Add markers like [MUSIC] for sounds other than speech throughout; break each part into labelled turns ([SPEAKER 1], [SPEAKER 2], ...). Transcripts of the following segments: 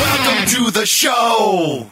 [SPEAKER 1] Welcome to the show.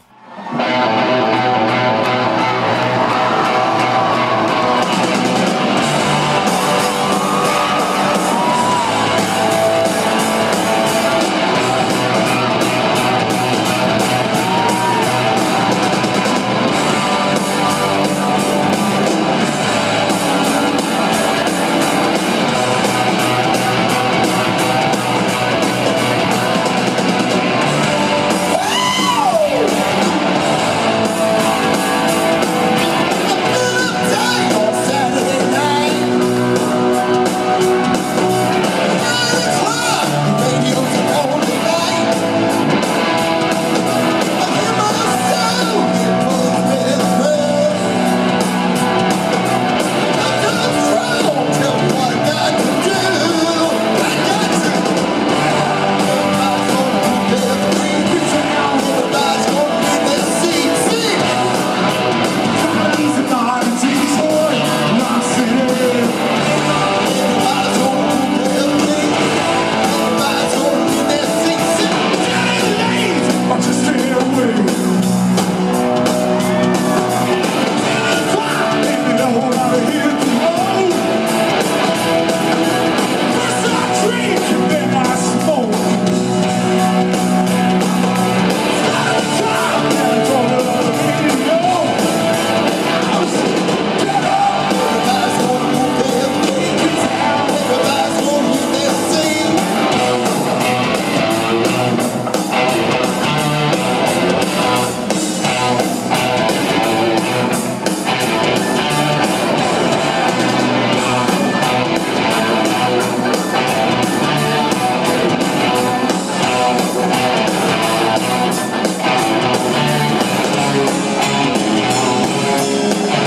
[SPEAKER 2] Það held ég, Pildar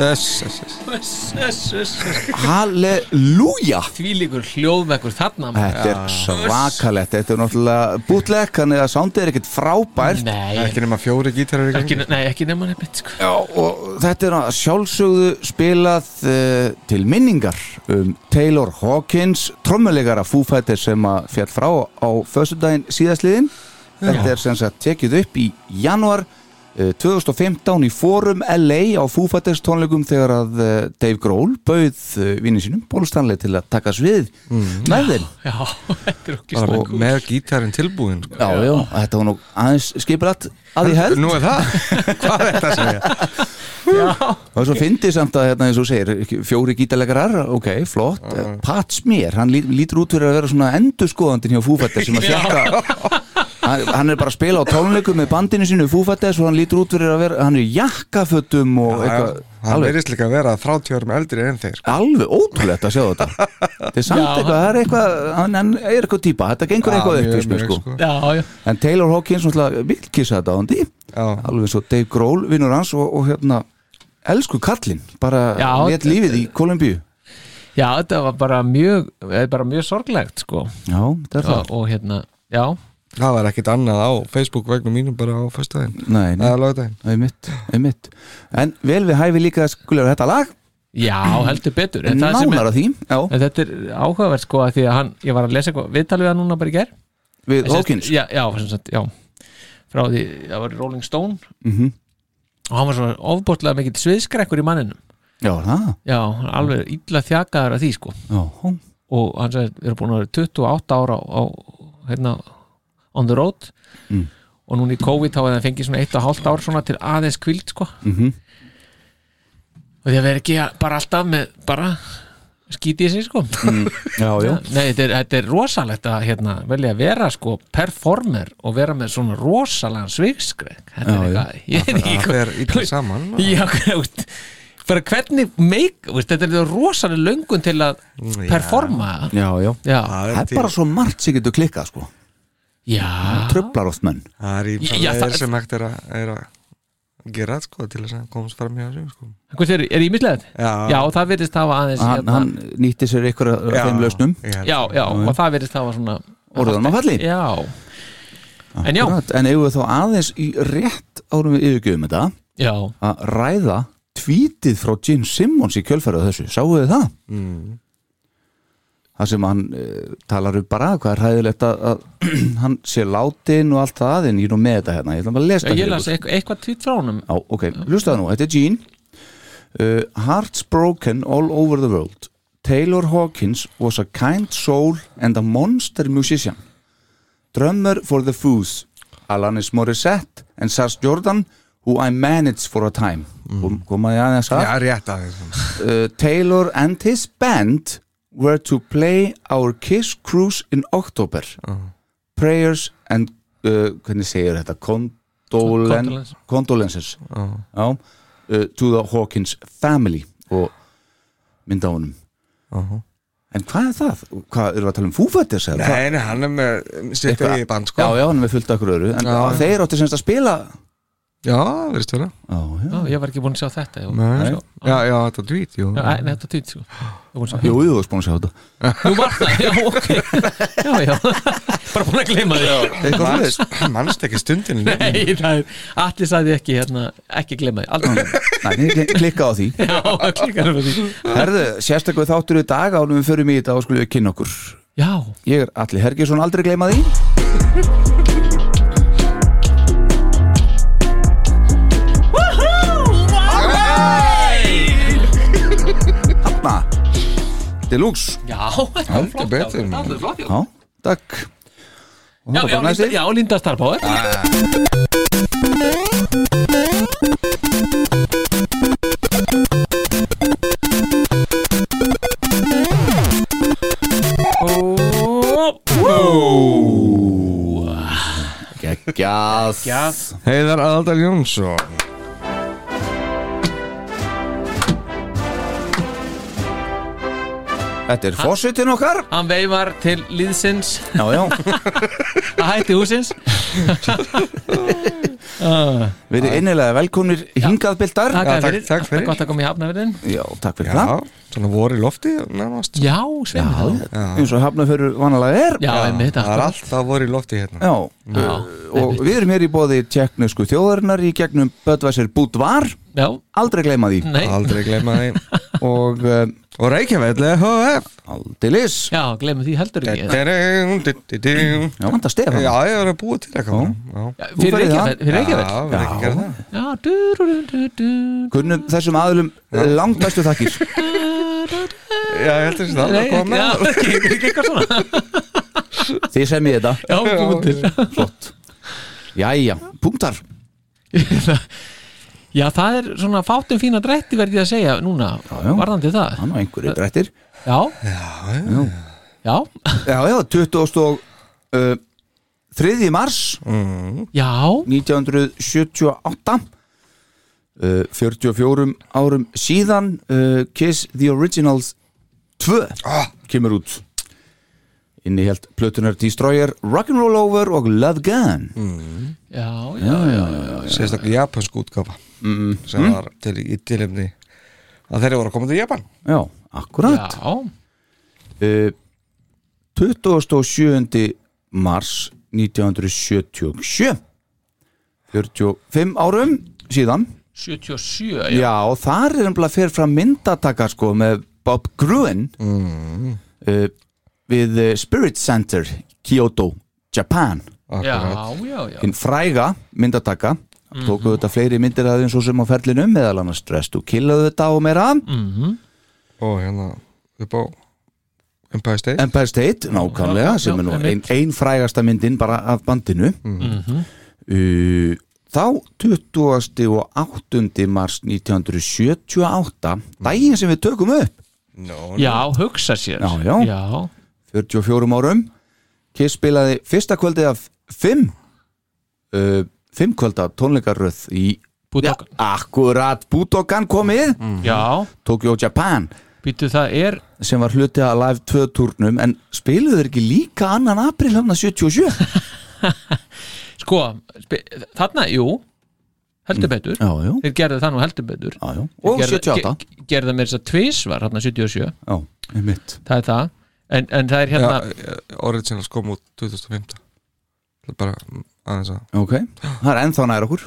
[SPEAKER 3] Þess, þess, þess
[SPEAKER 4] Halleluja
[SPEAKER 5] Þvílíkur hljóðvekkur þarna maður.
[SPEAKER 4] Þetta er svakalett, þetta er náttúrulega bútleg þannig að soundið er ekkert frábært
[SPEAKER 5] Nei,
[SPEAKER 6] Ekki nema fjóri gítarar í gangi
[SPEAKER 5] ekki, nei, ekki nema nefnitt sko.
[SPEAKER 4] Já, og þetta er að sjálfsögðu spilað uh, til minningar um Taylor Hawkins trommuleikara Foo Fighters sem að fjall frá á föstudaginn síðastliðin þetta er sem sagt tekið upp í januar uh, 2015 í Forum LA á Foo Fighters tónleikum þegar að uh, Dave Grohl bauð uh, vinnin sínum bólustanlega til að taka svið með þeim
[SPEAKER 5] Já, [LAUGHS] þetta er okkur
[SPEAKER 6] Bara
[SPEAKER 5] snakku
[SPEAKER 6] með- með gítarinn tilbúin sko.
[SPEAKER 4] Já, já, þetta var nú aðeins skipilat að ég held
[SPEAKER 6] Nú er það, hvað er þetta að segja?
[SPEAKER 4] Og svo fyndið samt að hérna eins og þú segir fjóri gítalegarar, ok, flott Pat Smear, hann lí- lítur út fyrir að vera svona endurskoðandinn hjá Fúfættir sem að sjekka hann, hann er bara að spila á tónleikum með bandinu sínu Fúfættir og hann lítur út fyrir að vera, hann er í jakkafötum og eitthvað,
[SPEAKER 6] Hann
[SPEAKER 4] alveg,
[SPEAKER 6] verðist líka að vera 30 árum eldri en þeir sko.
[SPEAKER 4] alveg ótrúlegt að sjá þetta þetta er samt
[SPEAKER 5] Já,
[SPEAKER 4] eitthvað, það er eitthvað hann, hann er eitthvað típa, þetta gengur eitthvað
[SPEAKER 6] Já,
[SPEAKER 4] upp í
[SPEAKER 6] mjög,
[SPEAKER 4] spil, sko.
[SPEAKER 6] mjög,
[SPEAKER 5] Já, já,
[SPEAKER 4] en Taylor Hawkins náttúrulega vil kissa þetta á hann
[SPEAKER 6] Já.
[SPEAKER 4] alveg eins og Dave Grohl vinnur hans og, og hérna elsku kallinn, bara
[SPEAKER 5] Já,
[SPEAKER 4] let lífið í Kolumbíu
[SPEAKER 5] já, þetta var bara mjög eh, bara mjög sorglegt sko.
[SPEAKER 4] Já, þetta er
[SPEAKER 5] og,
[SPEAKER 4] það
[SPEAKER 5] og hérna, já
[SPEAKER 6] Það var ekkit annað á Facebook vegna mínum bara á föstudaginn
[SPEAKER 4] Nei, nei,
[SPEAKER 6] Það er lögdaginn
[SPEAKER 4] auðvitað, auðvitað En vel við hæfi líka skulegur þetta lag
[SPEAKER 5] Já, heldur betur en, það sem er,
[SPEAKER 4] Nánar á því, já,
[SPEAKER 5] en þetta er áhugavert sko að því að hann, ég var að lesa eitthvað viðtal við hann núna bara í ger
[SPEAKER 4] við Hawkins
[SPEAKER 5] já, já, sem sagt, já frá því, það var í Rolling Stone
[SPEAKER 4] Mhm.
[SPEAKER 5] og hann var svona ofbóttlega mikill sviðskrekkur í manninum
[SPEAKER 4] Já, það,
[SPEAKER 5] já, hann er alveg illa þjakaður að því sko
[SPEAKER 4] já, hó.
[SPEAKER 5] og hann sagði, við erum búin að vera 28 ára á, á hérna, on the road
[SPEAKER 4] Mm.
[SPEAKER 5] og núna í COVID þá hefði hann fengið svona 1,5 ár svona til aðeins kvild sko
[SPEAKER 4] Mhm.
[SPEAKER 5] og því að vera ekki að- bara alltaf með bara skítið sér sko
[SPEAKER 4] já, Mm, já
[SPEAKER 5] [LAUGHS] Nei, þetta er, þetta er rosalegt að hérna, velja að vera sko performer og vera með svona rosalegan svigskrek þetta
[SPEAKER 4] Já, já.
[SPEAKER 5] er eitthvað, ég veit ekki
[SPEAKER 6] Það
[SPEAKER 5] hvað-
[SPEAKER 6] er illa saman
[SPEAKER 5] [LAUGHS]
[SPEAKER 6] sko.
[SPEAKER 5] Já, veist, bara hvernig make, veist, þetta er rosaleg löngun til að
[SPEAKER 4] Mm,
[SPEAKER 5] performa
[SPEAKER 4] Já, já,
[SPEAKER 5] Já,
[SPEAKER 4] það er bara sko- svo margt sem getur klikkað sko
[SPEAKER 5] já.
[SPEAKER 4] Tröflar oft menn
[SPEAKER 6] Það er í
[SPEAKER 5] Já,
[SPEAKER 6] bara
[SPEAKER 5] það-
[SPEAKER 6] leir sem hægt er að, er að gera sko til þess að komast fram hjá þessu sko.
[SPEAKER 5] Hvers er, er ímislegt?
[SPEAKER 6] Já.
[SPEAKER 5] já, og það virðist hafa aðeins
[SPEAKER 4] Hann,
[SPEAKER 5] hérna,
[SPEAKER 4] hann nýtti sér ykkur af þeim lausnum
[SPEAKER 6] ég held
[SPEAKER 5] já,
[SPEAKER 6] það.
[SPEAKER 5] já, og það virðist hafa svona e-
[SPEAKER 4] Orðan á falli
[SPEAKER 5] Já, en já,
[SPEAKER 4] Akkurat, En eigum við þá aðeins í rétt árum við yfirgjöfum þetta
[SPEAKER 5] já
[SPEAKER 4] að ræða tvítið frá Jim Simmons í kjölfærið á þessu, sáu þið það? Mm. Það sem hann uh, talar um bara hvað er hæðilegt að, að [CLEARS THROAT] hann sé látin og allt það en ég er nú með þetta hérna, ég ætla bara að lesa
[SPEAKER 5] Já,
[SPEAKER 4] það
[SPEAKER 5] Ég
[SPEAKER 4] fyrir
[SPEAKER 5] las
[SPEAKER 4] ykkur.
[SPEAKER 5] eitthvað, eitthvað tvít frá honum
[SPEAKER 4] Já, ok, hlustaðu nú, þetta er Gene uh, Hearts broken all over the world Taylor Hawkins was a kind soul and a monster musician drummer for the Foos Alanis Morissette and Sars Jordan who I managed for a time mm. komaði aðeins að
[SPEAKER 6] Já, rétt aðeins
[SPEAKER 4] uh, Taylor and his band were to play our Kiss Cruise in October prayers and uh, hvernig segir þetta Condolen
[SPEAKER 5] Condolence.
[SPEAKER 4] condolences Já, uh, to the Hawkins family og mynda á honum en hvað er það? Hvað, erum við að tala um fúfættis?
[SPEAKER 6] Nei, nei, hann er með um, sitt
[SPEAKER 4] Eitthvað-
[SPEAKER 6] eigið band sko
[SPEAKER 4] Já, já, hann er með fullt akkur öru en
[SPEAKER 6] Já.
[SPEAKER 4] þeir áttu semst að spila
[SPEAKER 6] Já, veist það
[SPEAKER 4] Já, já.
[SPEAKER 5] já, Ég var ekki búin að sjá þetta Jú,
[SPEAKER 6] Nei, já, já, þetta er dvít, jú
[SPEAKER 5] já, nei, þetta tvít sko. Ég var
[SPEAKER 4] [LAUGHS]
[SPEAKER 5] búinn að sjá-
[SPEAKER 4] Jú, jú, þú varst búin að sjá þetta
[SPEAKER 5] Nú var það, já, ok Já, já, bara búin að gleyma því
[SPEAKER 4] Eitthvað fyrir þess?
[SPEAKER 6] Manst- Manst ekki stundin
[SPEAKER 5] Nei, það er, allir sagði ekki hérna, ekki gleyma því, aldrei gleyma því.
[SPEAKER 4] Nei, ég klikka á því
[SPEAKER 5] Já, klikkar um því
[SPEAKER 4] Herðu, sérstaklega þáttur í dag ánum við förum í þetta og skulum við kynna okkur
[SPEAKER 5] Já,
[SPEAKER 4] Ég er Alli Hergjesson, aldrei gleyma því Hanna Deluxe
[SPEAKER 5] já, þetta var
[SPEAKER 6] Heldur
[SPEAKER 5] flott,
[SPEAKER 6] betur,
[SPEAKER 5] já,
[SPEAKER 6] maður.
[SPEAKER 5] þetta var flott, já.
[SPEAKER 4] Já, takk Og
[SPEAKER 5] Já,
[SPEAKER 4] það er
[SPEAKER 5] já,
[SPEAKER 4] bara
[SPEAKER 5] Linda,
[SPEAKER 4] næstir.
[SPEAKER 5] já, Linda Starbáður
[SPEAKER 6] Ah.
[SPEAKER 4] Geggjað
[SPEAKER 6] Heiðar Aldar Jónsson
[SPEAKER 4] Þetta er fósitin okkar
[SPEAKER 5] Hann veifar til liðsins
[SPEAKER 4] Já, já,
[SPEAKER 5] að hætti húsins
[SPEAKER 4] við erum innilega velkomnir hingaðbildar
[SPEAKER 5] Takk
[SPEAKER 6] takk-
[SPEAKER 5] fyrir,
[SPEAKER 6] takk fyrir.
[SPEAKER 5] Það er gott að koma í hafnaverðin
[SPEAKER 4] Já, takk fyrir það
[SPEAKER 6] Já, svona vor í lofti nánast.
[SPEAKER 5] Já, sveinu
[SPEAKER 4] Já, eins og hafnafjörur vanalega er
[SPEAKER 5] Já, einmitt,
[SPEAKER 6] það er
[SPEAKER 5] akkurat.
[SPEAKER 6] alltaf vor í lofti hérna
[SPEAKER 4] Já,
[SPEAKER 5] Já,
[SPEAKER 4] og við erum hér í bóði tjekknusku þjóðarinnar í gegnum Böðvæsir Búdvar,
[SPEAKER 5] Já,
[SPEAKER 4] aldrei gleyma því
[SPEAKER 5] nei
[SPEAKER 6] Aldrei gleyma
[SPEAKER 5] [LAUGHS]
[SPEAKER 6] því
[SPEAKER 4] og um,
[SPEAKER 6] Og Reykjavík, HF
[SPEAKER 4] aldilis
[SPEAKER 5] Já, glemum því heldur ekki
[SPEAKER 6] Du-du-du-du-du.
[SPEAKER 4] Já, vanda
[SPEAKER 6] Já,
[SPEAKER 4] Stefán
[SPEAKER 6] ég var að búa til eitthvað Já,
[SPEAKER 5] Já,
[SPEAKER 4] Þú
[SPEAKER 5] Fyrir
[SPEAKER 4] ferð í
[SPEAKER 5] ekki
[SPEAKER 4] það.
[SPEAKER 5] að fyrir ekki að
[SPEAKER 6] Já, við erum ekki að gera það
[SPEAKER 5] Já, du, du, du, du, du.
[SPEAKER 4] Kunnum þessum aðlum langt bestu þakkir
[SPEAKER 6] Já, ég heldur þess að það
[SPEAKER 5] Nei,
[SPEAKER 6] var að koma
[SPEAKER 5] já,
[SPEAKER 6] með
[SPEAKER 5] ekki ekki eitthvað svona
[SPEAKER 4] Þið sem ég þetta
[SPEAKER 5] Já, búin til
[SPEAKER 4] Flott Jæja, punktar
[SPEAKER 5] Já, það er svona fátum fína drætti verði ég að segja núna,
[SPEAKER 4] já.
[SPEAKER 5] varðandi það
[SPEAKER 4] Hann á einhverju drættir
[SPEAKER 5] Já, já Já,
[SPEAKER 4] Já, já, 20. og uh, 3. mars
[SPEAKER 5] já,
[SPEAKER 4] 1978 uh, 44 árum síðan uh, Kiss the Originals 2
[SPEAKER 6] Ah,
[SPEAKER 4] kemur út innihjalt plötunar Destroyer Rock'n'Roll Over og Love Gun
[SPEAKER 5] já, já, já,
[SPEAKER 6] Sérstaklega japansk útgáfa
[SPEAKER 5] Mm-hmm.
[SPEAKER 6] sem var til í tilefni að þeirri voru að koma til Japan
[SPEAKER 4] Já, akkurat
[SPEAKER 5] já.
[SPEAKER 4] Eh, 27. mars 1977 45 árum síðan
[SPEAKER 5] 77, já,
[SPEAKER 4] Já, og þar er umlað fyrir fram myndataka sko með Bob Gruen mm. við eh, Spirit Center Kyoto, Japan
[SPEAKER 5] já,
[SPEAKER 6] Akkurat.
[SPEAKER 5] já, já.
[SPEAKER 4] hinn fræga myndataka
[SPEAKER 5] Mhm.
[SPEAKER 4] tókuðu þetta fleiri myndir að þeim svo sem á ferlinu meðal annars dress, þú killaðu þetta og meira
[SPEAKER 5] Mhm.
[SPEAKER 6] og hérna upp á Empire State
[SPEAKER 4] Empire State, nákvæmlega
[SPEAKER 5] Já,
[SPEAKER 4] sem er
[SPEAKER 5] já,
[SPEAKER 4] nú ein,
[SPEAKER 5] einmitt. Mhm.
[SPEAKER 4] ein frægasta myndin bara af bandinu uh, Þá 20. og 8. mars
[SPEAKER 5] Mhm.
[SPEAKER 4] 1978 daginn sem við tökum upp
[SPEAKER 6] no,
[SPEAKER 5] já, hugsa sér
[SPEAKER 4] Já, já.
[SPEAKER 5] já.
[SPEAKER 4] 44 árum Kiss spilaði fyrsta kvöldi af 5 uh, 5 kvölda tónleikaröð í
[SPEAKER 5] Budokan.
[SPEAKER 4] ja, Akkurat Budokan komið
[SPEAKER 5] Mhm.
[SPEAKER 4] mm.
[SPEAKER 5] Já,
[SPEAKER 4] Tokyo Japan
[SPEAKER 5] býtu það er
[SPEAKER 4] sem var hluti að live 2 turnum en spiluðu þeir ekki líka annan april hann 77
[SPEAKER 5] sko, spe- þarna, jú heldur betur,
[SPEAKER 4] Já, já,
[SPEAKER 5] þeir gerðu það nú heldur betur
[SPEAKER 4] já, já. Og
[SPEAKER 5] Þeir gerðu-
[SPEAKER 4] 78
[SPEAKER 5] ge- gerðu það með þess að tvisvar, þarna 77
[SPEAKER 4] Já, einmitt
[SPEAKER 5] það er það, en, en það er
[SPEAKER 6] já,
[SPEAKER 5] hérna
[SPEAKER 6] eh, Originals kom út 2015 Það er bara mm, aðeins að
[SPEAKER 4] Ok, það er ennþá nær okkur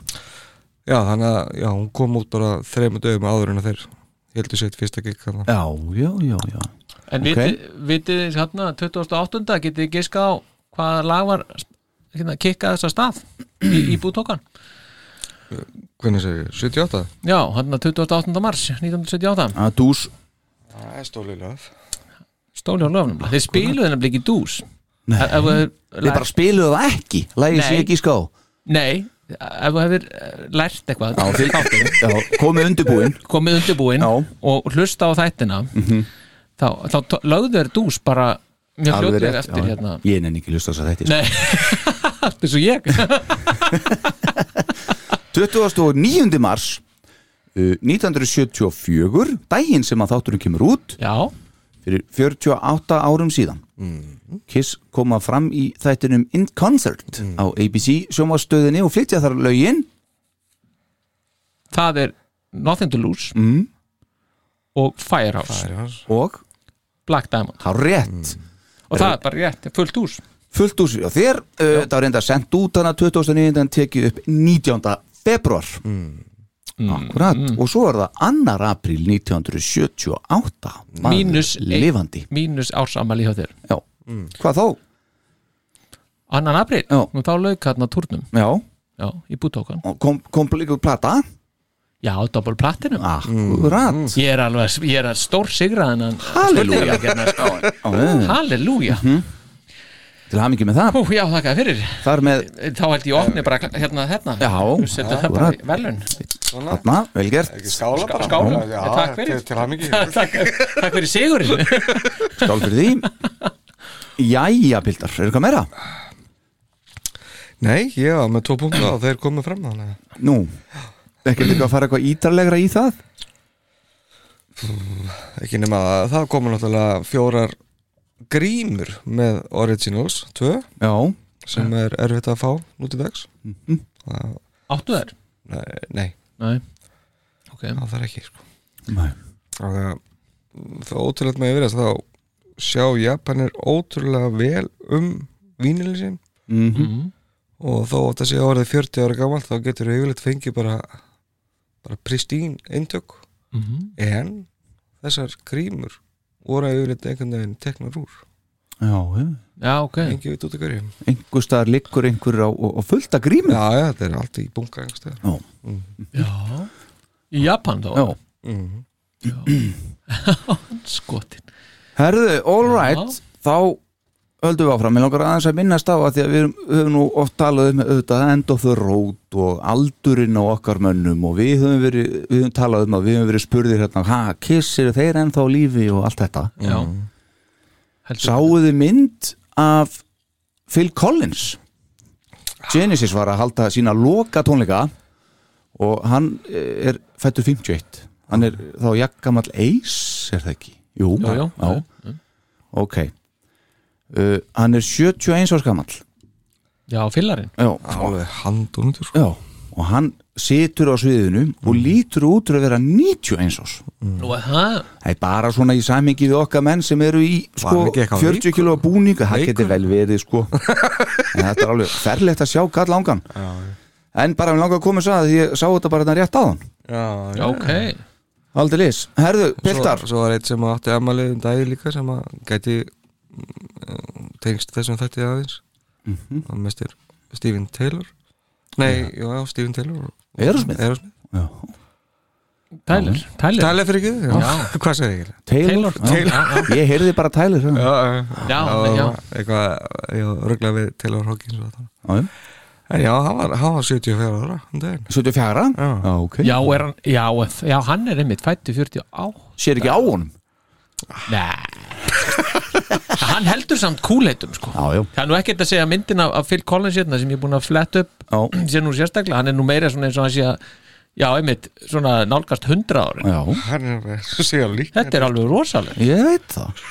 [SPEAKER 6] Já, þannig að já, hún kom út bara þreymu dögum áður en að þeir heldur sitt fyrsta gig þarna.
[SPEAKER 4] Já, já, já, já
[SPEAKER 5] en
[SPEAKER 4] ok.
[SPEAKER 5] vitið, vitið þið hérna 28. getið þið giskað á hvaða lag var hérna, kikkað þess að stað í, í bútókan
[SPEAKER 6] Hvernig segir, 78?
[SPEAKER 5] já, hérna 28. mars 1978
[SPEAKER 4] Að dús,
[SPEAKER 6] Það er stóli löf
[SPEAKER 5] stóli á löfnum, þeir spiluðu nefnilega ekki dús
[SPEAKER 4] Nei.
[SPEAKER 5] Ef- ef þeir-
[SPEAKER 4] við bara spiluðu það ekki Lægið sé
[SPEAKER 5] Nei.
[SPEAKER 4] ekki í ská
[SPEAKER 5] Nei, ef þú hefur eh, lært eitthvað
[SPEAKER 4] Já, til-
[SPEAKER 5] þáttinn,
[SPEAKER 4] Já, komið undirbúin
[SPEAKER 5] komið undirbúin
[SPEAKER 4] Já. Mhm.
[SPEAKER 5] og hlusta á þættina þá, þá tó- lögðu þér dús bara mjög
[SPEAKER 4] Alveg
[SPEAKER 5] fljótlega
[SPEAKER 4] rétt,
[SPEAKER 5] eftir
[SPEAKER 4] já.
[SPEAKER 5] hérna
[SPEAKER 4] Ég nenni ekki að hlusta þess að þetta sko.
[SPEAKER 5] Nei, þetta er svo ég [LAUGHS]
[SPEAKER 4] 29. mars uh, 1974 daginn sem að þátturinn kemur út
[SPEAKER 5] Já,
[SPEAKER 4] fyrir 48 árum síðan Kiss koma fram í þættinum In Concert á ABC sjómastöðinni og flytja þar lögin
[SPEAKER 5] það er Nothing to Lose mm.
[SPEAKER 4] Mhm.
[SPEAKER 5] og Firehouse,
[SPEAKER 6] Það er hans
[SPEAKER 4] og
[SPEAKER 5] Black Diamond
[SPEAKER 4] há rétt
[SPEAKER 5] og það er bara rétt, fullt hús
[SPEAKER 4] fullt úr sér og þér uh, það var reynda sendt út hana 2009 en tekið upp 19. februar akkurat og svo er það 2. april 1978 Maður
[SPEAKER 5] Mínus ein-
[SPEAKER 4] lifandi
[SPEAKER 5] mínus ársamæli hjá þér
[SPEAKER 4] Já. hvað þá?
[SPEAKER 5] Annan april,
[SPEAKER 4] Já.
[SPEAKER 5] nú þá lauk hérna turnum
[SPEAKER 4] Já,
[SPEAKER 5] Já, í bútókan
[SPEAKER 4] og kom, kom líka plata
[SPEAKER 5] Já, double platinum
[SPEAKER 4] Akkurat mm.
[SPEAKER 5] Ég er alveg, ég er að stór sigra þennan
[SPEAKER 4] Halleluja. Mhm.
[SPEAKER 5] spurningakeppnina, sko. Halleluja
[SPEAKER 4] eh, Til hamingi með það
[SPEAKER 5] Hú, já, þakka fyrir
[SPEAKER 4] Þar með,
[SPEAKER 5] Þá held ég opni bara hérna þarna
[SPEAKER 4] Já,
[SPEAKER 5] Settu það bara
[SPEAKER 4] akkurat.
[SPEAKER 5] í velun
[SPEAKER 4] þarna, vel gert
[SPEAKER 6] Skála bara
[SPEAKER 5] Skála, takk fyrir.
[SPEAKER 6] Til, til hamingi
[SPEAKER 5] [LAUGHS] Takk, takk fyrir sigurinn
[SPEAKER 4] Skál fyrir
[SPEAKER 6] [LAUGHS]
[SPEAKER 4] því Jæja, Pildar, er eitthvað meira?
[SPEAKER 6] Nei, ég var með tvo punktu og þeir komu fram þannig að
[SPEAKER 4] Nú, ekki líka að fara eitthvað ítarlegra í það?
[SPEAKER 6] ekki nema að það komu náttúrulega fjórar grímur með Originals 2
[SPEAKER 4] Já,
[SPEAKER 6] sem er erfitt að fá nút í dags það,
[SPEAKER 5] Áttu þær?
[SPEAKER 6] nei, nei,
[SPEAKER 5] Nei Ok,
[SPEAKER 6] það er ekki sko.
[SPEAKER 4] Nei.
[SPEAKER 6] og það það er ótrúlega með yfir þess að þá sjá Japanir ótrúlega vel um vínilin sín
[SPEAKER 4] mhm,
[SPEAKER 6] og þó átt að sé orðið 40 ára gamalt þá getur við yfirleitt fengið bara bara pristín eintök
[SPEAKER 5] Mhm.
[SPEAKER 6] en þessar grímur voru yfirleitt einhvern veginn teknar úr
[SPEAKER 4] já, já
[SPEAKER 5] já ok
[SPEAKER 6] engi veit út í hverju
[SPEAKER 4] einhver staðar liggur einhverjur á og, og fullt að grími
[SPEAKER 6] Já, já, þetta er allt í bunga einhvers staðar.
[SPEAKER 5] Já Í Japan þá?
[SPEAKER 4] Já.
[SPEAKER 6] Mhm.
[SPEAKER 5] [CLEARS THROAT] Skotin
[SPEAKER 4] Herðu, all right þá höldum við áfram, ég langar aðeins að minnast á að því að við erum- höfum nú oft talað um auðvitað end of the road og aldurinn á okkar mönnum og við höfum verið við höfum talað um að við höfum verið spurðir hérna, ha, kiss eru þeir ennþá á lífi og allt þetta
[SPEAKER 5] Já
[SPEAKER 4] Mhm.
[SPEAKER 5] Heldur
[SPEAKER 4] sáuði mynd af Phil Collins Genesis var að halda sína loka tónleika og hann eh, er fættur 51 hann er þá jakkamall eis er það ekki? Jú,
[SPEAKER 5] Já, já,
[SPEAKER 4] já. ok uh, hann er 71 árs gamall
[SPEAKER 5] Já, fyllarinn
[SPEAKER 4] já,
[SPEAKER 6] Alveg handundur sko.
[SPEAKER 4] já og hann situr á sviðinu og lítur út fyrir að vera 91 árs
[SPEAKER 5] Nú er það
[SPEAKER 4] það er bara svona í samingi við okkar menn sem eru í sko,
[SPEAKER 6] hann ekki eitthvað
[SPEAKER 4] 40
[SPEAKER 6] veikur?
[SPEAKER 4] kilo búning það
[SPEAKER 6] Veikur?
[SPEAKER 4] getur vel verið
[SPEAKER 6] [LAUGHS]
[SPEAKER 4] sko en þetta er alveg ferlegt að sjá gall langan en bara við langar að koma svo að því ég sá þetta bara þetta rétt á hann
[SPEAKER 6] Já,
[SPEAKER 5] Já, ok
[SPEAKER 4] aldrei lis, herðu, piltar
[SPEAKER 6] Svo, svo var eitt sem átti amalið um dagi líka sem að gæti mm, tengst þessum þætti aðeins Það mest er Steven Taylor Nei, Mhm. já, já Steven Taylor og-
[SPEAKER 4] Aerosmith?
[SPEAKER 6] Aerosmith
[SPEAKER 5] Tyler Tyler
[SPEAKER 6] Taylor fyrir ekki, já,
[SPEAKER 5] Já.
[SPEAKER 6] [LAUGHS] hvað segir ég ekki?
[SPEAKER 4] Taylor,
[SPEAKER 5] Taylor.
[SPEAKER 4] Já, ég heyrði bara Taylor já.
[SPEAKER 6] Já, já,
[SPEAKER 5] Já, já, já.
[SPEAKER 6] Eitthvað, já, ruggla við Taylor Hawkins og það
[SPEAKER 4] Já, já.
[SPEAKER 6] En já, hann var, hann var 74 ára um daginn
[SPEAKER 4] 74
[SPEAKER 6] Já.
[SPEAKER 4] já, ok.
[SPEAKER 5] Já, er hann, já, ef- já, hann er einmitt fættu 48
[SPEAKER 4] sér ekki á honum
[SPEAKER 5] Nei [LAUGHS] Hann heldur samt kúleitum sko
[SPEAKER 4] já, já,
[SPEAKER 5] Það er nú ekkert að segja myndin af, af Phil Collins hérna sem ég er búin að fletta upp
[SPEAKER 4] já,
[SPEAKER 5] [CLEARS THROAT] sé nú sérstaklega, hann er nú meira svona eins og hann sé að já, einmitt, svona nálgast 100 ári
[SPEAKER 4] já.
[SPEAKER 6] Hann er alveg, svo sé ég líka
[SPEAKER 5] Þetta er alveg rosaleg
[SPEAKER 4] ég veit það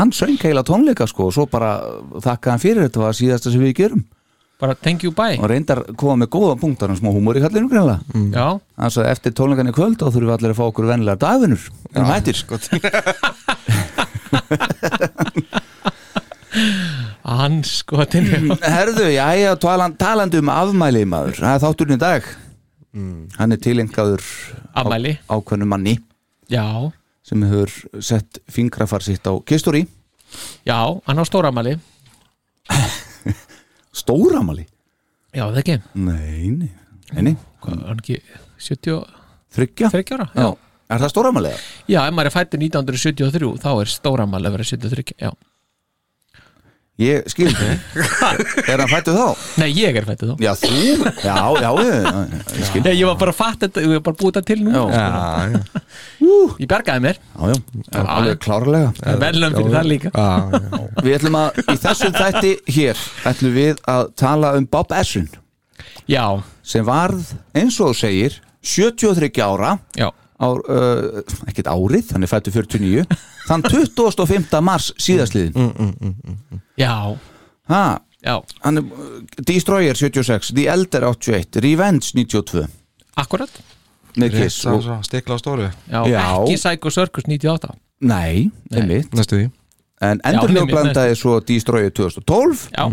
[SPEAKER 4] hann söng heila tónleika sko og svo bara þakka hann fyrir þetta var síðasta sem við gerum
[SPEAKER 5] bara thank you bye
[SPEAKER 4] og reyndar koma með góða punktar hann smá húmóri kallinu greinlega
[SPEAKER 5] Já,
[SPEAKER 4] hann sagði eftir tónleikan í kvöld þá þurfum við allir að fá okkur venlega dagvinnur en hættir
[SPEAKER 6] sko
[SPEAKER 5] hann sko
[SPEAKER 4] Mm.
[SPEAKER 5] þetta
[SPEAKER 4] [LAUGHS] herðu, já, já, talan, talandi um afmæli maður, það er þátturinn í dag hann er tilengaður
[SPEAKER 5] Afmæli.
[SPEAKER 4] ákveðnum manni
[SPEAKER 5] Já,
[SPEAKER 4] sem hefur sett fingrafar sitt á kistúri,
[SPEAKER 5] já, hann á stóramæli
[SPEAKER 4] stóramæli
[SPEAKER 5] Já, það ekki,
[SPEAKER 4] nei, nei, nei, nei.
[SPEAKER 5] hvað er hann ekki 73
[SPEAKER 4] þryggja,
[SPEAKER 5] ára?
[SPEAKER 4] já, er það stóramæli?
[SPEAKER 5] Já, ef maður er fættur 1973 þá er stóramæli að vera 73 Já,
[SPEAKER 4] ég skil það [LAUGHS] er hann fættu þá?
[SPEAKER 5] nei, ég er fættur þá
[SPEAKER 4] já, þú, já, já, ég, ég skil
[SPEAKER 5] Nei, ég var bara að fatta þetta, ég var bara að búta til nú
[SPEAKER 4] Já.
[SPEAKER 6] Já, já
[SPEAKER 5] Ég bergaði mér,
[SPEAKER 4] já, já, alveg klárlega
[SPEAKER 5] velum fyrir það líka
[SPEAKER 6] Já, já [LAUGHS]
[SPEAKER 4] Við ætlum að, í þessum þætti hér ætlum við að tala um Bob Essun
[SPEAKER 5] Já,
[SPEAKER 4] sem varð, eins og þú segir 73 ára
[SPEAKER 5] já,
[SPEAKER 4] ár, uh, ekkert árið, hann er fættu 49 þann 25. mars síðasliðin
[SPEAKER 5] já,
[SPEAKER 4] ha,
[SPEAKER 5] já
[SPEAKER 4] hann er uh, Destroyer 76, The Elder 81 Revenge 92
[SPEAKER 5] Akkurat,
[SPEAKER 4] með
[SPEAKER 6] Rétt,
[SPEAKER 4] Kiss
[SPEAKER 6] það var
[SPEAKER 4] og,
[SPEAKER 6] svona stikla á stóru
[SPEAKER 5] já,
[SPEAKER 4] Já.
[SPEAKER 5] ekki Psycho Circus 98
[SPEAKER 4] Nei, einmitt
[SPEAKER 6] Næstu því
[SPEAKER 4] en
[SPEAKER 5] Já,
[SPEAKER 4] endur
[SPEAKER 5] einmitt,
[SPEAKER 4] blandaði svo Destroyer 2012
[SPEAKER 5] Já,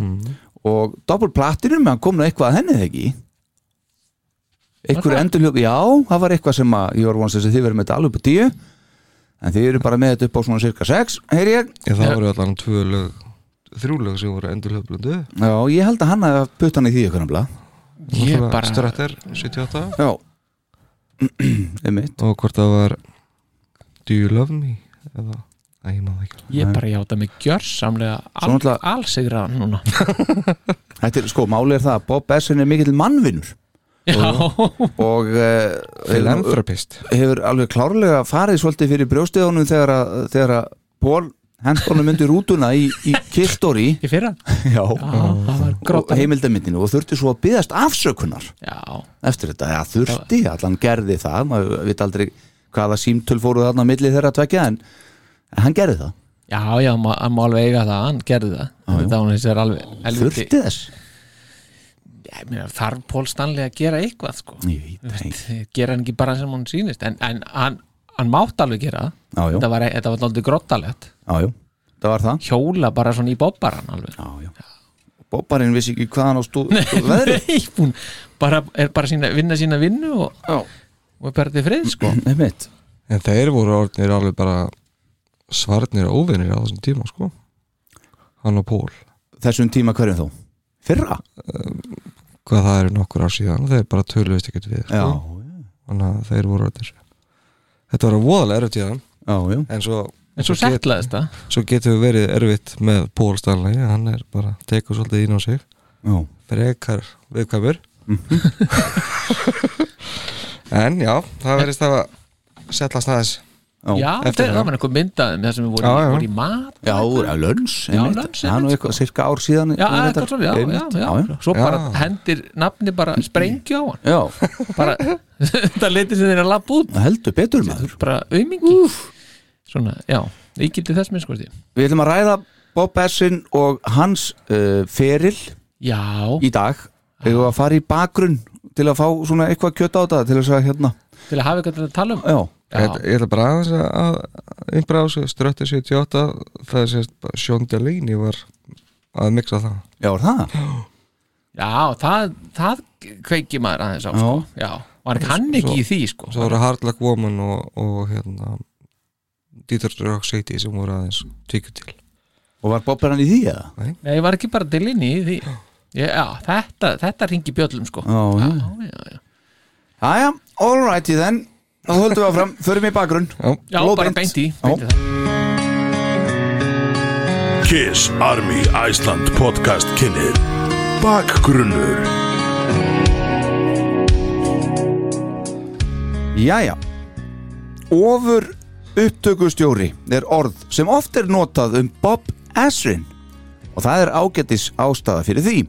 [SPEAKER 4] og Double Platinum, hann kom nú eitthvað að henni þegar ekki einhverju
[SPEAKER 5] það?
[SPEAKER 4] endurljók, já, það var eitthvað sem að ég var vonast þess að þið verðum með þetta alveg upp á 10 en þið eru bara með þetta upp á svona cirka 6 heyr ég,
[SPEAKER 6] Já, það voru allan tvö lög Þrjú lög sem voru endur höfblöndu
[SPEAKER 4] já, ég held að hann að putta hann í því ykkur nefnilega
[SPEAKER 5] ég bara
[SPEAKER 6] Stratter, 78
[SPEAKER 4] já, [CLEARS THROAT] einmitt
[SPEAKER 6] Og hvort það var Do you love me? Eða, að ég maður ekki
[SPEAKER 5] Ég bara játa mig gjörsamlega
[SPEAKER 4] Svo náttúrulega-
[SPEAKER 5] allsigra núna
[SPEAKER 4] þetta er, sko, máli er það að Bob Essin er mikill mannvinnur
[SPEAKER 5] Já,
[SPEAKER 4] og uh, hefur,
[SPEAKER 6] Philanthropist
[SPEAKER 4] hefur alveg klárlega farið svolítið fyrir brjóstiðunum þegar að, þegar að Paul hensbólum myndi rútuna í, í kistóri
[SPEAKER 5] í fyrra
[SPEAKER 4] já,
[SPEAKER 5] Já, það var
[SPEAKER 4] og
[SPEAKER 5] gróta
[SPEAKER 4] heimildamindinu og þurfti svo að byðast afsökunar
[SPEAKER 5] Já,
[SPEAKER 4] eftir þetta, já þurfti, allan gerði það maður veit aldrei hvaða símtöl fóru þarna á milli þeirra tvekja en, en hann gerði það,
[SPEAKER 5] já, já, ma- hann má alveg eiga það hann gerði það, þetta var hins vegar alveg helviti-
[SPEAKER 4] þurfti þess
[SPEAKER 5] Já, ég meina, þarf Pól Stanley að gera eitthvað sko.
[SPEAKER 4] Ég veit það ekki.
[SPEAKER 5] gera hann ekki bara sem hann sýnist en, en hann, hann mátt alveg gera það.
[SPEAKER 4] Já, já.
[SPEAKER 5] þetta var, þetta var aldrei grottalegt
[SPEAKER 4] Já, jú, það var það
[SPEAKER 5] hjóla bara svona í bobbaran [LAUGHS] alveg
[SPEAKER 4] Já, já Bobbarinn vissi ekki hvað hann á stú veðri
[SPEAKER 5] Nei, hún bara, er bara sína, vinna sína vinnu og,
[SPEAKER 4] Já,
[SPEAKER 5] og er bara til frið
[SPEAKER 4] [LAUGHS]
[SPEAKER 5] sko.
[SPEAKER 4] einmitt
[SPEAKER 6] En þeir voru orðnir alveg bara svarnir óvinnir á þessum tíma sko Hann og Pól
[SPEAKER 4] Þessum tíma hverjum þó? Fyrra?
[SPEAKER 6] Hvað það eru nokkur ár síðan og þeir bara tölvist ekkert við
[SPEAKER 4] Já,
[SPEAKER 6] sko. Þannig að þeir voru orðnir Þetta var voðalega erfitt í þann
[SPEAKER 4] já, já
[SPEAKER 6] En svo,
[SPEAKER 5] en svo settlaðist það
[SPEAKER 6] get, svo getur við verið erfitt með Pól Stanley Hann er bara, tekur svolítið inn á sig
[SPEAKER 4] Já,
[SPEAKER 6] Frekar viðkvæmur Mhm. [LAUGHS] En já, það verðist það að settlast aðeins
[SPEAKER 5] já,
[SPEAKER 6] eftir
[SPEAKER 5] þeir,
[SPEAKER 6] það.
[SPEAKER 5] það var einhver myndaði með það sem við vorum,
[SPEAKER 6] Já, já.
[SPEAKER 5] já, voru í mat
[SPEAKER 4] já úr að lönns einmitt.
[SPEAKER 5] Luns,
[SPEAKER 4] Það er nú
[SPEAKER 5] einmitt, sko.
[SPEAKER 4] eitthvað cirka ár síðan
[SPEAKER 5] já,
[SPEAKER 4] ég reyndar-
[SPEAKER 5] eitthvað svona, já, já,
[SPEAKER 4] einmitt,
[SPEAKER 5] já, svo bara hendir nafni bara sprengju á
[SPEAKER 4] [LAUGHS]
[SPEAKER 5] hann
[SPEAKER 4] já,
[SPEAKER 5] bara, [LAUGHS] þetta leytir sem þeir að lappa út
[SPEAKER 4] já Heldur betur maður
[SPEAKER 5] bara aumingi svona, já, ég gildi þess minn sko
[SPEAKER 4] Við ætlum að ræða Bob Essin og hans uh, feril
[SPEAKER 5] já,
[SPEAKER 4] í dag Eða að fara í bakgrunn til að fá svona eitthvað kjöt á þetta til þess að hérna
[SPEAKER 5] til að hafa eitthvað til að tala um
[SPEAKER 4] Já,
[SPEAKER 5] já,
[SPEAKER 6] Ég ætla- ég ætla bara aðeins að- að einbra á sig strötti 78 það er sérst bara Sean Delaney var að miksa það
[SPEAKER 4] já, er það?
[SPEAKER 5] já það, það kveiki maður aðeins á sko. já, var ekki hann ekki í því sko.
[SPEAKER 6] svo voru Hard Luck Woman og, og hérna Dieter Drog City sem voru aðeins tvíku til
[SPEAKER 4] Og var Bob Essin í því eða?
[SPEAKER 5] nei, var ekki bara til inni í því já, já þetta, þetta ringi bjöllum sko.
[SPEAKER 4] Já, já
[SPEAKER 5] já, já, já.
[SPEAKER 4] Jæja, all righty then Þá höldum við áfram, förum í bakgrunn
[SPEAKER 5] já bara beint í beint í það.
[SPEAKER 7] Kiss Army Iceland podcast kynir Bakgrunnur
[SPEAKER 4] Jæja Ofur upptökustjóri er orð sem oft er notað um Bob Asrin og það er ágætis ástæða fyrir því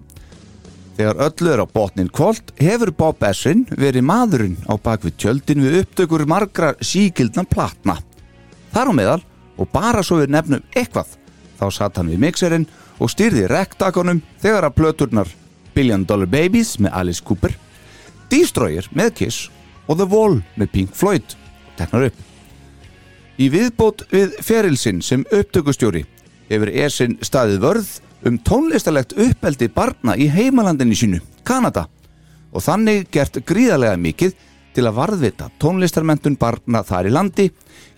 [SPEAKER 4] Þegar öllu er á botnin kvöld hefur Bob Essin verið maðurinn á bakvið tjöldin við upptökur margra síkildna platna. Þar á meðal og bara svo við nefnum eitthvað þá satt hann við mixerinn og styrði rektakonum þegar að plöturnar Billion Dollar Babies með Alice Cooper, Destroyer með Kiss og The Wall með Pink Floyd teknar upp. Í viðbót við ferilsinn sem upptökustjóri hefur Esin staðið vörð um tónlistalegt uppeldi barna í heimalandinni sínu, Kanada og þannig gert gríðarlega mikið til að varðvita tónlistarmentun barna þar í landi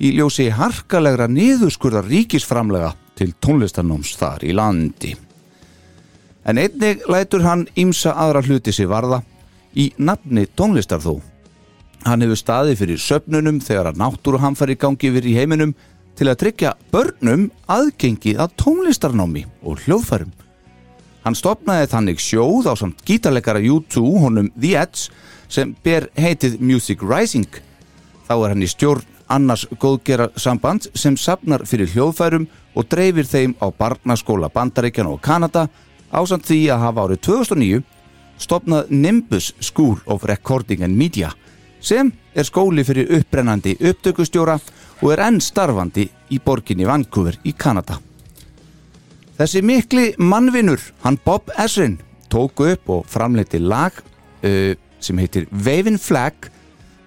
[SPEAKER 4] í ljósi harkalegra niðurskurðar ríkisframlega til tónlistarnóms þar í landi. En einnig lætur hann ímsa aðra hluti sér varða í nafni tónlistar þó Hann hefur staðið fyrir söfnunum þegar að náttúruhamfari gangi yfir í heiminum til að tryggja börnum aðgengi að tónlistarnámi og hljóðfærum. Hann stopnaði þannig sjóð á samt gítarleikara U2 honum The Edge sem ber heitið Music Rising. Þá er hann í stjórn annars góðgera samband sem sapnar fyrir hljóðfærum og dreifir þeim á barnaskóla Bandaríkjan og Kanada ásamt því að hafa árið 2009 stopnað Nimbus School of Recording and Media sem er skóli fyrir upprennandi upptökustjóra og er enn starfandi í borginni Vancouver í Kanada. Þessi mikli mannvinur, hann Bob Esrin, tók upp og framleiti lag uh, sem heitir Waving Flag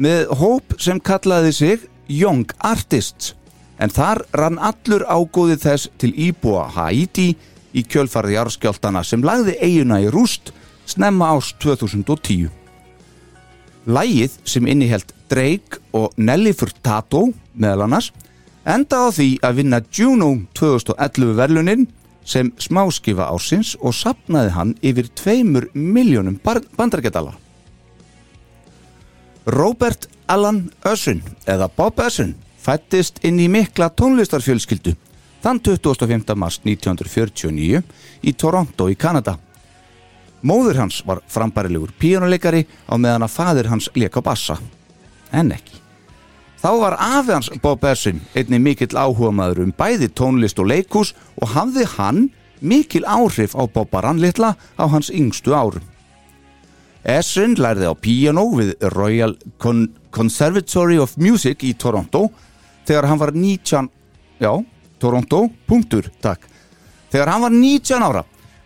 [SPEAKER 4] með hóp sem kallaði sig Young Artists en þar rann allur ágóði þess til íbúa Haiti í kjölfarði árskjáltana sem lagði eiguna í rúst snemma ást 2010. Lægið sem innihelt Drake og Nelly Furtado meðal annars enda á því að vinna Juno 2011 verlunin sem smáskifa ársins og sapnaði hann yfir tveimur miljónum bandargetala. Robert Allan Össun eða Bob Össun fættist inn í mikla tónlistarfjölskyldu þann 25. mars 1949 í Toronto í Kanada. Móður hans var frambærilegur píjónuleikari á meðan að faðir hans leik á bassa. En ekki. Þá var afi hans Bob Essin einni mikill áhugamaður um bæði tónlist og leikús og hafði hann mikil áhrif á Bobbaran litla á hans yngstu árum. Essin lærði á píjánó við Royal Con Conservatory of Music í Toronto þegar hann var 19 já, Toronto, punktur, takk Þegar hann var 19 ára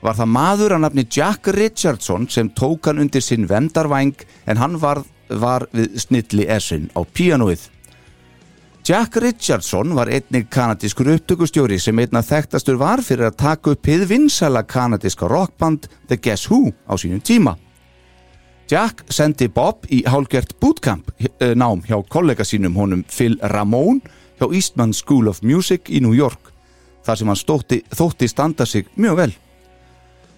[SPEAKER 4] var það maður að nafni Jack Richardson sem tók hann undir sinn vendarvæng en hann var, var við snilli essin á píanóið. Jack Richardson var einnig kanadískur upptökustjóri sem einna þekktastur var fyrir að taka upp hið vinsæla kanadíska rockband The Guess Who á sínum tíma. Jack sendi Bob í hálgert bootcamp eh, nám hjá kollega sínum honum Phil Ramone hjá Eastman School of Music í New York þar sem hann stótti, þótti standa sig mjög vel.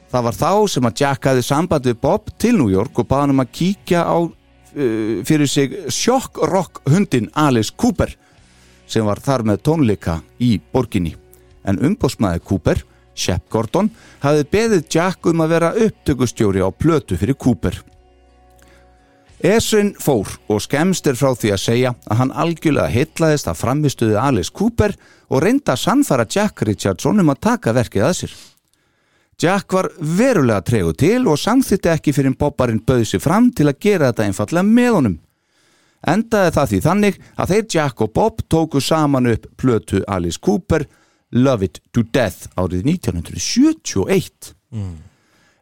[SPEAKER 4] Það var þá sem að Jack hafði samband við Bob til New York og baði hann um að kíkja á eh, fyrir sig sjokk rock hundin Alice Cooper sem var þar með tónleika í borginni. En umbóðsmaði Cooper, Shep Gordon, hafði beðið Jack um að vera upptökustjóri á plötu fyrir Cooper. Esrin fór og skemmst er frá því að segja að hann algjörlega heitlaðist að framistuði Alice Cooper og reynda að sannfara Jack Richardson um að taka verkið að sér. Jack var verulega tregu til og samþýtti ekki fyrir bobbarinn bauð sér fram til að gera þetta einfallega með honum. Endaði það því þannig að þeir Jack og Bob tóku saman upp plötu Alice Cooper Love It to Death árið 1971.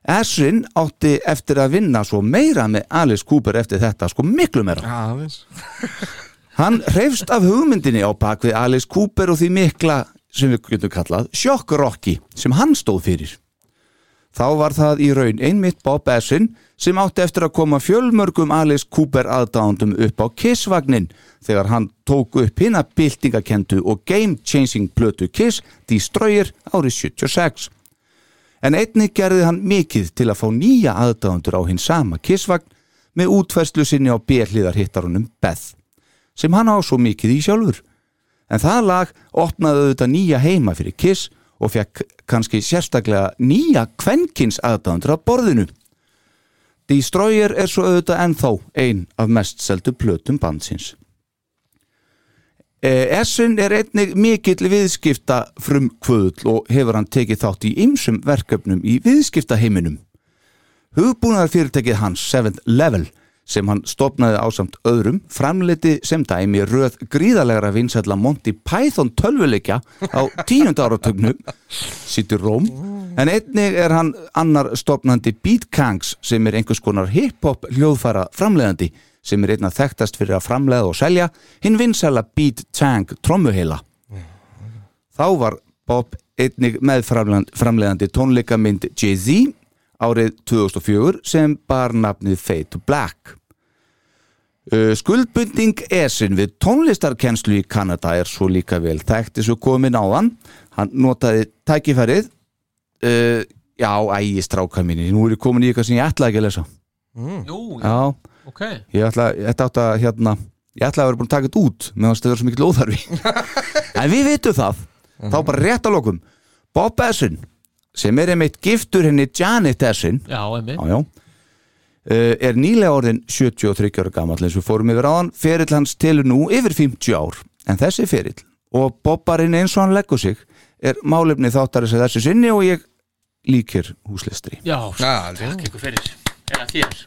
[SPEAKER 4] Esrin átti eftir að vinna svo meira með Alice Cooper eftir þetta, sko miklu meira.
[SPEAKER 6] aðeins
[SPEAKER 4] Hann reyfst af hugmyndinni á bak við Alice Cooper og því mikla, sem við getum kallað, sjokkrocki sem hann stóð fyrir. Þá var það í raun einmitt Bob Essin sem átti eftir að koma fjölmörgum Alice Cooper aðdándum upp á Kissvagnin þegar hann tók upp hina byltingakendu og game-changing blötu Kiss Destroyer árið 76. En einnig gerði hann mikið til að fá nýja aðdáðundur á hinn sama kissvagn með útfæslu sinni á bjelliðar hittarunum Beth, sem hann á svo mikið í sjálfur. En það lag opnaði auðvitað nýja heima fyrir Kiss og fekk kannski sérstaklega nýja kvenkins aðdáðundur á borðinu. Destroyer er svo auðvitað ennþá ein af mest seldu plötum bandsins. Essin er einnig mikill viðskipta frum kvöðl og hefur hann tekið þátt í ymsum verkefnum í viðskiptaheiminum. Hugbúnaðar fyrirtækið hans 7th Level sem hann stopnaði ásamt öðrum framleiti sem dæmi röð gríðalegra vinsætla Monty Python tölvuleikja á tíund áratögnum sittur Róm en einnig er hann annar stopnandi Beat Kangs sem er einhvers konar hip-hop hljóðfæra framleiðandi sem er einna þekktast fyrir að framleiða og selja hinn vinsæla Beat Tang trommuheila Þá var Bob einnig meðframlegandi tónleikamynd Jay-Z árið 2004 sem bar nafnið Fade to Black. Uh, Skuldbunding Esin við tónlistarkennslu í Kanada er svo líka vel þekkt eins og komin á hann. Hann notaði tækifærið. Uh, já, ægi stráka mínir, nú er ég komin í eitthvað sem ég ætlaði ekki að lesa.
[SPEAKER 6] Mm.
[SPEAKER 5] Jú,
[SPEAKER 4] Já,
[SPEAKER 5] ok
[SPEAKER 4] ég ætla, þetta átt að hérna ég ætla að vera búin að taka þetta út meðan þetta er svo mikil óþarfi en við vitum það, þá bara rétt að lokum Bob Essin sem er einmitt giftur henni Janet Essin
[SPEAKER 5] Já, emmi
[SPEAKER 4] já, já, eh, er nýlega orðin 73 ára gamall eins og við fórum yfir áðan ferill hans telur nú yfir 50 ár en þessi ferill og Bobbarinn eins og hann leggur sig er málefni þáttarins að þessu sinni og ég líkir húslistri
[SPEAKER 5] Já,
[SPEAKER 6] Já,
[SPEAKER 5] takk ykkur fyrir Eða þér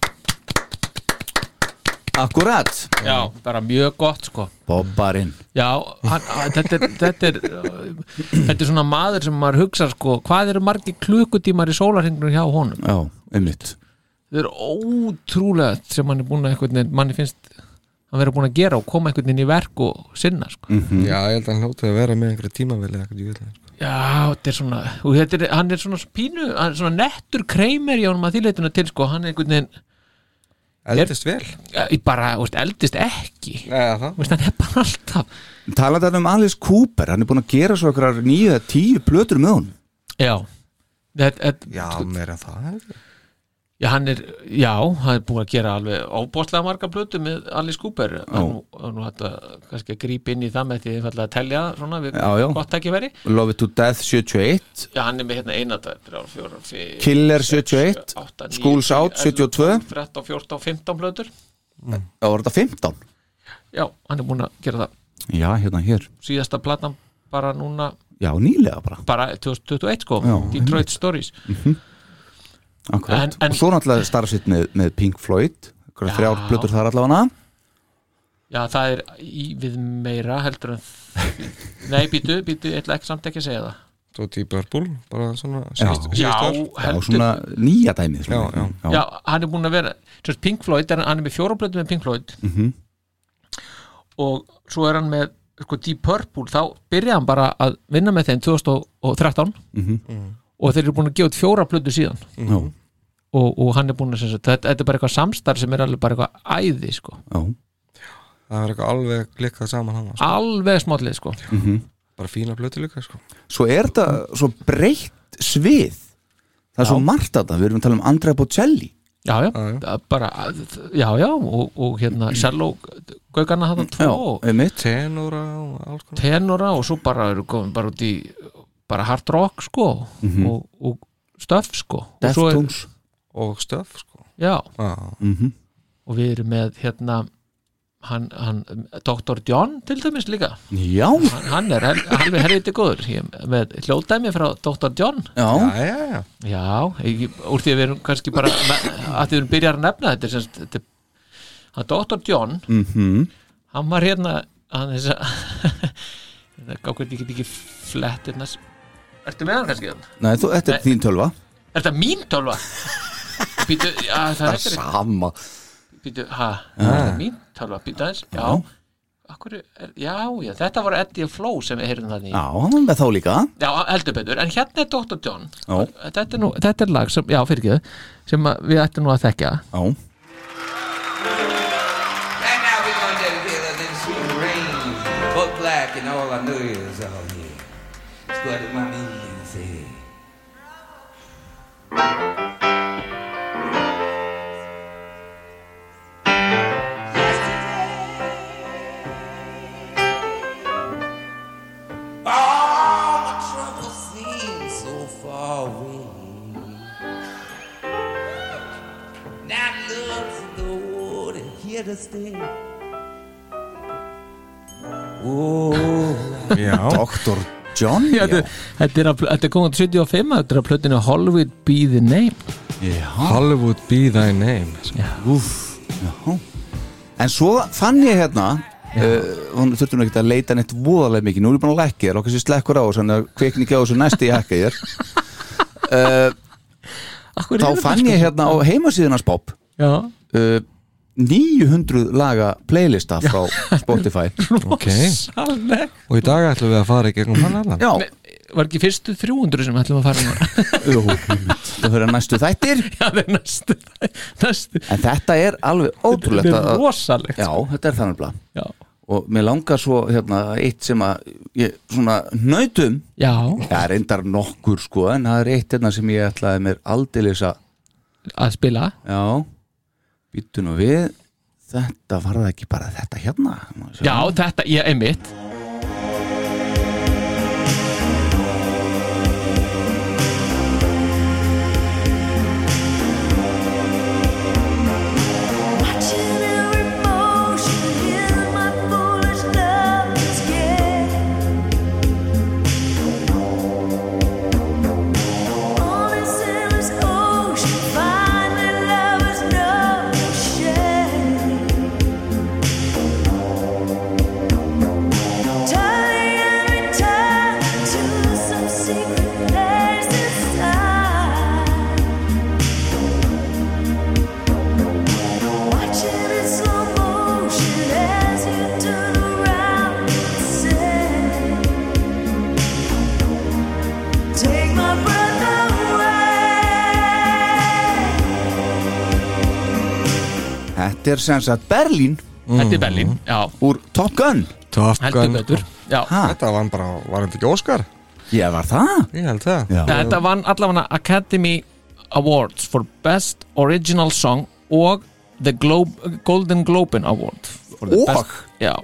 [SPEAKER 4] Akkurat,
[SPEAKER 5] Já, bara mjög gott sko
[SPEAKER 4] Bobbarinn
[SPEAKER 5] Já, hann, hann- þetta, er, þetta, er, uh, þetta er svona maður sem maður hugsa sko, hvað eru margir klukutímar í sólarhengnum hjá honum?
[SPEAKER 4] Já, einmitt
[SPEAKER 5] Það er ótrúlega sem hann er búin að einhvern veginn, manni finnst hann verið búin að gera og koma einhvern veginn í verk og sinna sko.
[SPEAKER 4] Mhm.
[SPEAKER 6] já, ég held að hann hljóti að vera með einhverja tímaveli eða eitthvað djúvillig sko.
[SPEAKER 5] Já, þetta er svona og þetta er, hann er svona pínu, hann er svona nettur kreimir í honum að þýleituna til sko, hann er einhvern veginn
[SPEAKER 6] eldist vel
[SPEAKER 5] ja, í bara, þú veist, eldist ekki þú
[SPEAKER 6] eða það
[SPEAKER 5] veist, hann er bara alltaf
[SPEAKER 4] Talandi þarna um Alice Cooper, hann er búin að gera svo okkar nýju eða tíu blötur með hún
[SPEAKER 5] Já, þetta, þetta,
[SPEAKER 6] já, meira það held ég.
[SPEAKER 5] Já, hann er, já, hann er búin að gera alveg óbóðslega marga blötu með Alice Cooper en nú, og nú hættu að kannski að grípa inn í það með því að falla að telja svona við
[SPEAKER 4] Já, já.
[SPEAKER 5] gott ekki veri
[SPEAKER 4] Love It To Death 71,
[SPEAKER 5] Já, hann er með hérna eina dag, þrjá, fjóra, fjóra
[SPEAKER 4] Killer 71, Schools Out 72.
[SPEAKER 5] 13, 14, 15 blötur
[SPEAKER 4] þá var þetta 15
[SPEAKER 5] Já, hann er búin að gera það
[SPEAKER 4] Já, hérna hér,
[SPEAKER 5] síðasta platan bara núna
[SPEAKER 4] já nýlega bara
[SPEAKER 5] bara 2021 sko,
[SPEAKER 4] Já,
[SPEAKER 5] Detroit Stories
[SPEAKER 4] Akkurat,
[SPEAKER 5] En- en-
[SPEAKER 4] og svo náttúrulega starfsitt með, með Pink Floyd, okkur
[SPEAKER 5] Já.
[SPEAKER 4] þrjár blötur þar allavega
[SPEAKER 5] Já, það er í við meira heldur
[SPEAKER 4] [LAUGHS]
[SPEAKER 5] en Nei, býtu, býtu, ég ætla ekki samt ekki að segja það
[SPEAKER 6] Svo Deep Purple, bara svona
[SPEAKER 4] Já.
[SPEAKER 6] síðust-
[SPEAKER 5] Já,
[SPEAKER 6] síðustu ár.
[SPEAKER 4] Já,
[SPEAKER 5] heldur
[SPEAKER 4] svona nýja dæmið svona.
[SPEAKER 6] Já, já.
[SPEAKER 5] Já, hann er búin að vera svo Pink Floyd, er, hann er með fjórablötu með Pink Floyd
[SPEAKER 4] Mhm.
[SPEAKER 5] og svo er hann með sko, Deep Purple, þá byrjaði hann bara að vinna með þeim 2013
[SPEAKER 4] Mhm.
[SPEAKER 5] og þeir eru búin að gefa út fjórablötu síðan
[SPEAKER 4] já,
[SPEAKER 5] Mhm. og, og hann er búin að sem sagt, þetta, þetta er bara eitthvað samstarf sem er alveg bara eitthvað æði sko.
[SPEAKER 4] já,
[SPEAKER 6] Það var eitthvað alveg klikkað saman hann sko.
[SPEAKER 5] alveg smállið sko.
[SPEAKER 6] Bara fína blötu líka sko.
[SPEAKER 4] svo er þetta svo breytt svið það er svo margt að það, við erum að tala um Andrea Bocelli
[SPEAKER 5] já, já,
[SPEAKER 6] Já, já.
[SPEAKER 5] já. bara, já, já og, og hérna, selló gaugana hann tvo,
[SPEAKER 4] einmitt
[SPEAKER 6] Tenora og alls konar
[SPEAKER 5] tenora og svo bara eru komin bara út í bara hard rock sko og, og stöf sko og svo er,
[SPEAKER 4] Deftones
[SPEAKER 6] Og stöf sko.
[SPEAKER 5] já,
[SPEAKER 6] Já,
[SPEAKER 4] Mhm.
[SPEAKER 5] og við erum með hérna hann, hann, Dr. John til dæmis líka
[SPEAKER 4] Já,
[SPEAKER 5] hann, hann er hel- alveg helviti góður ég, er með hljóðdæmi frá Dr. John
[SPEAKER 4] já,
[SPEAKER 6] já, já, já.
[SPEAKER 5] Já, ekki, úr því að við erum kannski bara að því við erum byrjar að nefna þetta er sem sagt- þetta er að Dr. John
[SPEAKER 4] mhm
[SPEAKER 5] hann var hérna hann þess að [LAUGHS] þetta gákvæmt ég get ekki flett hérna Ertu með hann kannski hann?
[SPEAKER 4] Nei, þú, þetta er
[SPEAKER 5] Nei.
[SPEAKER 4] þín tölva
[SPEAKER 5] Er þetta mín tölva? Býtu, já, það er ekki
[SPEAKER 4] Sama
[SPEAKER 5] Býtu, hæ, það er mín tölva Býtu aðeins, já Akkur, er, já, já, þetta var Eddie og Flow sem við heyrðum þannig
[SPEAKER 4] Já, hann með þá líka
[SPEAKER 5] Já, heldur betur, en hérna er Dr. John
[SPEAKER 4] Já.
[SPEAKER 5] þetta er, nú, þetta er lag sem, já, fyrir ekki sem að við ættum nú að þekja
[SPEAKER 4] Já,
[SPEAKER 8] And now we're gonna dedicate our little sweet rain, both black and all our lawyers out here. Let's go to mommy and say. All the trouble seems so far away. Now love's in the water here to stay. Oh,
[SPEAKER 4] Dr. John
[SPEAKER 5] Já, þetta- Þetta er, að, þetta er komið til 75 Þetta er að plötinu Hollywood Be The Name
[SPEAKER 4] já,
[SPEAKER 6] Hollywood be thy name sko.
[SPEAKER 4] úf, já En svo fann ég hérna Uh, hún þurfti nú ekkert að leita neitt voðalega mikið nú er ég búin að leggja þér, okkar sér slekkur á þannig að kvikni ekki á þessu næsti ég hakka þér
[SPEAKER 5] [LAUGHS]
[SPEAKER 4] þá
[SPEAKER 5] Akkur er þetta
[SPEAKER 4] fann
[SPEAKER 5] sko?
[SPEAKER 4] ég hérna á heimasíðunars Bob
[SPEAKER 5] Já,
[SPEAKER 4] uh, 900 laga playlista frá Spotify
[SPEAKER 5] [LAUGHS]
[SPEAKER 6] Ok.
[SPEAKER 5] Sannleg
[SPEAKER 6] Og í dag ætlum við að fara í gegnum hann allan
[SPEAKER 4] já,
[SPEAKER 5] Var ekki fyrstu 300 sem við ætlum að fara
[SPEAKER 4] [LAUGHS] Jú,
[SPEAKER 5] núna
[SPEAKER 4] það fyrir næstu þættir
[SPEAKER 5] Já, það er næstu, næstu.
[SPEAKER 4] en þetta er alveg ótrúlegt
[SPEAKER 5] Þetta er
[SPEAKER 4] að,
[SPEAKER 5] rosalegt
[SPEAKER 4] já, þetta er þannig blað
[SPEAKER 5] Já,
[SPEAKER 4] og mér langar svo hérna eitt sem að ég svona um, nautum
[SPEAKER 5] já
[SPEAKER 4] það er reyndar nokkur sko en það er eitt hérna sem ég ætlaði mér aldeilis að
[SPEAKER 5] að spila
[SPEAKER 4] já, býttu nú við þetta var það ekki bara þetta hérna Má sjá.
[SPEAKER 5] Já, þetta, ég er mitt
[SPEAKER 2] Secret place inside Watching in slow motion as you turn around and say, Take my breath away.
[SPEAKER 4] þetta er sem sagt Berlín
[SPEAKER 5] Þetta
[SPEAKER 4] Mm.
[SPEAKER 5] er Berlín, já,
[SPEAKER 4] úr Top Gun
[SPEAKER 6] Top
[SPEAKER 5] heldur betur Já,
[SPEAKER 4] ha,
[SPEAKER 6] Þetta var hann bara, var hann ekki Óskar?
[SPEAKER 4] ég var það
[SPEAKER 6] Ég held það
[SPEAKER 4] já,
[SPEAKER 5] þetta vann allavega Academy Awards for Best Original Song og The Globe, Golden Globin Award for the
[SPEAKER 4] Og?
[SPEAKER 5] best- Já,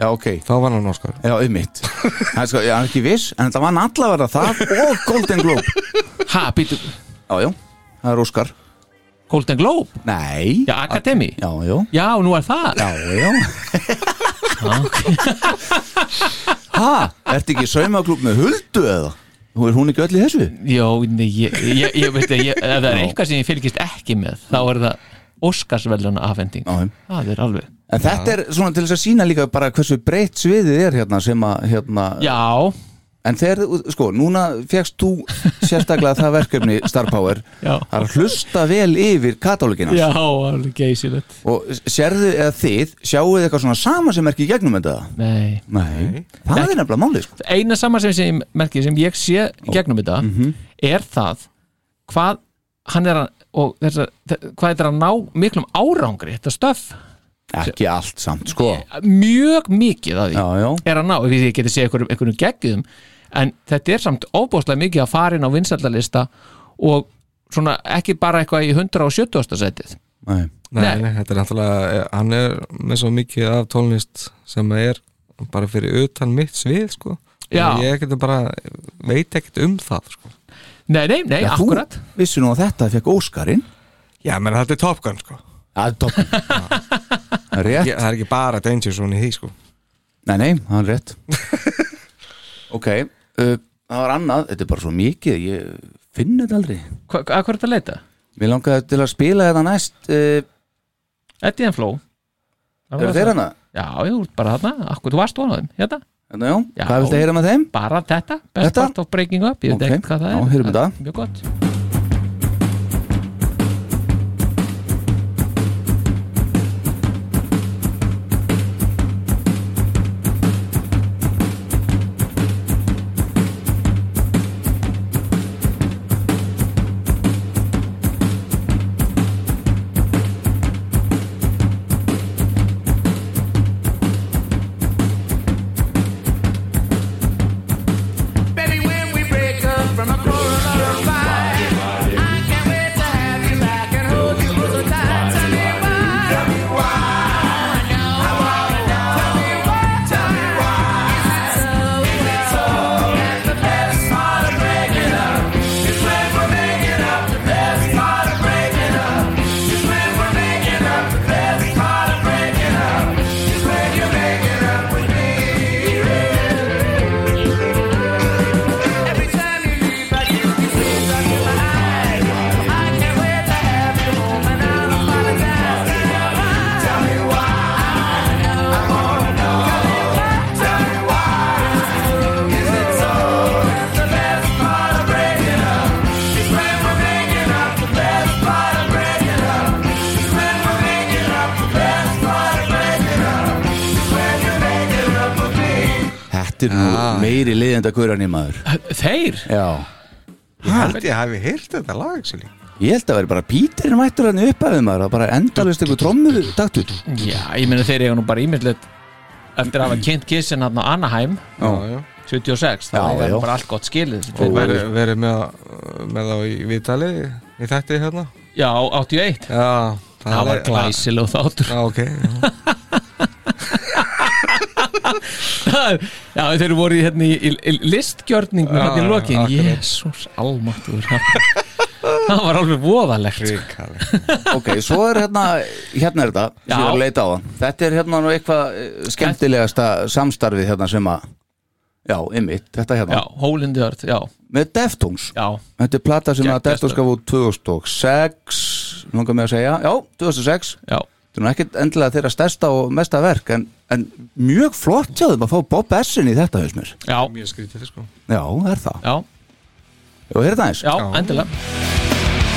[SPEAKER 4] já ok
[SPEAKER 6] Þá var hann Óskar
[SPEAKER 4] Já, um mitt Það er sko, ég er ekki viss, en þetta var allavega það og Golden Globe
[SPEAKER 5] ha, býtu
[SPEAKER 4] Já, já, það er Óskar
[SPEAKER 5] Golden Globe,
[SPEAKER 4] Nei
[SPEAKER 5] já, Academy
[SPEAKER 4] Já, já,
[SPEAKER 5] Já, nú er það
[SPEAKER 4] já, já Ha, ertu ekki í saumaklúb með huldu eða? Hún er hún ekki öll í þessu?
[SPEAKER 5] Jó, nei, ég, ég, ég veit að
[SPEAKER 4] [LAUGHS]
[SPEAKER 5] ég, ef það er eitthvað sem ég fylgist ekki með þá er það Óskarsveluna afhending
[SPEAKER 4] Já, já.
[SPEAKER 5] það er alveg
[SPEAKER 4] En þetta er svona til þess að sína líka bara hversu breytt sviðið er hérna sem að hérna,
[SPEAKER 5] Já,
[SPEAKER 4] en þegar, þú- sko, núna fegst þú sérstaklega það verkefni Star Power
[SPEAKER 5] Já.
[SPEAKER 4] að hlusta vel yfir katalógina
[SPEAKER 5] já, alveg geysilegt
[SPEAKER 4] og sérðu eða þið sjáuð eitthvað svona sama sem er ekki í gegnum þetta
[SPEAKER 5] Nei
[SPEAKER 4] Nei, það er nefnilega málið sko.
[SPEAKER 5] eina saman sem, sem ég merki sem ég sé í gegnum þetta
[SPEAKER 4] mhm.
[SPEAKER 5] er það hvað hann er að og þess að, hvað þetta er að ná miklum árangri, þetta stöf
[SPEAKER 4] ekki allt samt, sko já,
[SPEAKER 5] mjög mikið að því
[SPEAKER 4] já,
[SPEAKER 5] er að ná, því ég geti séð einhverjum, einhverjum geggjum en þetta er samt óbúslega mikið að fara inn á vinsældalista og svona ekki bara eitthvað í 170. setið
[SPEAKER 4] nei,
[SPEAKER 6] nei,
[SPEAKER 5] Nei.
[SPEAKER 6] nei, þetta er náttúrulega eh, hann er með svo mikið af tónlist sem er bara fyrir utan mitt svið sko.
[SPEAKER 5] Já.
[SPEAKER 6] ég getur bara veit ekkert um það sko.
[SPEAKER 5] Nei, nei, nei,
[SPEAKER 4] já þú
[SPEAKER 5] akkurat
[SPEAKER 4] vissi nú að þetta fekk Óskarinn
[SPEAKER 6] já, menn þetta er Top Gun sko.
[SPEAKER 4] að topp [LAUGHS] rétt,
[SPEAKER 6] ég, það er ekki bara Danger Zone í því sko.
[SPEAKER 4] nei, nei, það er [LAUGHS] rétt ok uh, það var annað, þetta er bara svo mikið ég finn þetta aldrei
[SPEAKER 5] Hva, að hvað er þetta að leita?
[SPEAKER 4] Mér langaði til að spila þetta næst uh,
[SPEAKER 5] Eddie and Flow Það var
[SPEAKER 4] Eru
[SPEAKER 5] það.
[SPEAKER 4] þeir hana?
[SPEAKER 5] Já, ég úr bara þarna, akkur, þú varst vonað þeim, hérna
[SPEAKER 4] Hérna, já.
[SPEAKER 5] Já.
[SPEAKER 4] Hvað viltu að heyra með þeim?
[SPEAKER 5] bara þetta, best
[SPEAKER 4] Þetta?
[SPEAKER 5] part of breaking up ég
[SPEAKER 4] Ok,
[SPEAKER 5] veit ekkert hvað það
[SPEAKER 4] já,
[SPEAKER 5] er,
[SPEAKER 4] heyrum
[SPEAKER 5] það
[SPEAKER 4] þetta.
[SPEAKER 5] er mjög gott
[SPEAKER 9] Baby, when we break up from a corona fight, I can't wait to have you back and hold you so tight. Tell me why. Tell me why. I know. I wanna know. Tell me why. Tell me why. Is it so? Is it so? That the best part of breaking up is when we're making up. The best part of breaking up is when we're making up. The best part of breaking up is when you're making up with me. Every time you leave, I get these tears out in my eyes. I can't wait to have you home, and I'll apologize. Tell me why. I wanna know. Tell me why. Is it so? The best part of breaking up is when we're making up. The best part of breaking up is when we're making up. The best part of breaking up is when you're making up with me.
[SPEAKER 4] Þetta er nú meiri liðenda guðrann í maður
[SPEAKER 5] [LAUGHS] Þeir?
[SPEAKER 4] Ah. Já
[SPEAKER 6] ég held ég hafi heyrt þetta lag actually.
[SPEAKER 4] Ég held að vera bara Píturinn mættur hann upp af þeim maður Það bara endalist einhver trommur taktur
[SPEAKER 5] Já, ég meina þeir eiga nú bara ímyndilegt eftir að hafa kynnt kissin hann á Anaheim
[SPEAKER 6] já, já
[SPEAKER 5] 76,
[SPEAKER 4] Já,
[SPEAKER 5] það er
[SPEAKER 4] já.
[SPEAKER 5] nú bara allt gott skilið
[SPEAKER 6] og
[SPEAKER 5] Þeir-
[SPEAKER 6] verið veri með, með þá í viðtali í þætti hérna
[SPEAKER 5] Já, 81
[SPEAKER 6] já, það,
[SPEAKER 5] Það var
[SPEAKER 6] er-
[SPEAKER 5] glæsileg þáttur [LAUGHS]
[SPEAKER 6] já, ok, já.
[SPEAKER 5] Já, þeir eru voru í, hérna, í, í listgjörningnum hérna
[SPEAKER 6] Já,
[SPEAKER 4] Ah,
[SPEAKER 5] í
[SPEAKER 6] já,
[SPEAKER 5] lokin
[SPEAKER 6] akkurat.
[SPEAKER 5] Jésús, almáttur [LAUGHS] Það var alveg voðalegt sko.
[SPEAKER 6] Ríkalegt.
[SPEAKER 4] Ok, svo er hérna, hérna er þetta
[SPEAKER 5] Já.
[SPEAKER 4] Svo er að leita á hann Þetta er hérna nú eitthvað eh, skemmtilegasta samstarfið hérna sem að Já, ymmit, þetta
[SPEAKER 5] Já,
[SPEAKER 4] hérna
[SPEAKER 5] hólindjörð, já,
[SPEAKER 4] Með Deftones
[SPEAKER 5] já
[SPEAKER 4] Þetta er plata sem að
[SPEAKER 5] Geggjað
[SPEAKER 4] Deftones gaf út 2006 Langar mig að segja Já, 2006
[SPEAKER 5] Já,
[SPEAKER 4] Þetta er nú ekkert endilega þeirra stærsta og mesta verk en, en mjög flott hjá þeim að fá Bob Essin í þetta haus mér.
[SPEAKER 5] já,
[SPEAKER 6] mjög skrítið sko
[SPEAKER 4] Já, það er það.
[SPEAKER 5] já,
[SPEAKER 4] Og hér er það eins.
[SPEAKER 5] já, endilega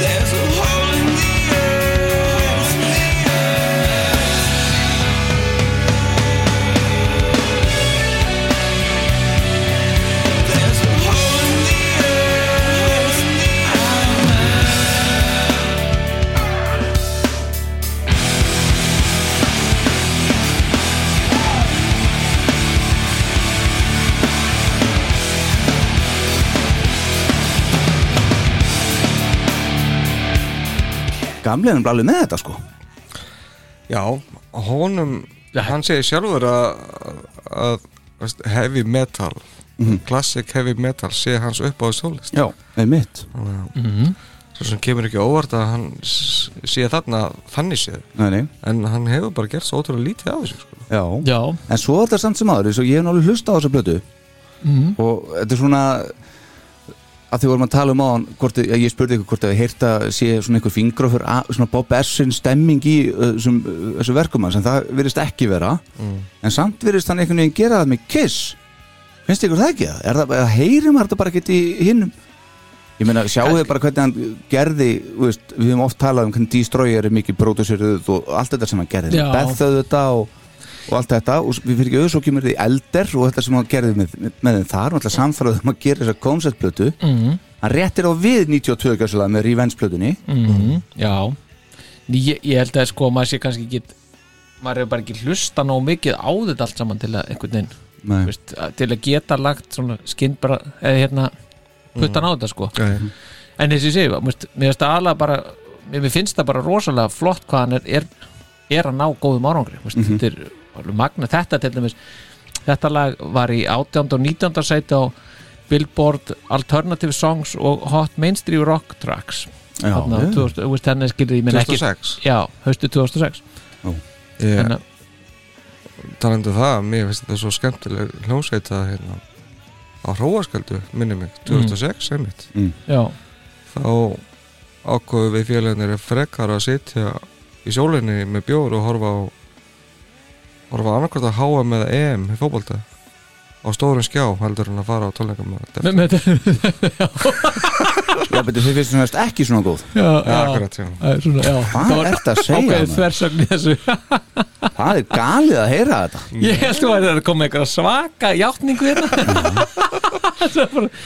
[SPEAKER 9] There's a hole in the earth, the earth. There's a hole in the earth.
[SPEAKER 4] Gamli er nefnilega alveg með þetta sko.
[SPEAKER 6] Já, honum
[SPEAKER 5] Já.
[SPEAKER 6] hann segir sjálfur að, að veist, heavy metal
[SPEAKER 5] Mhm.
[SPEAKER 6] classic heavy metal sé hans upp á stólist
[SPEAKER 4] Já, einmitt
[SPEAKER 6] svo sem kemur ekki á óvart að hann s- sé þarna þannig séð
[SPEAKER 4] Nei, nei,
[SPEAKER 6] en hann hefur bara gert svo ótrúlega lítið af þessu sko.
[SPEAKER 4] já.
[SPEAKER 5] Já,
[SPEAKER 4] En svo er þetta samt sem aður, ég hef náttúrulega hlusta á þessa blötu
[SPEAKER 5] Mhm.
[SPEAKER 4] og þetta er svona að því vorum að tala um á hann hvort, þið- ég spurði ykkur hvort að heyrta sé svona einhver fingra fyrir að, svona Bob Essin stemming í uh, sem, uh, þessu verkum hans en það virðist ekki vera en samt virðist hann einhvern veginn gera það með kiss finnst ykkur það ekki? Er það, er það heyrim þetta bara ekkert í hinnum? Ég meina, sjáu þið bara hvernig hann gerði þú veist, við höfum oft talað um hvernig Destroyer er mikið pródúsiruð og allt þetta sem hann gerði
[SPEAKER 5] Já.
[SPEAKER 4] Beth þetta og og allt þetta og við fyrir ekki auðvitað svo kemur þið elder og þetta sem hann gerði með, með þeim þar og alltaf samfæraðu um að gera þessa konceptblötu
[SPEAKER 5] Mhm.
[SPEAKER 4] hann réttir á við 92 gæslega með Revenge-blötunni
[SPEAKER 5] Mhm, Já Ný, ég, ég held að sko maður sé kannski ekki maður hefur bara ekki hlusta nóg mikið á þetta allt saman til að einhvern veginn þú veist, að- til að geta lagt svona skinn bara eða hérna puttan á þetta sko
[SPEAKER 6] mm.
[SPEAKER 5] en þessi ég segi, þú veist, mér finnst það alveg bara mér mér finnst það bara rosalega flott hvað hann er, er, er að ná góðum árangri þú veist, þetta er alveg magna þetta til dæmis, þetta lag var í 18. og 19. sæti á Billboard Alternative Songs og Hot Mainstream Rock Tracks
[SPEAKER 4] Já,
[SPEAKER 5] þarna á
[SPEAKER 4] já.
[SPEAKER 5] 2000, þú veist, henni skilur ég minn ekki
[SPEAKER 6] 2006
[SPEAKER 5] já, haustu 2006
[SPEAKER 6] ég
[SPEAKER 5] Þannig að-
[SPEAKER 6] talandi um það, mér finnst þetta svo skemmtileg hljómsveita hérna á hróasköldu, minni mig,
[SPEAKER 5] Mm.
[SPEAKER 6] 2006 einmitt,
[SPEAKER 5] já,
[SPEAKER 6] þá ákveðu við félagarnir frekar að sitja í sjólinni með bjór og horfa á horfa annarkvæmt að háa með EM E í fótbolta á stórum skjá heldur en að fara á tónleikam
[SPEAKER 5] með, með,
[SPEAKER 4] Já, betur þið finnst svona ekki svona góð
[SPEAKER 5] já,
[SPEAKER 6] ja,
[SPEAKER 5] já,
[SPEAKER 6] akkurat, já.
[SPEAKER 5] Það er svona, já
[SPEAKER 4] Hvað
[SPEAKER 5] var
[SPEAKER 4] er þetta að segja?
[SPEAKER 5] ákveðið
[SPEAKER 4] maður?
[SPEAKER 5] þversögn í þessu
[SPEAKER 4] Það er galið að heyra þetta
[SPEAKER 5] ég held að það er komið eitthvað svaka játningu hérna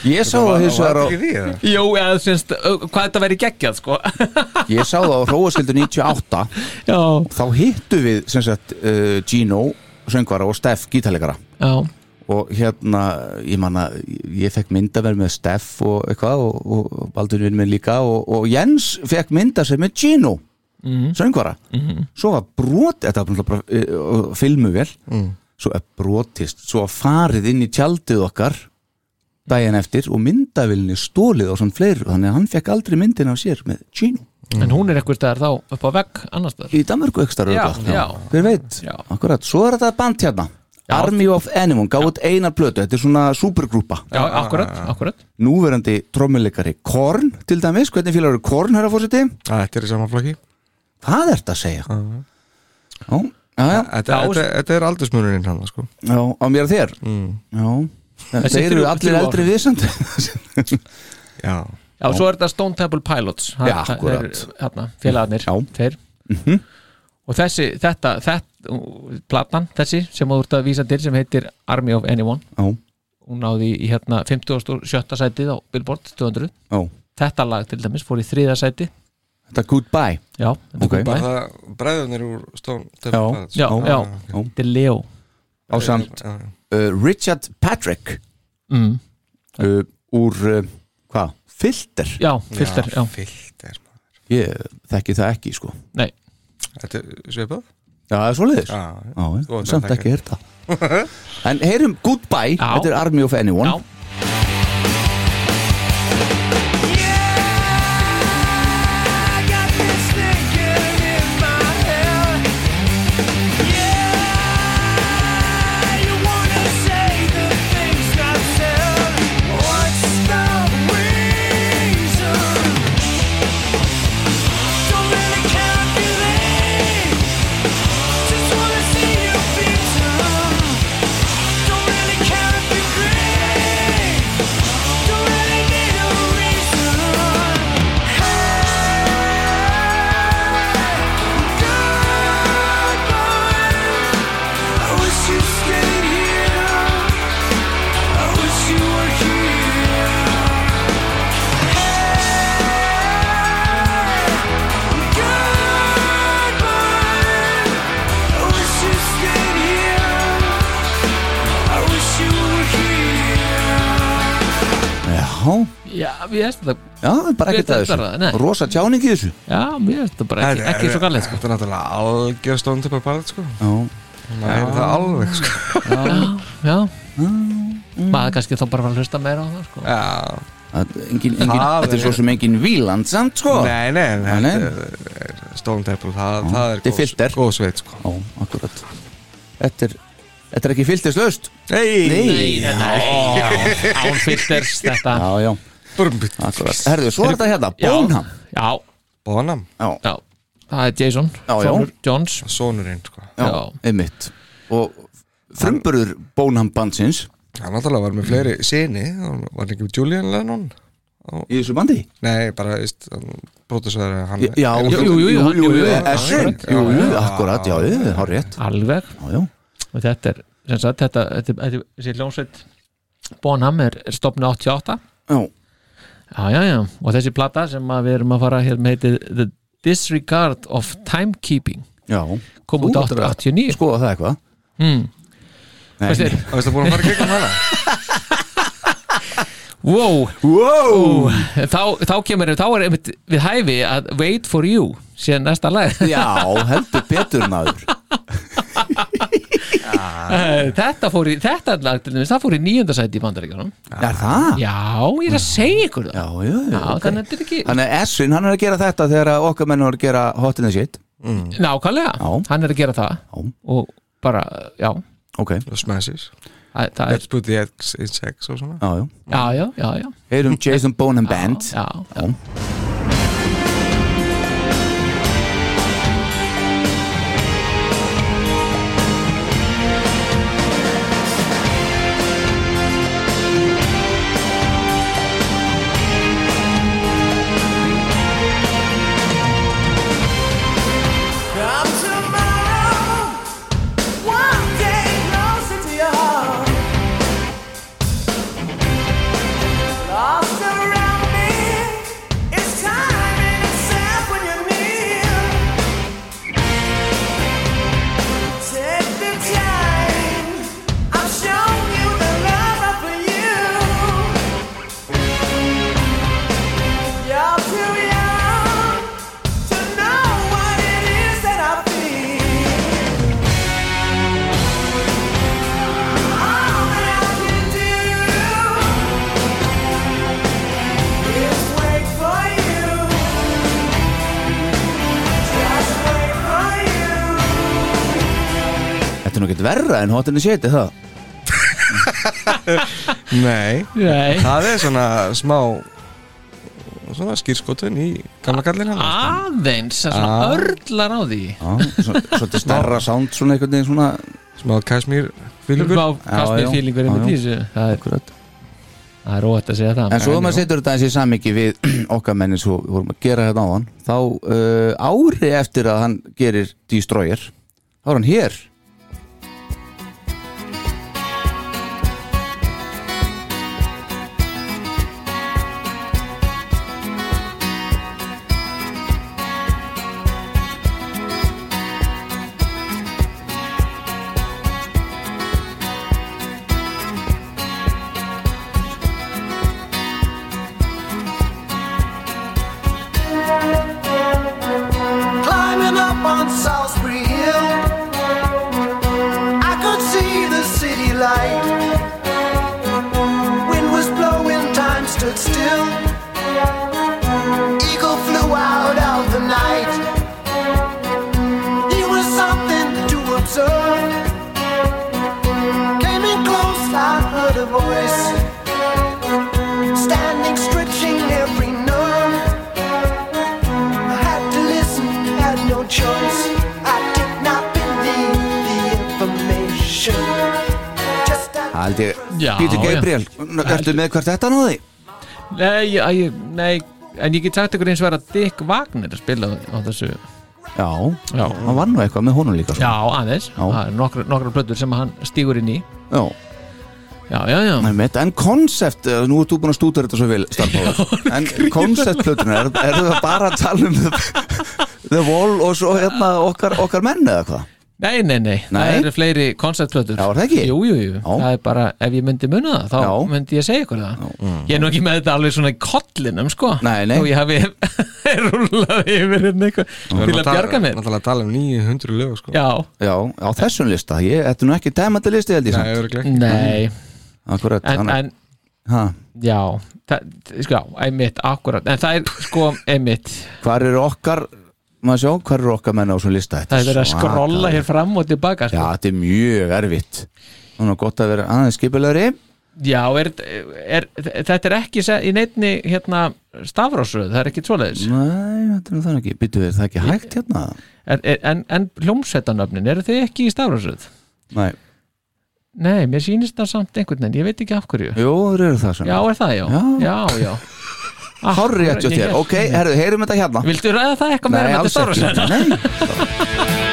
[SPEAKER 4] Ég sá það hins vegar á
[SPEAKER 6] Var þetta ekki því, eða?
[SPEAKER 5] [LAUGHS] Jó, eða, syns, hvað þetta væri geggjað sko
[SPEAKER 4] [LAUGHS] ég sá það á Hróaskildu 98
[SPEAKER 5] Já,
[SPEAKER 4] þá hittu við sem sagt uh, Gino söngvara og Steff gítalegara
[SPEAKER 5] já,
[SPEAKER 4] og hérna, ég manna ég fekk myndaverð með Steff og eitthvað og, og Baldur vinn minn líka og, og Jens fekk myndaverð með Gino
[SPEAKER 6] Mhm.
[SPEAKER 4] söngvara svo var brot, þetta var bara uh, filmu vel,
[SPEAKER 6] Mm.
[SPEAKER 4] svo er brotist svo var farið inn í tjaldið okkar daginn eftir og myndavillinni stólið og svona fleiri þannig að hann fekk aldrei myndin af sér með Gino
[SPEAKER 5] en hún er eitthvað staðar þá upp á vegg annars staðar
[SPEAKER 4] í Danmarku ekstra
[SPEAKER 5] Já, já.
[SPEAKER 4] hver veit,
[SPEAKER 5] Já.
[SPEAKER 4] akkurat, svo er þetta band hérna
[SPEAKER 5] Já.
[SPEAKER 4] Army of Anyone, gáðið einar blötu þetta er svona supergrúpa
[SPEAKER 5] Já, akkurat, akkurat
[SPEAKER 4] núverandi trommuleikari Korn til dæmis, hvernig félagur eru Korn herra fórseti?
[SPEAKER 6] Að Þetta er í sama flokki
[SPEAKER 4] Hvað er þetta að segja? Já, já, já,
[SPEAKER 6] Þetta
[SPEAKER 5] Já,
[SPEAKER 6] þetta- þetta er aldursmunurinn hann sko. Mm.
[SPEAKER 4] já, á mér og þér Já,
[SPEAKER 5] Þessi
[SPEAKER 4] þeir eru
[SPEAKER 5] þrjú-
[SPEAKER 4] allir
[SPEAKER 5] þrjú
[SPEAKER 4] eldri
[SPEAKER 5] ár.
[SPEAKER 4] viðsand
[SPEAKER 6] Já,
[SPEAKER 5] Já, svo er þetta Stone Temple Pilots
[SPEAKER 4] Já,
[SPEAKER 5] það- það
[SPEAKER 4] akkurat.
[SPEAKER 5] eru, Hérna, félagarnir,
[SPEAKER 4] Já. Mhm.
[SPEAKER 5] þeir Og þessi, þetta, þetta Platan, þessi, sem þú ert að vísa til sem heitir Army of Anyone
[SPEAKER 4] [LAUGHS] Já,
[SPEAKER 5] Hún náði í hérna 57. sætið á Billboard 200
[SPEAKER 4] já,
[SPEAKER 5] Þetta lag til dæmis fór í þriða sæti
[SPEAKER 4] þetta er goodbye
[SPEAKER 5] Já, þetta er
[SPEAKER 4] Ok.
[SPEAKER 5] Goodbye.
[SPEAKER 6] það bræðunir úr sko. Stone
[SPEAKER 4] Já.
[SPEAKER 6] Temple Pilots.
[SPEAKER 5] já, já,
[SPEAKER 4] Já.
[SPEAKER 5] þetta er Leo
[SPEAKER 4] á samt
[SPEAKER 6] Já, já.
[SPEAKER 4] uh, Richard Patrick
[SPEAKER 5] mm.
[SPEAKER 4] uh, úr, uh, hvað, filter
[SPEAKER 5] Já, filter, já,
[SPEAKER 6] Filter maður.
[SPEAKER 4] ég þekki það ekki, sko
[SPEAKER 5] nei
[SPEAKER 6] Þetta er svipað
[SPEAKER 4] Já, það er svoleiðis
[SPEAKER 6] Já,
[SPEAKER 4] Já,
[SPEAKER 6] Þú
[SPEAKER 4] já,
[SPEAKER 6] ert
[SPEAKER 4] samt
[SPEAKER 6] að
[SPEAKER 4] ekki hér það
[SPEAKER 6] [LAUGHS]
[SPEAKER 4] En heyrum Goodbye,
[SPEAKER 5] Já.
[SPEAKER 4] þetta er Army of Anyone
[SPEAKER 5] Já,
[SPEAKER 2] Don't really care if you're great
[SPEAKER 5] já, mér finnst þetta
[SPEAKER 4] Já, það er bara ekkert að
[SPEAKER 5] Við þetta er það, nei.
[SPEAKER 4] þessu Rosa tjáning í þessu
[SPEAKER 5] já, mér finnst þetta bara ekki, ekki svo galið sko.
[SPEAKER 6] Þetta er náttúrulega algjör stóntöpa ballet sko
[SPEAKER 4] Já,
[SPEAKER 6] Það er það alveg sko
[SPEAKER 5] já, já
[SPEAKER 4] Mm,
[SPEAKER 5] maður kannski þá bara var að hlusta meira á það sko.
[SPEAKER 6] Já,
[SPEAKER 4] það- engin, engin,
[SPEAKER 6] Það
[SPEAKER 4] þetta er
[SPEAKER 6] er-
[SPEAKER 4] svo sem engin víland samt sko
[SPEAKER 6] nei, nei,
[SPEAKER 4] Nei,
[SPEAKER 6] nei,
[SPEAKER 4] nei.
[SPEAKER 6] nei. Stóntöpa, það, það
[SPEAKER 4] Þetta
[SPEAKER 6] er
[SPEAKER 4] er
[SPEAKER 6] góð-
[SPEAKER 4] filter.
[SPEAKER 6] góð sveit sko
[SPEAKER 4] Ó, akkurat Þetta er, þetta er ekki fylgtislaust
[SPEAKER 6] Nei,
[SPEAKER 4] Nei, já,
[SPEAKER 5] Nei, án filters þetta
[SPEAKER 4] já, já,
[SPEAKER 6] Brumbit
[SPEAKER 4] akkurat Herðu, svo er þetta hérna, Bonham
[SPEAKER 5] já,
[SPEAKER 6] Bonham,
[SPEAKER 5] já, það er Jason
[SPEAKER 4] Já, já.
[SPEAKER 5] Sonur Jones
[SPEAKER 6] sonurinn sko
[SPEAKER 4] Já,
[SPEAKER 5] Já.
[SPEAKER 4] einmitt Og frumburður Bonham bandsins
[SPEAKER 6] Hann náttúrulega var með fleiri sinni Var hann ekki með Julian Lennon
[SPEAKER 4] Í þessu bandi
[SPEAKER 6] Nei, bara, veist, brotusverður hann
[SPEAKER 4] Já,
[SPEAKER 6] er-
[SPEAKER 5] jú, jú, jú,
[SPEAKER 4] jú, jú,
[SPEAKER 5] hann-
[SPEAKER 4] Essin
[SPEAKER 5] akkurat.
[SPEAKER 4] Jú, jú, akkurat, já, jú, hár rétt
[SPEAKER 5] alveg
[SPEAKER 4] Já, já,
[SPEAKER 5] og þetta er, sem sagt, þetta, þetta, þetta þessi hljómsveit Bonham er, er stopnu 88
[SPEAKER 4] já,
[SPEAKER 5] já, já, já, og þessi plata sem að við erum að fara hér með heitið The Disregard of Timekeeping
[SPEAKER 4] já
[SPEAKER 5] kom
[SPEAKER 4] Þú
[SPEAKER 5] út
[SPEAKER 4] ert að
[SPEAKER 5] 89 sko.
[SPEAKER 4] Skoða það eitthvað
[SPEAKER 5] mm. Hvað segir?
[SPEAKER 6] Það veist að búin að fara í gegnum hana
[SPEAKER 5] wow,
[SPEAKER 4] Wow
[SPEAKER 5] þá, þá kemur þá er einmitt við hæfi að Wait for You sé næsta lag
[SPEAKER 4] Já, heldur betur maður
[SPEAKER 5] [LAUGHS] þetta fór í, þetta lag til dæmis, það fór í nýjöndasæti í bandaríkjunum
[SPEAKER 4] Er það?
[SPEAKER 5] já, ég er að segja ykkur það
[SPEAKER 4] Ah. Já, já, já,
[SPEAKER 5] Já,
[SPEAKER 4] ok
[SPEAKER 5] þannig að þetta er ekki
[SPEAKER 4] Þannig að Essin, hann er að gera þetta þegar að okkar menn voru að gera hot in the shit
[SPEAKER 5] nákvæmlega,
[SPEAKER 4] Já.
[SPEAKER 5] hann er að gera það
[SPEAKER 4] Já.
[SPEAKER 5] og bara, já
[SPEAKER 4] Ok,
[SPEAKER 6] Og smashes
[SPEAKER 5] það, það er,
[SPEAKER 6] Let's put the eggs in sex og svona
[SPEAKER 4] já, já
[SPEAKER 5] já, já, já, já
[SPEAKER 4] Heyrum Jason Bonham Band
[SPEAKER 5] já, já.
[SPEAKER 2] Come tomorrow, one day closer to your heart. Lost around me, it's time in itself when you're near. Take the time, I've shown you the love I for you. You're too young to know what it is that I feel. All that I can do is wait for you. Just wait for you.
[SPEAKER 4] Þetta er nú ekkert verra en hot in the shit, er það?
[SPEAKER 6] Nei,
[SPEAKER 5] Nei.
[SPEAKER 6] það er svona smá Svona skýrskotun í gamla kallin hann
[SPEAKER 5] aðeins, það er
[SPEAKER 4] Ah.
[SPEAKER 5] svona örlar á því
[SPEAKER 4] Já, svo- svolítið stærra sound svona einhvern veginn svona
[SPEAKER 5] Ah.
[SPEAKER 6] Smá kasmír fylgur
[SPEAKER 5] Smá kastnir
[SPEAKER 4] já.
[SPEAKER 5] fílingur
[SPEAKER 4] Já,
[SPEAKER 5] með
[SPEAKER 4] já.
[SPEAKER 5] tísu það er,
[SPEAKER 4] Akkurat.
[SPEAKER 5] það er rótt að segja það
[SPEAKER 4] En svo ef maður setur þetta eins í samíki við [CLEARS THROAT] okkar menni svo við vorum að gera þetta á hann þá uh, ári eftir að hann gerir Destroyer þá er hann hér
[SPEAKER 2] climbing up on Salisbury Hill. I could see the city light. Wind was blowing, time stood still. Eagle flew out of the night. He was something to observe. Came in close, I heard a voice. Standing, stretching every nerve. I had to listen, had no choice. I did not believe the information. Just that
[SPEAKER 4] Haldi,
[SPEAKER 5] Já,
[SPEAKER 4] Peter
[SPEAKER 5] já.
[SPEAKER 4] Gabriel, ertu með hvert þetta náði?
[SPEAKER 5] nei, ég- ég- nei, en ég get sagt ykkur eins og vera Dick Wagner að spila á á þessu
[SPEAKER 4] Já,
[SPEAKER 5] já,
[SPEAKER 4] hann var nú eitthvað með honum líka sko.
[SPEAKER 5] já
[SPEAKER 4] svona.
[SPEAKER 5] aðeins,
[SPEAKER 4] Já.
[SPEAKER 5] það er nokkrar, nokkrar plötur sem að hann stígur inn í
[SPEAKER 4] já.
[SPEAKER 5] já, já, já,
[SPEAKER 4] Einmitt, En konsept, eh, nú ert þú búin að stúta þetta svo vel starfbáður, en konceptplötuna er, er það bara að tala um The, the Wall og svo hérna okkar, okkar menn eða hvað?
[SPEAKER 5] Nei, nei, nei, það
[SPEAKER 4] Nei?
[SPEAKER 5] eru fleiri konceptplötur
[SPEAKER 4] Já, er það ekki?
[SPEAKER 5] Jú, jú, jú, það er bara, ef ég myndi munna það þá
[SPEAKER 4] Já. Mm.
[SPEAKER 5] myndi ég segja ykkur það Ég er nú ekki með þetta alveg svona í kollinum, sko
[SPEAKER 4] Nei, nei.
[SPEAKER 5] Þó ég hafi [LAUGHS] rúlað yfir hérna eitthvað til að bjarga mér
[SPEAKER 6] Náttúrulega að tala um 900 lög sko
[SPEAKER 5] Já,
[SPEAKER 4] Já, á þessum lista, ég, þetta er nú ekki tæmandi listi held ég
[SPEAKER 6] Nei,
[SPEAKER 4] samt
[SPEAKER 5] Mm.
[SPEAKER 6] örugglega ekki.
[SPEAKER 5] nei,
[SPEAKER 4] Akkurat,
[SPEAKER 5] en, en já það, Sko, einmitt, akkurat En það er, sko, einmitt
[SPEAKER 4] Hvar eru okkar, maður sjá, hvar eru okkar menn á þessum lista Þetta
[SPEAKER 5] Það er verið að
[SPEAKER 4] svakalega.
[SPEAKER 5] skrolla hér fram og
[SPEAKER 4] Já,
[SPEAKER 5] tilbaka sko.
[SPEAKER 4] þetta er mjög erfitt Núna gott að vera aðeins skipulegri
[SPEAKER 5] Já, er, er, þetta er ekki se- í neittni hérna, stafrósröð, það er ekki svoleiðis
[SPEAKER 4] Nei, þetta er nú þannig ekki, byttu við, það er ekki hægt hérna
[SPEAKER 5] er, er, En, en hljómsveitanöfnin, eru þið ekki í stafrósröð?
[SPEAKER 4] Nei,
[SPEAKER 5] Nei, mér sýnist það samt einhvern veginn, ég veit ekki af hverju
[SPEAKER 4] jú, þeir eru það sem
[SPEAKER 5] Já, er það, já
[SPEAKER 4] Já.
[SPEAKER 5] Já, já
[SPEAKER 4] Hárri eftir
[SPEAKER 5] Ég-
[SPEAKER 4] þér, ok, herðu, heyrum þetta hérna
[SPEAKER 5] Viltu ræða það eitthvað meira
[SPEAKER 4] Nei,
[SPEAKER 5] með þetta
[SPEAKER 4] alls ekki
[SPEAKER 5] stafrósröð?
[SPEAKER 4] Nei,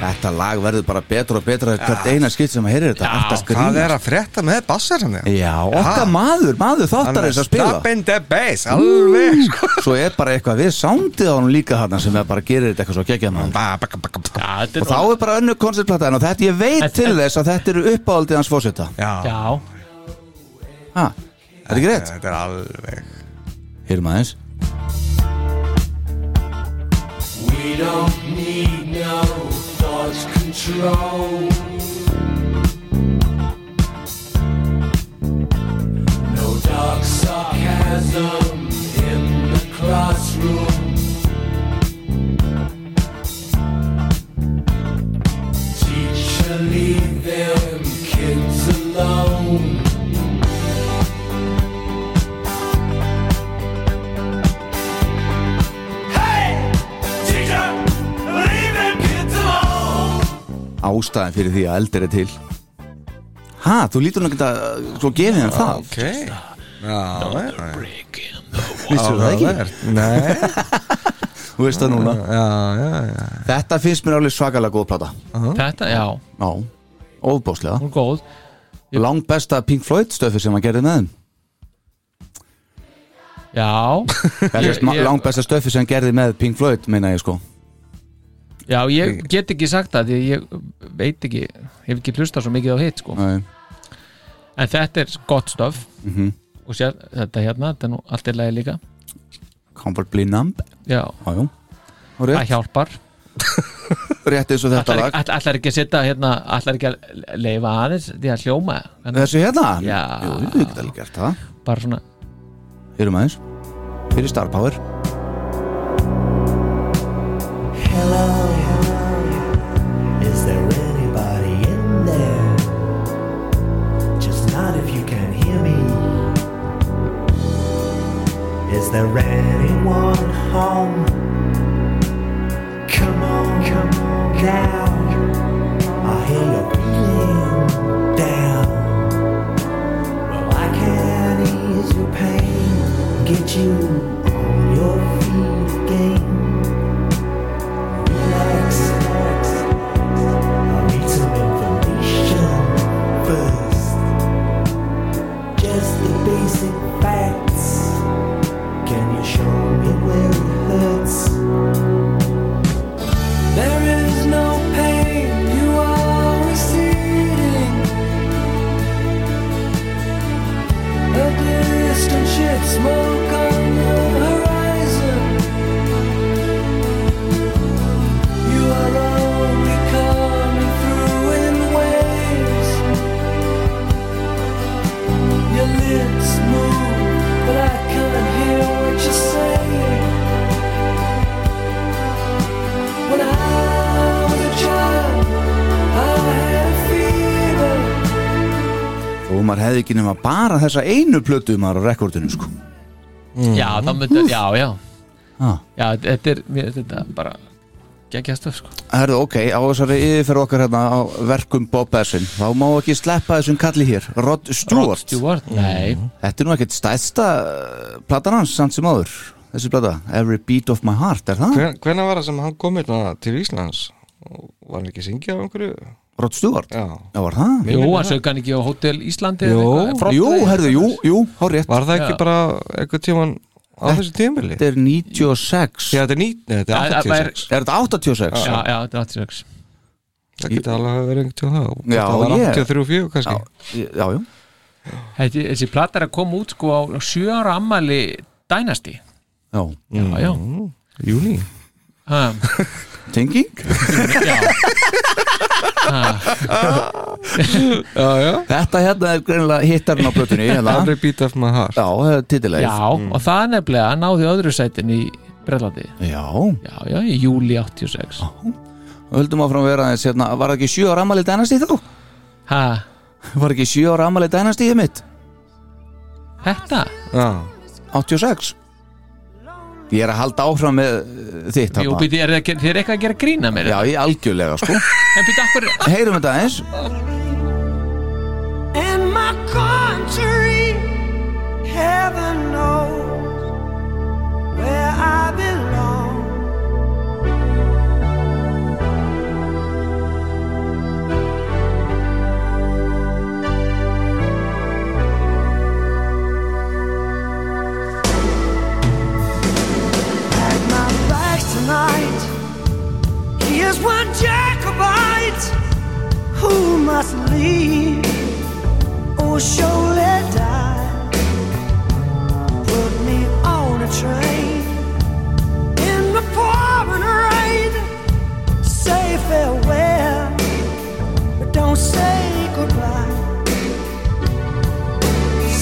[SPEAKER 4] þetta lag verður bara betra og betra hvert eina skipt sem að heyrir þetta Ertu að
[SPEAKER 6] Hvað
[SPEAKER 4] grínast?
[SPEAKER 6] er að frétta með bassarinn þegar?
[SPEAKER 4] Já, okkar maður, maður þáttar þess að spila
[SPEAKER 6] Stop in the bass, alveg sko.
[SPEAKER 4] Svo er bara eitthvað við sándið á hann líka þarna sem er bara gerir þetta eitthvað svo geggjað mann
[SPEAKER 6] Ba, ba, ba, ba, ba.
[SPEAKER 5] Já, þetta
[SPEAKER 4] Og þá
[SPEAKER 5] er
[SPEAKER 4] er bara önnu koncertplata en þetta, ég veit til þess að þetta eru uppáhaldið hans fósita
[SPEAKER 6] Já,
[SPEAKER 5] Já,
[SPEAKER 4] Ha, er þetta ekki rétt?
[SPEAKER 6] þetta er alveg
[SPEAKER 4] Heyrum aðeins
[SPEAKER 2] We don't need no thought control. No dark sarcasm in the classroom. Teacher, leave them kids alone.
[SPEAKER 4] Ástæðan fyrir því að eldir er til Ha, þú lítur nú ekki að uh, svo gefið hann það
[SPEAKER 6] Ok Já,
[SPEAKER 4] Vissir það ekki?
[SPEAKER 6] Nei,
[SPEAKER 4] Þú veist það núna
[SPEAKER 6] já, já, já
[SPEAKER 4] Þetta finnst mér alveg svakalega góð plata
[SPEAKER 5] þetta, já,
[SPEAKER 4] Já, óbáslega
[SPEAKER 5] hún er góð
[SPEAKER 4] Langt besta Pink Floyd stöfi sem hann gerði með þeim [LAUGHS]
[SPEAKER 5] Já,
[SPEAKER 4] Það
[SPEAKER 5] Ég-
[SPEAKER 4] er sma-
[SPEAKER 5] ég-
[SPEAKER 4] langt besta stöfi sem hann gerði með Pink Floyd meina ég sko
[SPEAKER 5] já, ég get ekki sagt það því ég veit ekki, ég hef ekki hlustað svo mikið á hitt sko.
[SPEAKER 4] Nei.
[SPEAKER 5] En þetta er gott stöf
[SPEAKER 4] Mhm.
[SPEAKER 5] Og sér, þetta hérna, þetta er nú allt í lagi líka
[SPEAKER 4] Comfort Blee Numb
[SPEAKER 5] Já,
[SPEAKER 4] Já, já
[SPEAKER 5] það hjálpar
[SPEAKER 4] rétt eins og þetta
[SPEAKER 5] Ætlar,
[SPEAKER 4] lag
[SPEAKER 5] ætlar, ætlar ekki að setja hérna Ætlar ekki að leifa aðeins því að hljóma Þannig,
[SPEAKER 4] Þessu hérna?
[SPEAKER 5] Já.
[SPEAKER 4] Jú, við getum alveg gert það
[SPEAKER 5] Bara svona
[SPEAKER 4] Heyrum aðeins Fyrir Star Power
[SPEAKER 2] Hello, is there anybody in there? Just not if you can hear me. Is there anyone home? Come on, come on down. I hear you're feeling down. Well, I can ease your pain, get you on your feet again. Relax. I need some information first. Just the basic facts. Can you show me where it hurts? There is no pain. You are receding. The distant ship smoke on the horizon. You are only coming through in waves. Your lips move, but I can't hear what you're saying. When I was a child, I had a fever.
[SPEAKER 4] Og maður hefði ekki nema bara þessa einu plötu maður á rekordinu sko
[SPEAKER 5] Já, þá myndi, já, já
[SPEAKER 4] ah.
[SPEAKER 5] Já, þetta er, mér, þetta er bara geggjastöf, sko
[SPEAKER 4] Herðu, ok, á þessari yfirferð okkar hérna á verkum Bob Bessin þá má ekki sleppa þessum kalli hér Rod Stewart,
[SPEAKER 5] Rod Stewart, nei
[SPEAKER 4] Þetta er nú ekkert stæðsta uh, platan hans samt sem áður þessi plata, Every Beat of My Heart er það?
[SPEAKER 6] Hven, hvenær var það sem hann kom hérna til Íslands og var hann ekki að syngja á einhverju
[SPEAKER 4] Rod Stewart?
[SPEAKER 6] já,
[SPEAKER 4] Já, var það?
[SPEAKER 5] Jú, hann sög hann ekki á Hotel Íslandi
[SPEAKER 6] Jú.
[SPEAKER 4] Jú, herðu, jú, jú, há rétt
[SPEAKER 6] var það ekki
[SPEAKER 5] Já.
[SPEAKER 6] bara einhver tíman á þessu tímabili
[SPEAKER 4] Þetta er 96
[SPEAKER 6] já þetta er nýtt, nei þetta
[SPEAKER 5] Það-
[SPEAKER 6] er
[SPEAKER 5] það væri-
[SPEAKER 6] 86
[SPEAKER 4] Er þetta 86?
[SPEAKER 5] Já, já, þetta er 86
[SPEAKER 6] það geti alveg hafa verið einhvern tíman þá
[SPEAKER 4] Já,
[SPEAKER 6] það var
[SPEAKER 4] ég-
[SPEAKER 6] 83
[SPEAKER 4] Já,
[SPEAKER 6] kannski
[SPEAKER 4] já, já
[SPEAKER 5] Þessi, þessi plata er að koma út sko á sjö ára ammali Dynasty
[SPEAKER 4] Já,
[SPEAKER 5] Já, já
[SPEAKER 6] júni
[SPEAKER 5] ha,
[SPEAKER 4] tenging
[SPEAKER 5] [LAUGHS] Já,
[SPEAKER 4] Þetta hérna er greinilega hittarinn á
[SPEAKER 5] [LAUGHS]
[SPEAKER 4] plötunni hérna.
[SPEAKER 6] Every beat of my heart
[SPEAKER 4] Já, það er titilegð
[SPEAKER 5] já og það er nefnilega náði öðru sætin í Brellandi
[SPEAKER 4] já.
[SPEAKER 5] Já, já, í júli 86
[SPEAKER 4] og höldum áfram að vera aðeins hérna, Var ekki sjö ára amalið dænast í þá?
[SPEAKER 5] ha,
[SPEAKER 4] Var ekki sjö ára amalið dænast í mitt?
[SPEAKER 5] Þetta,
[SPEAKER 6] já,
[SPEAKER 4] 86 Ég er að halda áfram með eh, þitt
[SPEAKER 5] jú,
[SPEAKER 4] hérna.
[SPEAKER 5] býti, er það þið er eitthvað að gera grína mér
[SPEAKER 4] Já, ég algjörlega sko
[SPEAKER 5] En býti, akkur,
[SPEAKER 4] Heyrum þetta aðeins
[SPEAKER 2] In my country, heaven knows where I belong. Pack my bags tonight. He is one Jacobite who must leave or Oh, surely die. Put me on a train in the pouring rain. Say farewell, but don't say goodbye.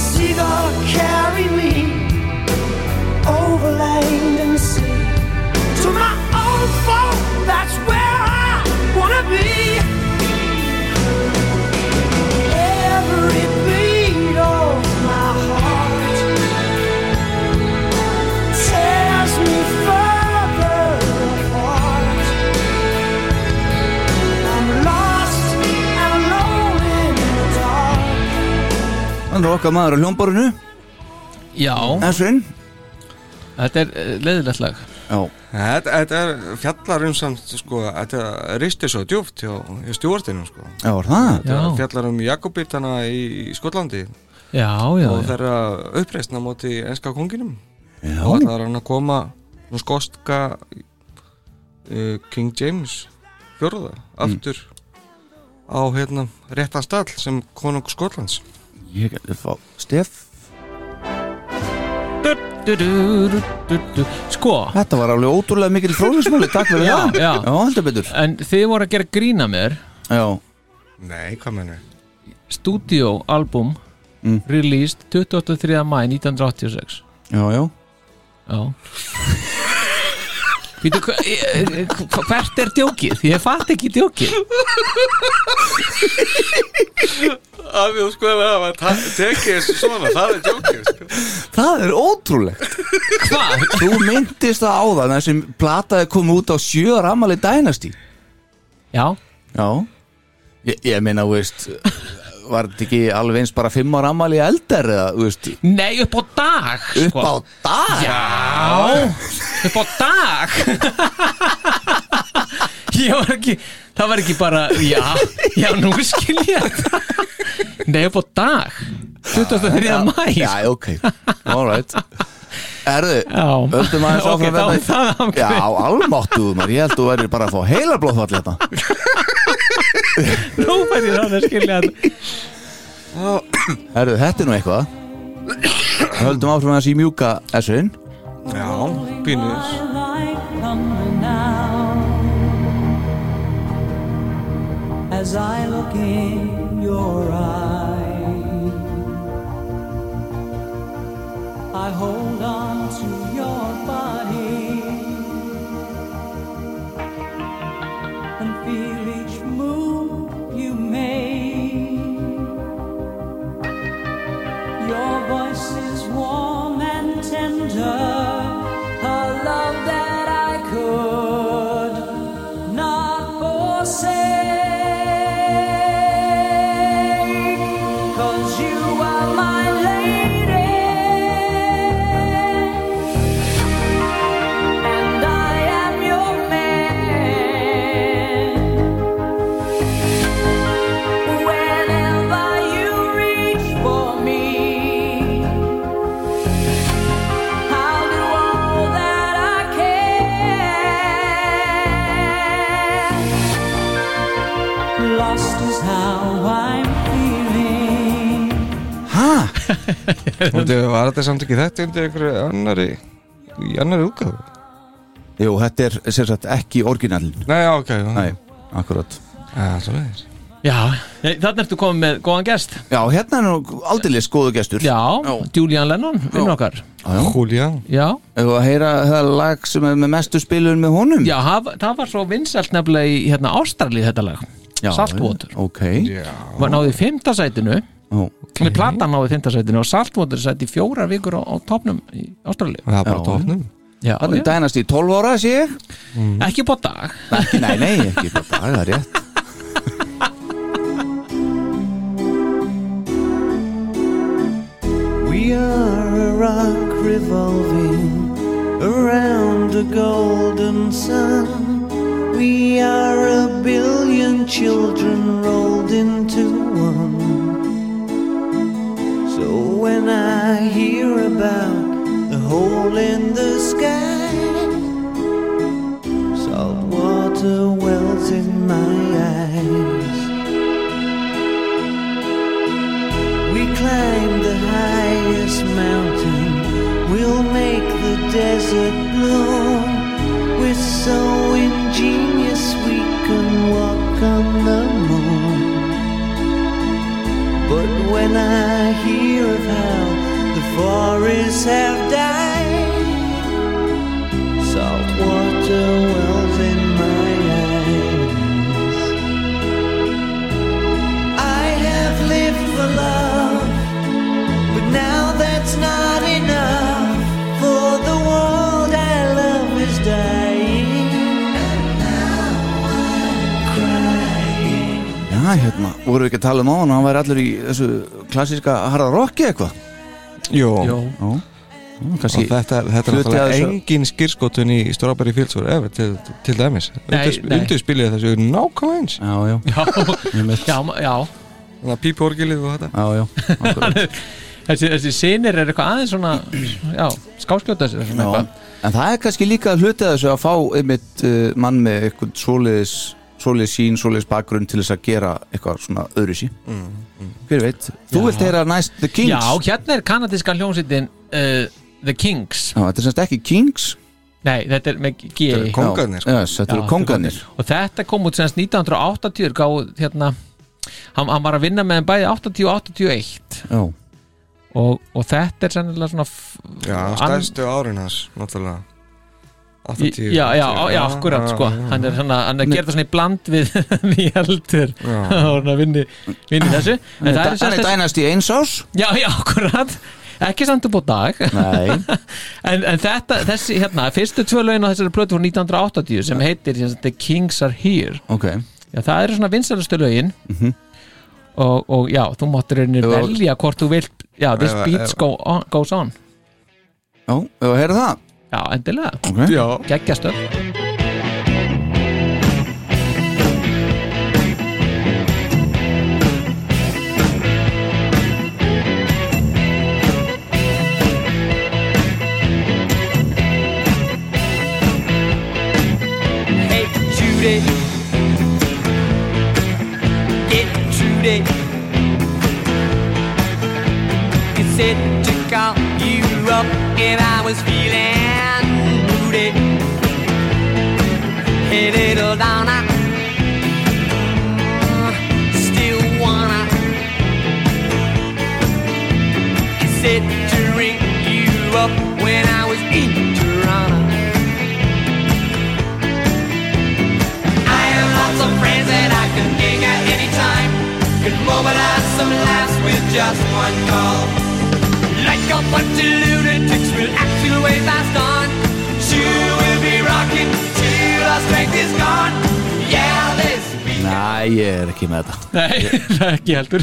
[SPEAKER 2] Seagull carry me over land and sea to my own folk. That's where I wanna be. Every beat of my heart tears me further apart. I'm lost and alone in the dark.
[SPEAKER 4] Þannig er okkar maður á hljómborinu
[SPEAKER 5] já,
[SPEAKER 4] Esrin
[SPEAKER 5] þetta er eh, leiðilegt lag
[SPEAKER 4] Já,
[SPEAKER 6] Þetta, þetta er fjallar um samt sko, þetta risti svo djúft hjá, hjá stjórninu sko.
[SPEAKER 4] já, var það?
[SPEAKER 5] Já,
[SPEAKER 6] Þetta fjallar um Jakobitana í, í Skotlandi
[SPEAKER 5] já, já,
[SPEAKER 6] og
[SPEAKER 5] já.
[SPEAKER 6] þeirra uppreisna móti enska konginum
[SPEAKER 4] Já,
[SPEAKER 6] og það er hann að koma nú skoska uh, King James fjórða aftur á hérna réttan stall sem konung Skotlands
[SPEAKER 4] ég gæti fá Stef
[SPEAKER 5] Du-du-du-du-du-du. Sko,
[SPEAKER 4] Þetta var alveg ótrúlega mikil fróðismölu, takk fyrir
[SPEAKER 5] Já,
[SPEAKER 4] það
[SPEAKER 5] já.
[SPEAKER 4] heldur betur
[SPEAKER 5] en þið voru að gera grína mér
[SPEAKER 4] Já,
[SPEAKER 6] Nei, hvað mennur?
[SPEAKER 5] stúdíóalbum
[SPEAKER 4] Mm.
[SPEAKER 5] released 23. mæ 1986
[SPEAKER 4] já, já
[SPEAKER 5] Já Býtu, hva- eh, eh, hva- hvert er djókið? Ég fatt ekki djókið
[SPEAKER 6] Af því sko að það var tekið þessu svona, það er djókið sko.
[SPEAKER 4] Það er ótrúlegt
[SPEAKER 5] Hvað?
[SPEAKER 4] Þú myndist það á það þessi plataði kom út á sjö ramali dænastí
[SPEAKER 5] Já,
[SPEAKER 4] Já Ég, ég meina, þú veist Var þetta ekki alveg eins bara fimm á ramali eldar eða, þú veist,
[SPEAKER 5] nei upp á dag sko.
[SPEAKER 4] upp á dag
[SPEAKER 5] Já, upp á dag [LAUGHS] Ég var ekki Það var ekki bara, já Já, nú skil ég þetta. Nei, upp á dag 23. mæ
[SPEAKER 4] Já,
[SPEAKER 5] Já,
[SPEAKER 4] ok, alright Erðu, höldum aðeins
[SPEAKER 5] ok,
[SPEAKER 4] áfram
[SPEAKER 5] þá
[SPEAKER 4] hérna
[SPEAKER 5] er það ákveð
[SPEAKER 4] Já, almáttuðu maður, ég held þú verður bara að fá hérna. heila blóðfall þetta
[SPEAKER 5] Nú fær ég það að skilja þetta
[SPEAKER 4] Herðu, þetta er nú eitthvað Höldum áfram að þessi mjúka essun
[SPEAKER 6] Já, pínus
[SPEAKER 2] [LAUGHS] As I look in your eyes, I hold on to your body and feel each move you make. Your voice is warm and tender, a love that I could not forsake. 'Cause you are my lady, and I am your man. Whenever you reach for me, I'll do all that I can. Lost is how I'm feeling.
[SPEAKER 4] Hæ?
[SPEAKER 6] Var þetta samt ekki þetta undir einhverju annari í annari útgáðu?
[SPEAKER 4] Jú, þetta er sem sagt ekki orginalin
[SPEAKER 6] Nei, já, ok já.
[SPEAKER 4] Nei, akkurat
[SPEAKER 6] Já, svo leiðis
[SPEAKER 5] Já, þannig ertu komið með góðan gest
[SPEAKER 4] Já, hérna er nú aldeilis góðu gestur
[SPEAKER 5] Já, Julian Lennon, vinn okkar
[SPEAKER 6] Julian
[SPEAKER 5] Já,
[SPEAKER 4] Ef að heyra það lag sem er með mestu spilun með honum
[SPEAKER 5] já það, það var svo vinsælt nefnilega í hérna, Ástralíu þetta lag Saltwater
[SPEAKER 4] Ok
[SPEAKER 5] var náði í fimmtasætinu
[SPEAKER 4] Ó.
[SPEAKER 5] okay. platan náði í fimmtasætinu og Saltwater sætti fjórar vikur á, á topnum í Ástralíu
[SPEAKER 6] Það er bara
[SPEAKER 4] Já.
[SPEAKER 6] tófnum
[SPEAKER 5] já,
[SPEAKER 4] Þannig
[SPEAKER 5] já.
[SPEAKER 4] dænast í 12 ára, sé ég
[SPEAKER 5] ekki bótt dag
[SPEAKER 4] Ekki, nei, nei, ekki bara dagar rétt
[SPEAKER 2] We are a rock revolving around the golden sun. We are a billion children rolled into one. So when I hear about the hole in the sky, salt water wells in my eyes. We climb the highest mountain. We'll make the desert bloom. We're so ingenious we can walk on the moon. But when I hear of how the forests have died, salt water wells in my eyes. I have lived for love, but now that's not enough. For the world I love is dying, and now I'm crying.
[SPEAKER 4] Já, hérna, voru við ekki að tala um á hann Hann væri allur í þessu klassíska harða rocki eitthvað
[SPEAKER 6] Jó
[SPEAKER 5] Jó.
[SPEAKER 4] Já,
[SPEAKER 6] Og
[SPEAKER 4] kannski
[SPEAKER 6] þetta, þetta er
[SPEAKER 4] hluti af
[SPEAKER 6] náttúrulega
[SPEAKER 4] þessu-
[SPEAKER 6] engin skýrskotun í Strawberry Fields or ever til, til dæmis
[SPEAKER 5] Nei, nei.
[SPEAKER 6] Undurspilið þessu er nákvæmlega eins
[SPEAKER 4] Já, já, [LAUGHS]
[SPEAKER 5] já, já, já.
[SPEAKER 6] Þannig að píporgilið og þetta
[SPEAKER 4] já, já akkurat.
[SPEAKER 5] [LAUGHS] Þessi, þessi sinir er eitthvað aðeins svona [CLEARS THROAT] já, skáskjóta þessi
[SPEAKER 4] Já. En það er kannski líka hluti að þessu að fá einmitt uh, mann með eitthvað svoleiðis svoleiðis sín, svoleiðis bakgrunn til þess að gera eitthvað svona öðru sí Hver veit, þú vilt heyra næst The Kings
[SPEAKER 5] já, hérna er kanadíska hljómsýttin uh, The Kings
[SPEAKER 4] Já, þetta er semst ekki Kings
[SPEAKER 5] Nei, þetta er með G
[SPEAKER 10] Þetta er kom- Kongarnir,
[SPEAKER 4] sko.
[SPEAKER 10] sko.
[SPEAKER 4] yes, Þetta
[SPEAKER 5] Já,
[SPEAKER 4] eru kongarnir
[SPEAKER 5] Og þetta kom út semst 1980 gáð, hérna, hann, hann var að vinna með þeim bæði 80 og 81
[SPEAKER 4] Já,
[SPEAKER 5] og, og þetta er sennilega svona f-
[SPEAKER 10] Já,
[SPEAKER 5] ann-
[SPEAKER 10] stærstu árin hans, náttúrulega
[SPEAKER 5] Í-
[SPEAKER 10] 80
[SPEAKER 5] já, já, já, já, akkurat sko hann er, svona, hann er að gera það svona í bland við [LAUGHS] nýjaldur [LAUGHS] og
[SPEAKER 10] Já.
[SPEAKER 5] hann vinni, vinni þessu en það
[SPEAKER 4] Hann
[SPEAKER 5] er
[SPEAKER 4] er
[SPEAKER 5] sérst
[SPEAKER 4] dænast í eins ás
[SPEAKER 5] já, já, akkurat ekki samt upp á dag
[SPEAKER 4] Nei,
[SPEAKER 5] en, en þetta, þessi, hérna, fyrstu tvö lögin á þessari plötu voru 1980 sem heitir sem sagt, The Kings Are Here
[SPEAKER 4] ok
[SPEAKER 5] já, það eru svona vinsælustu lögin og, og já, þú máttur rauninni
[SPEAKER 4] Ef-
[SPEAKER 5] velja hvort þú vilt já, this
[SPEAKER 10] Ef-
[SPEAKER 5] beats
[SPEAKER 10] ef-
[SPEAKER 5] go on, goes on
[SPEAKER 4] Já, hefur að heyra það
[SPEAKER 5] já, endilega,
[SPEAKER 4] okay.
[SPEAKER 10] Já,
[SPEAKER 5] geggjastöð
[SPEAKER 9] Hey Judy, get Judy. You said to call you up if I was feeling moody. Hey little Donna, still wanna. You said to ring you up when I was in Toronto. I have lots of friends that I can gig at any time. Could mobilize some laughs with just one call. Like a bunch of lunatics, we'll act your way fast on. She will be rocking till our strength is gone. Yeah, this beat.
[SPEAKER 4] Næ, ég er ekki með þetta
[SPEAKER 5] Nei, [LAUGHS] það er ekki heldur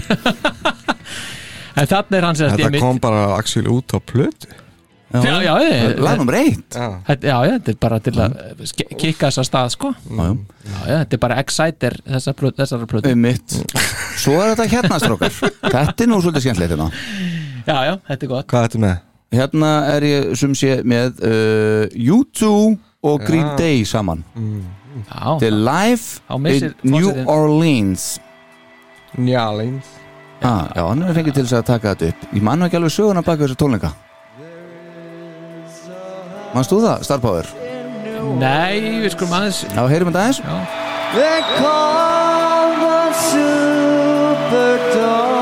[SPEAKER 5] En þarna er hann sérst
[SPEAKER 10] þetta kom bara Axel út á plötu
[SPEAKER 5] Já, já, ég-
[SPEAKER 4] Lag nummer eitt
[SPEAKER 10] Já,
[SPEAKER 5] Þetta, já, já, þetta er bara til að mm. kikka þessa stað, sko Já,
[SPEAKER 4] Já, já.
[SPEAKER 5] já, þetta er bara exciter þessa plöt, þessara plötu
[SPEAKER 4] Um mitt Svo er þetta hérna strókar Þetta er nú svolítið skemmtilegt hérna
[SPEAKER 5] Já, já, þetta er gott
[SPEAKER 10] hvað ertu með?
[SPEAKER 4] Hérna er ég sum sé með uh, U2 og Green Day saman
[SPEAKER 5] Mm,
[SPEAKER 4] Þetta
[SPEAKER 5] Já,
[SPEAKER 4] er
[SPEAKER 5] Á
[SPEAKER 4] live
[SPEAKER 5] missir
[SPEAKER 4] in New
[SPEAKER 5] forsetinn.
[SPEAKER 4] Orleans
[SPEAKER 10] Njalins
[SPEAKER 4] ah, Já, hann er fengið til þess að taka þetta upp Ég man nú ekki alveg söguna baka þessu tónleika Manst þú það, Star Power?
[SPEAKER 5] nei, við skulum aðeins
[SPEAKER 4] Já, heyrum þetta aðeins
[SPEAKER 5] Já,
[SPEAKER 6] They call the Superdome.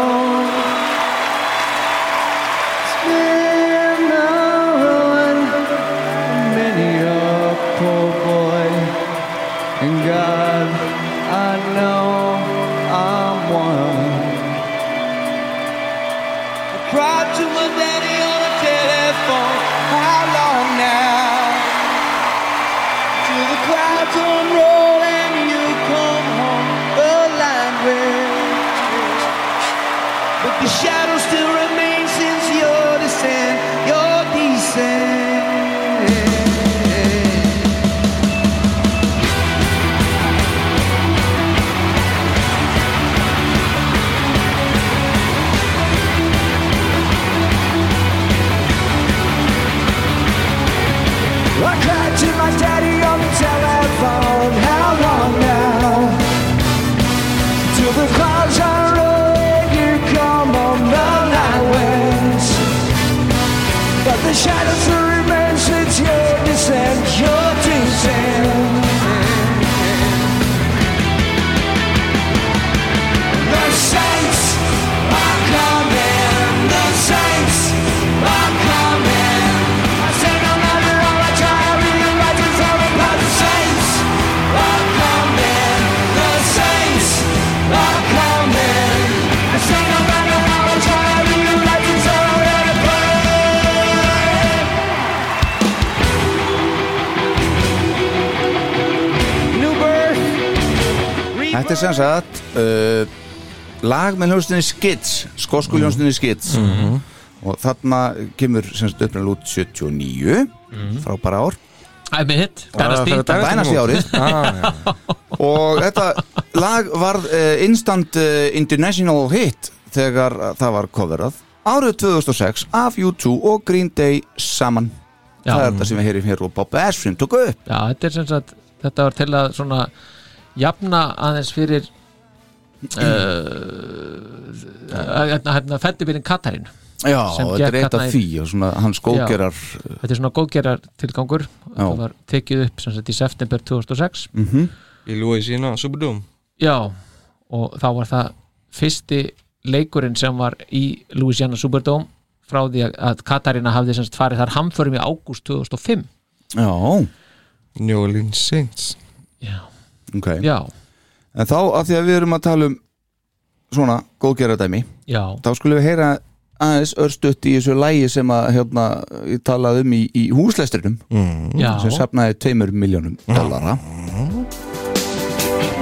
[SPEAKER 6] Spin around many a poor boy. And God, I know I'm one. I cried to my daddy on the telephone. How long now? Till the clouds unroll and you come home aligned with But the shadow still remains since your descent, your descent I cried to my daddy on the telephone. How long now? Till the clouds are rolling, you come on the highways. But the shadows will remain since your descent, your descent. The saints are coming. The saints are coming. I said no matter how I try, I really like to tell me about the saints are coming. The saints are coming. I said no matter how I try, I really like to tell me about the burn. New birth.
[SPEAKER 4] Þetta er sem sagt uh, lag með hljónstinni Skids skosku hljónstinni Skids og þarna kemur sem sagt uppræðan út 79 frábæra ár
[SPEAKER 5] I'm a hit, Dynasty
[SPEAKER 10] fyrir dag-
[SPEAKER 4] dænast í [LAUGHS] árið
[SPEAKER 10] ah,
[SPEAKER 4] og þetta lag var uh, instant uh, international hit þegar það var coverað árið 2006 af U2 og Green Day saman
[SPEAKER 5] Já.
[SPEAKER 4] það er þetta sem við heyrim hér og Bob Ashford tók upp
[SPEAKER 5] Já, þetta er sem sagt, þetta var til að svona jafna aðeins
[SPEAKER 4] [CLEARS THROAT]
[SPEAKER 5] fyrir uh, hérna, hérna, fellibýrin Katarín
[SPEAKER 4] já,
[SPEAKER 5] sem
[SPEAKER 4] þetta er
[SPEAKER 5] gekk
[SPEAKER 4] eitt af
[SPEAKER 5] þarna í-
[SPEAKER 4] því og svona hans góðgerar
[SPEAKER 5] þetta er svona góðgerar tilgangur það var tekið upp sem sagt í september 2006
[SPEAKER 4] mm
[SPEAKER 6] Í Louisiana Superdome
[SPEAKER 5] já, og þá var það fyrsti leikurinn sem var í Louisiana Superdome frá því að- að Katarina hafði sem sagt farið þar hamförum í ágúst 2005
[SPEAKER 4] já,
[SPEAKER 6] New Orleans Saints
[SPEAKER 5] já,
[SPEAKER 4] ok
[SPEAKER 5] já,
[SPEAKER 4] en þá af því að við erum að tala um svona góðgeradæmi
[SPEAKER 5] já,
[SPEAKER 4] þá skulum við heyra aðeins örstutt í þessu lægi sem að hérna, ég talaði um í, í húslestrinum
[SPEAKER 5] já.
[SPEAKER 4] sem safnaði tveimur miljónum dollara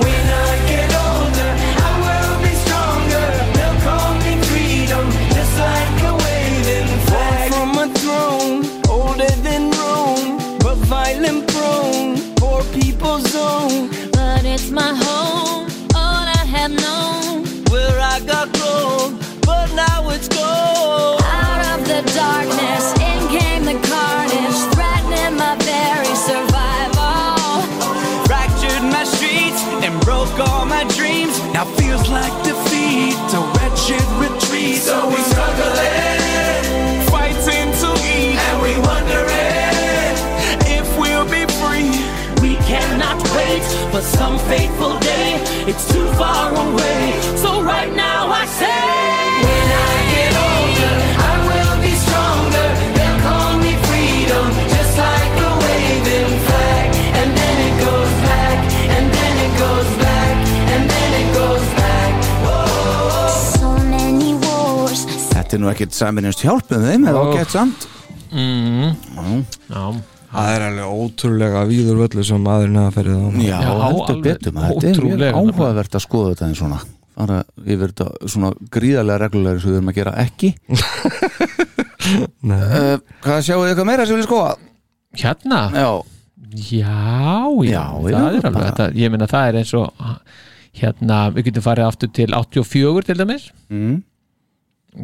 [SPEAKER 9] When I get older, I will be stronger. They'll call me freedom, just like a waving flag. From a throne, older than Rome, but violent prone, poor people's zone.
[SPEAKER 2] But it's my home, all I have known.
[SPEAKER 9] Where I got gold, but now it's gold.
[SPEAKER 2] Out of the darkness, in came the carnage, threatening my very survival.
[SPEAKER 9] Fractured my streets and broke all my dreams. Now feels like defeat, a wretched retreat. So we struggling, fighting to eat, and we wondering if we'll be free. We cannot wait for some fateful day. It's too far away. So right now I say. When I get older, I will be stronger. They'll call me freedom, just like a waving flag. And then it goes back, and then it goes back, and then it goes back.
[SPEAKER 2] So many wars,
[SPEAKER 4] Þetta er nú ekkert saminist hjálp með þeim, er
[SPEAKER 5] Ó.
[SPEAKER 4] ágætt samt
[SPEAKER 5] já.
[SPEAKER 6] Það er alveg ótrúlega víður völlu sem maðurinn hafa ferið á
[SPEAKER 4] Já,
[SPEAKER 5] Já,
[SPEAKER 4] heldur
[SPEAKER 5] alveg
[SPEAKER 4] betur maður, þetta er mjög
[SPEAKER 5] ótrúlega.
[SPEAKER 4] áhugavert að skoða þetta en svona fara yfir þetta svona gríðarlega reglulega sem við erum að gera ekki
[SPEAKER 6] Nei,
[SPEAKER 4] uh, Hvað sjáu þið eitthvað meira sem við skoða?
[SPEAKER 5] hérna
[SPEAKER 4] Já,
[SPEAKER 5] Já,
[SPEAKER 4] Já,
[SPEAKER 5] já,
[SPEAKER 4] já,
[SPEAKER 5] það er alveg
[SPEAKER 4] bara-
[SPEAKER 5] þetta, ég meina það er eins og hérna, við getum farið aftur til 84 til dæmis
[SPEAKER 4] mm,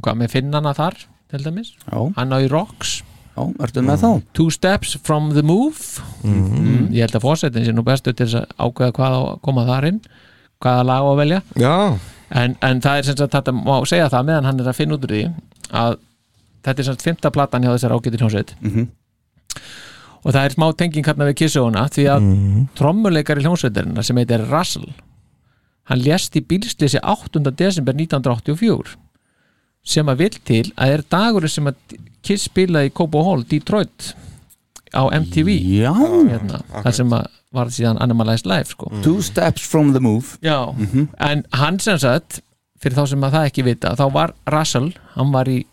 [SPEAKER 5] hvað með finnana þar til dæmis
[SPEAKER 4] já,
[SPEAKER 5] hann á í Rocks,
[SPEAKER 4] já, ertu með þá?
[SPEAKER 5] Two Steps from the Move
[SPEAKER 4] Mhm.
[SPEAKER 5] mm, ég held að fórsetin sé nú bestu til þess að ákveða hvað á að koma þar inn hvaða lag á að velja
[SPEAKER 6] já,
[SPEAKER 5] en, en það er sem sagt, þetta má segja það meðan hann er að finna út úr því að þetta er sem sagt fymta platan hjá þessar ágæti hljómsveit
[SPEAKER 4] Mhm.
[SPEAKER 5] og það er smá tenging hérna við kissuguna því að trommuleikari hljómsveitarinnar sem heitir Russell hann lést í bílslýsi 8. desember 1984 sem að vil til að er dagur sem að Kiss spilaði í Cobo Hall, Detroit á MTV
[SPEAKER 4] Já,
[SPEAKER 5] hérna, það sem að var síðan Animalized Life sko.
[SPEAKER 4] two steps from the move
[SPEAKER 5] Já, en hann sem sagt fyrir þá sem að það ekki vita þá var Russell, hann var í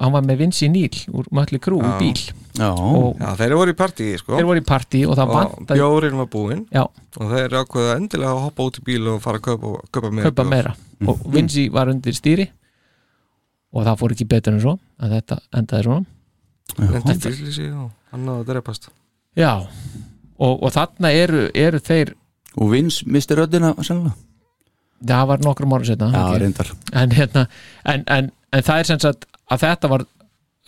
[SPEAKER 5] hann var með Vinci Neil úr Mötli Krú í bíl
[SPEAKER 4] Já,
[SPEAKER 5] og
[SPEAKER 6] já þeir voru í partíi sko
[SPEAKER 5] þeir voru í partí og það
[SPEAKER 6] og
[SPEAKER 5] vantaði
[SPEAKER 6] bjórinn var búinn
[SPEAKER 5] já,
[SPEAKER 6] og þeir ákveða endilega að hoppa út í bíl og fara að kaupa, kaupa meira
[SPEAKER 5] kaupa
[SPEAKER 6] bjór.
[SPEAKER 5] meira og Vinci var undir stýri og það fór ekki betur en svo að þetta endaði svona
[SPEAKER 6] Lendi í bílísi og hann náði að drepast
[SPEAKER 5] Já, og, og þarna eru, eru þeir
[SPEAKER 4] og vins misti röddina sennilega
[SPEAKER 5] það var nokkrum árum setna
[SPEAKER 4] Já, reyndar
[SPEAKER 5] en, hérna, en, en, en það er sem sagt að þetta var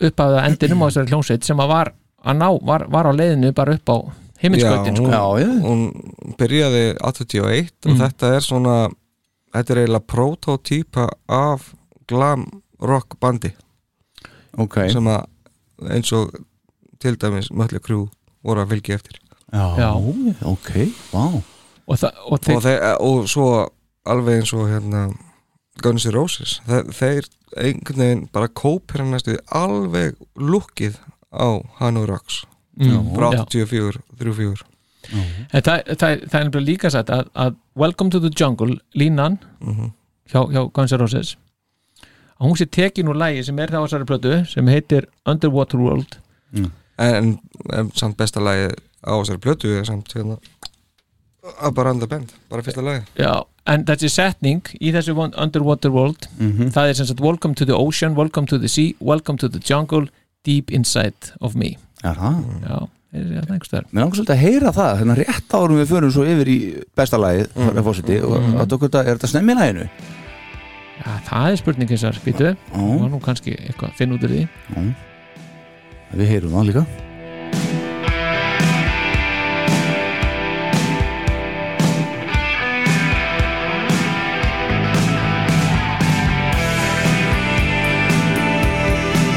[SPEAKER 5] upphafið að endinum á þessari hljómsveit sem að var, að ná, var, var á leiðinu bara upp á himminskautin sko.
[SPEAKER 6] hún,
[SPEAKER 4] Já, já.
[SPEAKER 6] hún byrjaði 81
[SPEAKER 5] Mm.
[SPEAKER 6] og þetta er svona þetta er eiginlega prototípa af glam rock bandi
[SPEAKER 4] Ok,
[SPEAKER 6] sem að eins og til dæmis Mötli Krú voru að fylgja eftir
[SPEAKER 4] já,
[SPEAKER 5] Já.
[SPEAKER 4] ok, vá
[SPEAKER 5] og, það, og
[SPEAKER 6] og,
[SPEAKER 5] þeir,
[SPEAKER 6] þeir, eh, og svo alveg eins og hérna Guns N' Roses þeir, þeir einhvern veginn bara kópir hann næstu alveg lukkið á Hanoi Rocks frá
[SPEAKER 5] Mm, já.
[SPEAKER 6] 84, 34
[SPEAKER 5] en það, það, það, það er nefnilega líka sagt að, að Welcome to the Jungle, línan hjá, hjá Guns N' Roses að hún sé tekin úr lægi sem er það á þessari plötu sem heitir Underwater World
[SPEAKER 6] en, en samt besta lagi á þessari plötu er samt hérna að bara anda bend, bara fyrsta lagi
[SPEAKER 5] Já, en þessi setning í þessu one- Underwater World það er sem sagt Welcome to the Ocean, Welcome to the Sea Welcome to the Jungle, Deep Inside of Me
[SPEAKER 4] Er það?
[SPEAKER 5] Já, er það einhvers þar
[SPEAKER 4] Mér langar svolítið að heyra það, þannig að rétt árum við förum svo yfir í besta lagið, mm. fósiti, og að okkur þetta, er þetta snemmi í laginu?
[SPEAKER 5] Já, það er spurningin sem spýtu Það var nú kannski eitthvað að finna út úr því
[SPEAKER 4] Við heyrum það líka.
[SPEAKER 2] When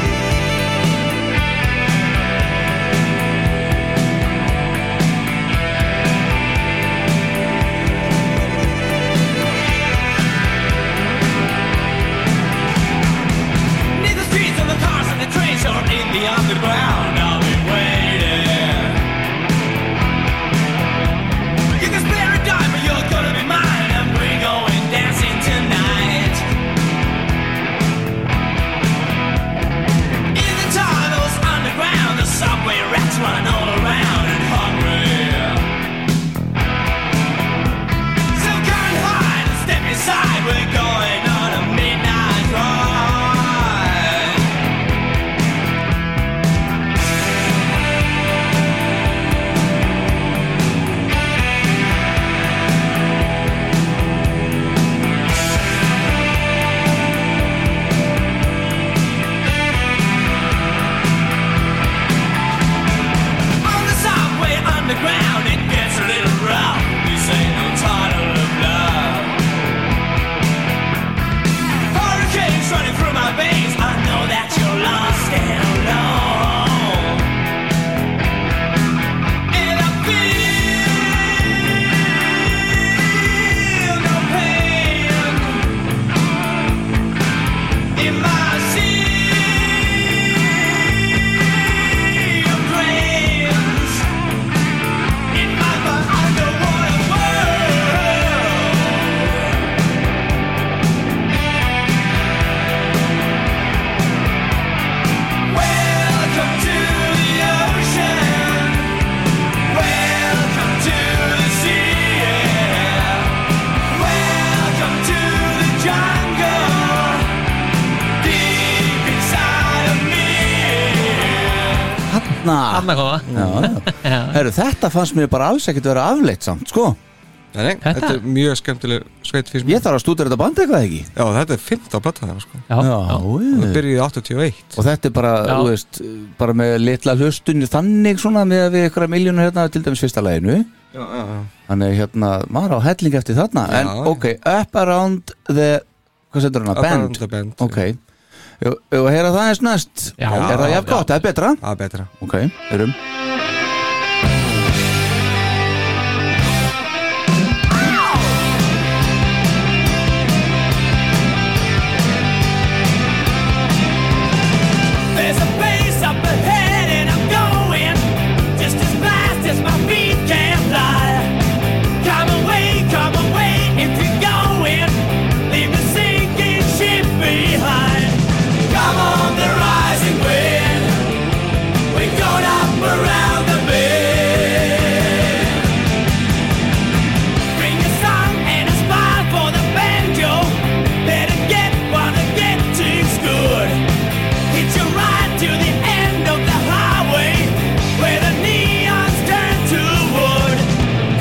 [SPEAKER 5] annað koma
[SPEAKER 4] Herru, þetta fannst mér bara alls ekkert vera afleitt samt, sko
[SPEAKER 6] Nei, nei,
[SPEAKER 5] Þetta-
[SPEAKER 6] þetta er mjög skemmtileg sveit fyrir
[SPEAKER 4] Ég þarf að stúdera þetta band eitthvað ekki
[SPEAKER 6] Já, þetta er 15 platta þeirra sko
[SPEAKER 5] Já, já.
[SPEAKER 6] Það
[SPEAKER 4] já.
[SPEAKER 6] byrjuði í 81
[SPEAKER 4] Og þetta er bara,
[SPEAKER 5] Já.
[SPEAKER 4] þú veist, bara með litla hlustun þannig svona með að við ykkur miljónu hérna til dæmis fyrsta læginu
[SPEAKER 6] Já, já, já
[SPEAKER 4] Þannig hérna, maður á helling eftir þarna
[SPEAKER 6] Já,
[SPEAKER 4] En
[SPEAKER 6] já.
[SPEAKER 4] ok, Up Around the, hvað setur hana, Band
[SPEAKER 6] Band, band.
[SPEAKER 4] Ok, og að heyra það eins næst
[SPEAKER 5] Já.
[SPEAKER 4] Er það jafn gott, það er betra
[SPEAKER 6] Það er betra
[SPEAKER 4] Ok, erum
[SPEAKER 9] There's a place up ahead and I'm going just as fast as my feet can fly. Come away, come away if you're going. Leave the sinking ship behind. Come on the rising wind. We're going up around the bend. Bring a song and a smile for the banjo. Better get one to get things good. It's your ride to the end of the highway where the neons turn to wood.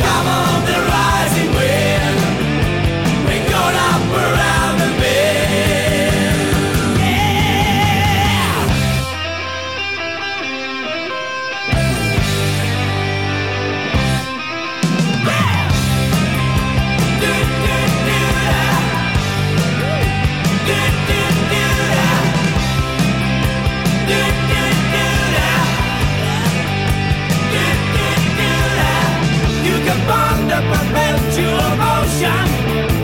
[SPEAKER 9] Come on, the rising wind. We're going up around the bend. Yeah. Do, do, do, da. Do, do, do, da. Do, do, do, da. Do, do, do, da. You can bond a perpetual motion.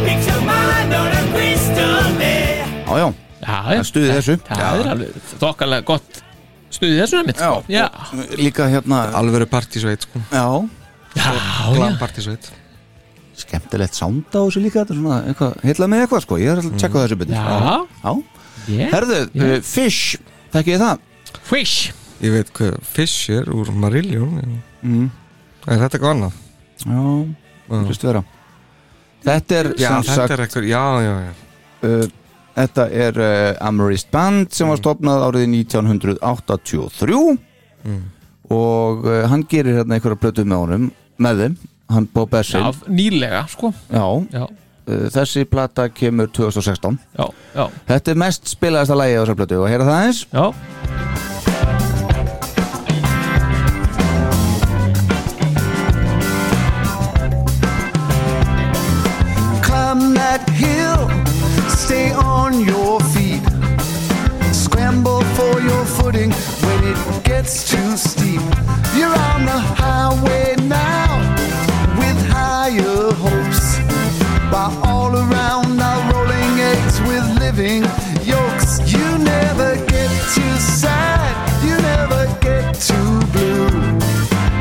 [SPEAKER 9] Fix your mind on a crystal there.
[SPEAKER 4] Já, já,
[SPEAKER 5] já, já.
[SPEAKER 4] En stuðið þessu.
[SPEAKER 5] Það er alveg þokkalega gott stuðið þessu einmitt, sko. já,
[SPEAKER 4] líka hérna
[SPEAKER 6] Alvöru partísveit sko
[SPEAKER 4] Já,
[SPEAKER 5] já,
[SPEAKER 6] Glam partísveit
[SPEAKER 4] skemmtilegt sound á þessu líka þetta er svona eitthvað, heilla með eitthvað sko ég er alltaf að tjekka á þessu betur
[SPEAKER 5] Já.
[SPEAKER 4] Já.
[SPEAKER 5] já
[SPEAKER 4] herðu,
[SPEAKER 5] Já.
[SPEAKER 4] uh, Fish, þekki ég það
[SPEAKER 5] Fish
[SPEAKER 6] Ég veit hvað Fish er úr Marillion en...
[SPEAKER 4] Mm.
[SPEAKER 6] Er þetta eitthvað annað?
[SPEAKER 4] já,
[SPEAKER 6] Já.
[SPEAKER 4] hlust vera þetta er
[SPEAKER 6] Já,
[SPEAKER 4] sem
[SPEAKER 6] þetta
[SPEAKER 4] sagt
[SPEAKER 6] er eitthvað Já, já, já
[SPEAKER 4] uh, þetta er uh, Amherst Band sem var stopnað árið 1983 og uh, hann gerir hérna einhverja plötu með honum með þeim, hann Bob Essin
[SPEAKER 5] já, nýlega, sko
[SPEAKER 4] já,
[SPEAKER 5] já,
[SPEAKER 4] uh, þessi plata kemur 2016
[SPEAKER 5] já, já,
[SPEAKER 4] þetta er mest spilaðasta lagi á þessar plötu og heyra það eins
[SPEAKER 5] já.
[SPEAKER 2] Climb that hill, stay on your feet. Scramble for your footing when it gets too steep. You're on the highway now with higher hopes. By all around are rolling eggs with living yolks. You never get too sad, you never get too blue.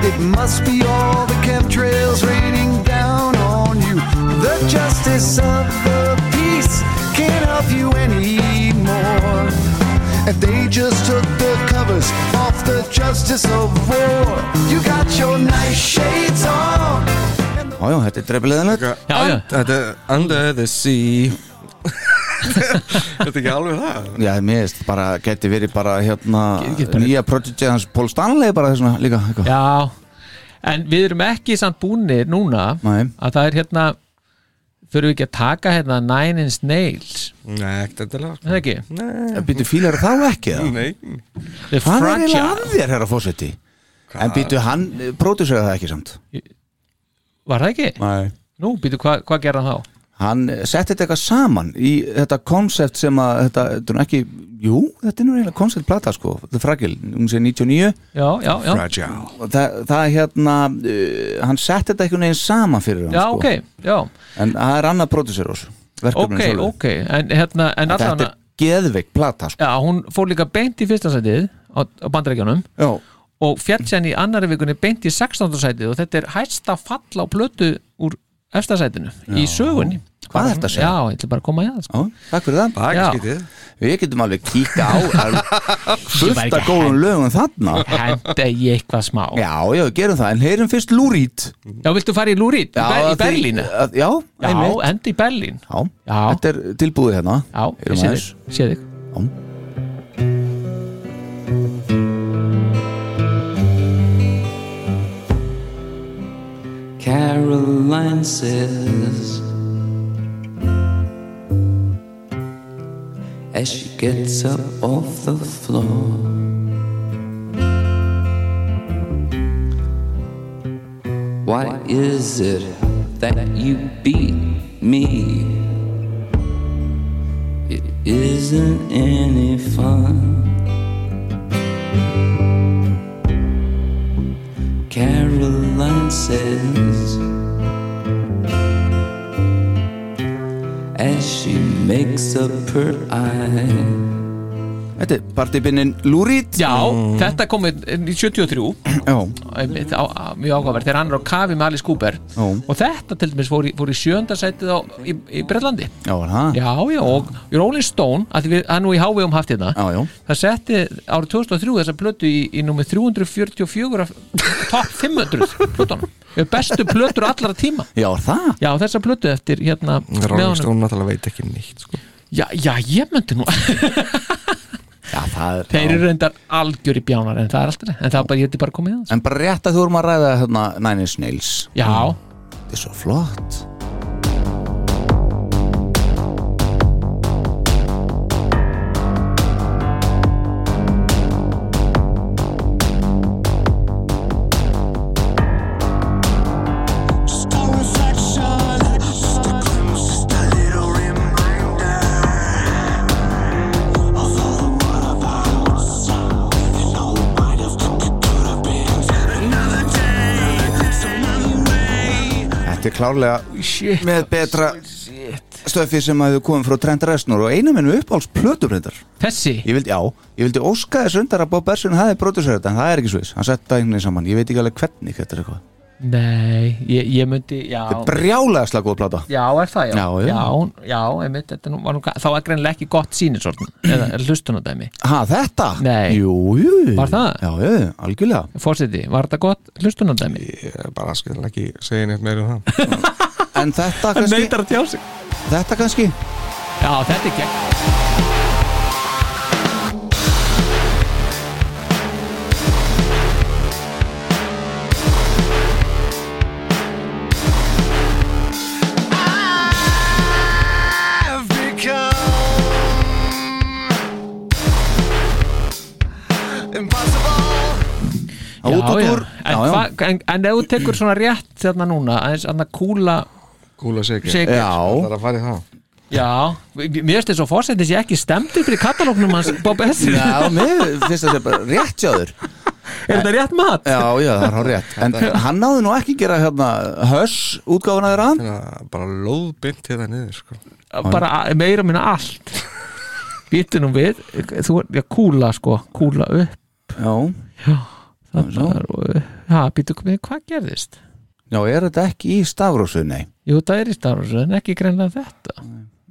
[SPEAKER 2] It must be all the chemtrails raining down on you. The justice of the peace can't help you anymore. And they just took the covers off the justice of war. You got your nice shades on.
[SPEAKER 4] já, já, þetta er drefilegðanlega
[SPEAKER 5] já, já.
[SPEAKER 6] Þetta er Under the Sea Þetta er ekki alveg það
[SPEAKER 4] Já, mér veist, bara geti verið bara hérna
[SPEAKER 5] get bara-
[SPEAKER 4] nýja projektið hans Paul Stanley bara þessna líka eitthvað.
[SPEAKER 5] Já, en við erum ekki samt búinir núna
[SPEAKER 4] Nei.
[SPEAKER 5] að það er hérna þurfum við ekki að taka hérna Nine Inch Nails
[SPEAKER 6] Nei, ekkert endilega
[SPEAKER 5] er það ekki?
[SPEAKER 4] En býtu fílar þá ekki það?
[SPEAKER 6] Nei
[SPEAKER 5] The
[SPEAKER 4] Hvað er eiginlega
[SPEAKER 5] Mm. Fragile,
[SPEAKER 4] að þér, herra fósetti? En býtu hann, pródusera það ekki samt
[SPEAKER 5] var það ekki?
[SPEAKER 4] Nei
[SPEAKER 5] Nú, býtu, hvað hva gerði hann þá?
[SPEAKER 4] Hann setti þetta eitthvað saman í þetta konsept sem að þetta, þetta er nú ekki, jú, þetta er nú eiginlega konceptplata sko, The Fragile, hún sé 99
[SPEAKER 5] Já, já, já,
[SPEAKER 6] Fragile
[SPEAKER 4] og það, það er hérna, uh, hann setti þetta einhvern veginn saman fyrir hann
[SPEAKER 5] já,
[SPEAKER 4] sko
[SPEAKER 5] ok, já,
[SPEAKER 4] En það er annað pródusera þessu,
[SPEAKER 5] ok,
[SPEAKER 4] verkefninu sjálfu.
[SPEAKER 5] ok, en hérna, en
[SPEAKER 4] Þetta
[SPEAKER 5] allan
[SPEAKER 4] er geðveik plata sko
[SPEAKER 5] já, hún fór líka beint í fyrsta sætið á, á bandarækjunum
[SPEAKER 4] Já,
[SPEAKER 5] og fjall sérni í annari vikunni beint í 16. sætið og þetta er hæsta fall á plötu úr efsta sætinu í sögunni
[SPEAKER 4] Hvað ertu að segja?
[SPEAKER 5] Já, ég ætla bara að koma í það sko.
[SPEAKER 4] Já, takk fyrir það
[SPEAKER 6] Það er
[SPEAKER 5] Já.
[SPEAKER 6] ekki skítið
[SPEAKER 4] Við getum alveg kíka á
[SPEAKER 5] [LAUGHS]
[SPEAKER 4] það er fullt af góðum lögum þarna
[SPEAKER 5] henda ég eitthvað smá já,
[SPEAKER 4] Já, já, við gerum það, en heyrum fyrst Lúrít
[SPEAKER 5] viltu fara í Lúrít
[SPEAKER 4] Já,
[SPEAKER 5] í
[SPEAKER 4] að þið-
[SPEAKER 5] Berlín já,
[SPEAKER 4] að- Já, einmitt
[SPEAKER 5] enda í Berlín
[SPEAKER 4] Já,
[SPEAKER 5] Já.
[SPEAKER 4] þetta er tilbúið hérna
[SPEAKER 5] já, ég
[SPEAKER 4] Heyrum
[SPEAKER 5] sé
[SPEAKER 4] aðeins.
[SPEAKER 5] þig, sé þig
[SPEAKER 4] Lúrít
[SPEAKER 3] Caroline says as she gets up off the floor. Why is it that you beat me? It isn't any fun. Caroline says as she makes up her eye.
[SPEAKER 4] Þetta er partybinnin Lúrít
[SPEAKER 5] Já, þetta kom inn inn í 73
[SPEAKER 4] Já,
[SPEAKER 5] einmitt á- á- mjög áhugavert þegar hann er á kafi með Alice Cooper
[SPEAKER 4] já,
[SPEAKER 5] og þetta til dæmis fór í, fór í sjönda sætið á, í, í Bretlandi
[SPEAKER 4] já, er það
[SPEAKER 5] Já, já, og Rolling Stone að því við, hann nú í hávegum haft hérna
[SPEAKER 4] Já, já,
[SPEAKER 5] það setti árið 2003 þessa plötu í, í nummer 344 af top 500 plötunum Við bestu plötur allra tíma
[SPEAKER 4] já, er það
[SPEAKER 5] Já, þessa plötu eftir hérna með honum.
[SPEAKER 6] Rolling Stone náttúrulega veit ekki neitt sko.
[SPEAKER 5] Já, já, ég myndi nú [LAUGHS]
[SPEAKER 4] Já, það er
[SPEAKER 5] Þeir
[SPEAKER 4] já.
[SPEAKER 5] eru reyndar algjöri bjánar en það er alltaf en það er bara, ég hefði bara komið að það
[SPEAKER 4] En bara rétt að þú erum að ræða hérna Nine Inch Nails
[SPEAKER 5] Já,
[SPEAKER 4] Þetta er svo flott Þetta er klárlega
[SPEAKER 5] shit
[SPEAKER 4] með betra stöfi sem að þau komum frá Trent Reznor og einu minnu uppáhalds plötubrindar
[SPEAKER 5] Þessi,
[SPEAKER 4] Ég vildi, já, ég vildi óska þess undar að Bob Bersin hafi brótusur þetta en það er ekki svo þess, hann setta einhvern saman ég veit ekki alveg hvernig þetta er eitthvað
[SPEAKER 5] nei, ég, ég myndi Já,
[SPEAKER 4] Þetta er brjálega slagóð plata
[SPEAKER 5] já er það, já
[SPEAKER 4] Já, já.
[SPEAKER 5] já, já einmitt, þetta nú, var nú, ga- þá er greinlega ekki gott sínisort eða hlustunadæmi
[SPEAKER 4] Ha, þetta?
[SPEAKER 5] Nei.
[SPEAKER 4] Jú, jú
[SPEAKER 5] Var það?
[SPEAKER 4] Já, jú, algjörlega
[SPEAKER 5] Fórseti, var þetta gott hlustunadæmi?
[SPEAKER 6] ég er bara skil ekki segja neitt meira um það
[SPEAKER 4] En þetta kannski,
[SPEAKER 5] að tjá sig
[SPEAKER 4] þetta kannski
[SPEAKER 5] Já, þetta er gegn
[SPEAKER 9] I've become impossible.
[SPEAKER 4] Út og
[SPEAKER 5] já.
[SPEAKER 4] úr
[SPEAKER 5] En,
[SPEAKER 4] Já, já,
[SPEAKER 5] hva- en, en ef þú tekur svona rétt þarna núna, aðeins aðna kúla
[SPEAKER 6] Kúla segja
[SPEAKER 5] segir, já,
[SPEAKER 6] Það
[SPEAKER 4] já
[SPEAKER 6] er að fara í það
[SPEAKER 5] mér finnst þess að fórsetis ég ekki stemdi fyrir katalóknum hans Bob Essi, er
[SPEAKER 4] Já, mér finnst þetta bara rétt sjáður
[SPEAKER 5] þetta rétt mat?
[SPEAKER 4] Já, já, það er hár rétt En hann náði nú ekki gera hérna Höss útgáfuna þeirra hann
[SPEAKER 6] Þannig að Hérna, bara lóðbind þetta niður sko.
[SPEAKER 5] bara a- meira minna allt Býttu nú við þú, já, kúla sko, kúla upp
[SPEAKER 4] Já,
[SPEAKER 5] þarna
[SPEAKER 4] Já.
[SPEAKER 5] er og- já, býttu við hvað gerðist
[SPEAKER 4] já, er þetta ekki í stafrósu, nei
[SPEAKER 5] jú, það er í starfröð, en ekki greinlega þetta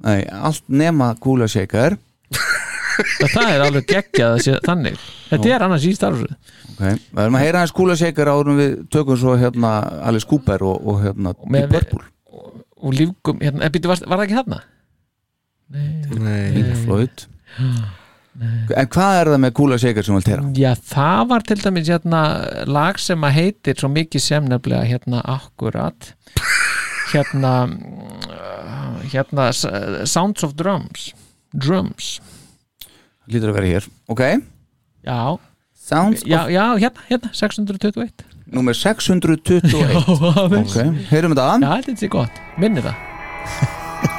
[SPEAKER 4] Nei, allt nema kúla shaker
[SPEAKER 5] það, það er alveg geggjað að sé þannig þetta er annars í starfröð
[SPEAKER 4] okay. Við erum að heyra hans kúla shaker árum við tökum svo hérna Alice Cooper og, og hérna
[SPEAKER 5] með-
[SPEAKER 4] Deep Purple
[SPEAKER 5] og lífgum, hérna, býttu, var, var það ekki þarna?
[SPEAKER 6] Nei,
[SPEAKER 4] Pink
[SPEAKER 5] [GASPS]
[SPEAKER 4] Floyd En hvað er það með kúla shaker sem þú vilt heyra?
[SPEAKER 5] Já, það var til dæmis hérna lag sem að heitir svo mikið sem nefnilega hérna akkurat hérna uh, hérna S- uh, Sounds of Drums Drums,
[SPEAKER 4] Lítur að vera hér Ok,
[SPEAKER 5] já
[SPEAKER 4] Sounds
[SPEAKER 5] já, já, hérna, hérna, 621
[SPEAKER 4] of Númer 621
[SPEAKER 5] aðeins.
[SPEAKER 4] Ok, heyrum þetta
[SPEAKER 5] Já,
[SPEAKER 4] að
[SPEAKER 5] þetta er sér gott, minni það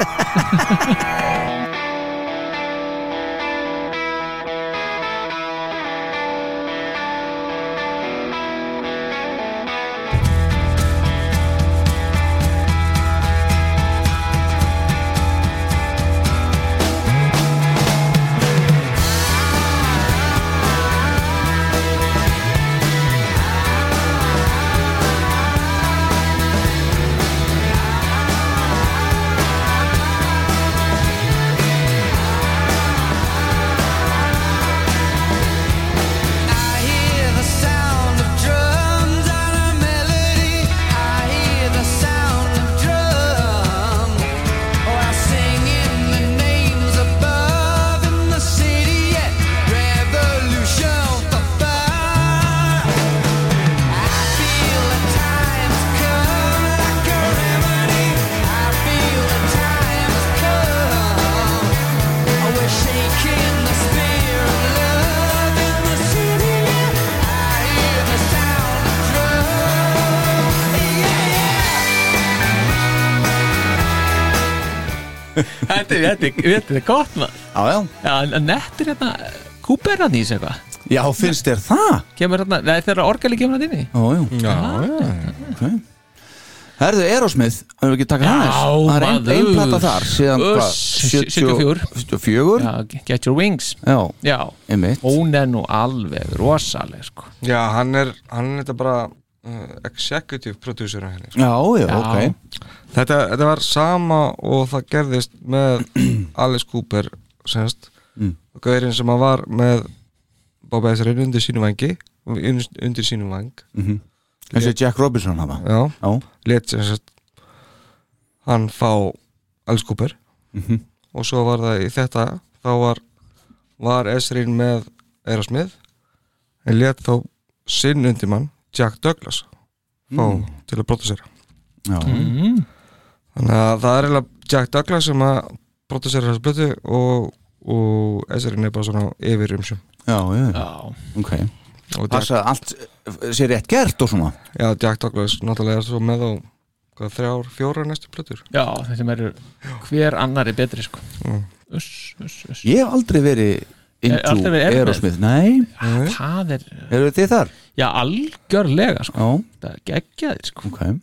[SPEAKER 9] I've Oh,
[SPEAKER 5] Þetta er- þetta er- þetta er gott maður
[SPEAKER 4] Já, já
[SPEAKER 5] Já, en- en nettir hérna Kúper hann í sig eitthvað
[SPEAKER 4] Já, finnst þér það?
[SPEAKER 5] Kemur hérna, nei þegar orgali kemur hann inn í
[SPEAKER 4] Ó, jú.
[SPEAKER 6] Mm.
[SPEAKER 4] Já, já, ok Herðu, Erosmith, höfum við ekki takað
[SPEAKER 5] Já,
[SPEAKER 4] aðeins Það er ein,
[SPEAKER 5] maður.
[SPEAKER 4] ein plata þar síðan hvað,
[SPEAKER 5] Uss,
[SPEAKER 4] 70 74
[SPEAKER 5] Já, Get Your Wings
[SPEAKER 4] Já,
[SPEAKER 5] Já,
[SPEAKER 4] einmitt
[SPEAKER 5] hún er nú alveg rosaleg sko
[SPEAKER 6] Já, hann er, hann er þetta bara uh, executive producer á henni sko.
[SPEAKER 4] Já, já,
[SPEAKER 5] Já.
[SPEAKER 4] ok
[SPEAKER 6] þetta, þetta var sama og það gerðist
[SPEAKER 4] [CLEARS THROAT]
[SPEAKER 6] með Alice Cooper semst,
[SPEAKER 4] Mm.
[SPEAKER 6] gaurinn sem hann var með Bob Ezrin undir sínum vangi undir sínum vang
[SPEAKER 4] Mm. Þessi Jack Robinson hafa
[SPEAKER 6] já,
[SPEAKER 4] Já,
[SPEAKER 6] let sem sagt hann fá Alice Cooper
[SPEAKER 4] Mhm.
[SPEAKER 6] og svo var það í þetta þá var, var Esrin með Erasmith en let þá sinn undir mann Jack Douglas fá
[SPEAKER 4] Mm.
[SPEAKER 6] til að pródúsera
[SPEAKER 4] já,
[SPEAKER 5] Mm.
[SPEAKER 6] þannig að það er eiginlega Jack Douglas sem að pródúsera þessu blötu og, og Esrin er bara svona yfir umsum
[SPEAKER 4] já, já,
[SPEAKER 5] Já,
[SPEAKER 4] ok
[SPEAKER 6] og Jack,
[SPEAKER 4] Passa að allt eh, sé rétt gert og svona
[SPEAKER 6] já, Jack Douglas náttúrulega er svo með á hvað, þrjár, fjórar næstu blötur
[SPEAKER 5] já þessi meður hver annar er betri sko Uss, uss, uss
[SPEAKER 4] Ég hef aldrei verið
[SPEAKER 5] Eh, aldrei
[SPEAKER 4] into
[SPEAKER 5] verið
[SPEAKER 4] Erosmith
[SPEAKER 5] Aerosmith?
[SPEAKER 4] Nei,
[SPEAKER 5] Það er,
[SPEAKER 4] eru þið þar?
[SPEAKER 5] já algjörlega sko
[SPEAKER 4] Já,
[SPEAKER 5] Það er geggjaðir sko
[SPEAKER 4] ok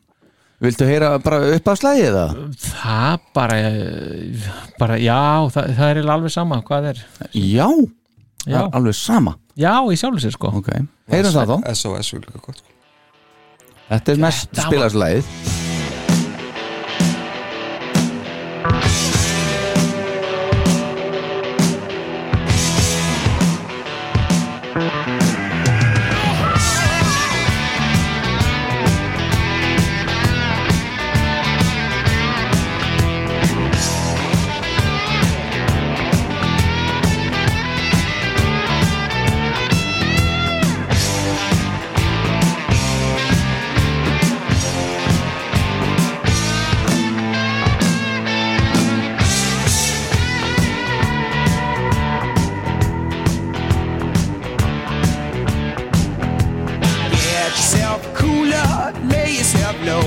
[SPEAKER 4] Viltu heyra bara upp af slæðið það?
[SPEAKER 5] Mm. Það bara, eh, bara já, það, það er eiginlega alveg sama hvað er
[SPEAKER 4] Já, það
[SPEAKER 5] Já,
[SPEAKER 4] er alveg sama
[SPEAKER 5] já í sjálfu sér sko
[SPEAKER 4] Ok, heyrum það þá
[SPEAKER 6] SOS er líka gott sko.
[SPEAKER 4] Þetta er mest
[SPEAKER 5] Þetta var-
[SPEAKER 4] spilaðslæðið
[SPEAKER 2] Get yourself a cooler, lay yourself low.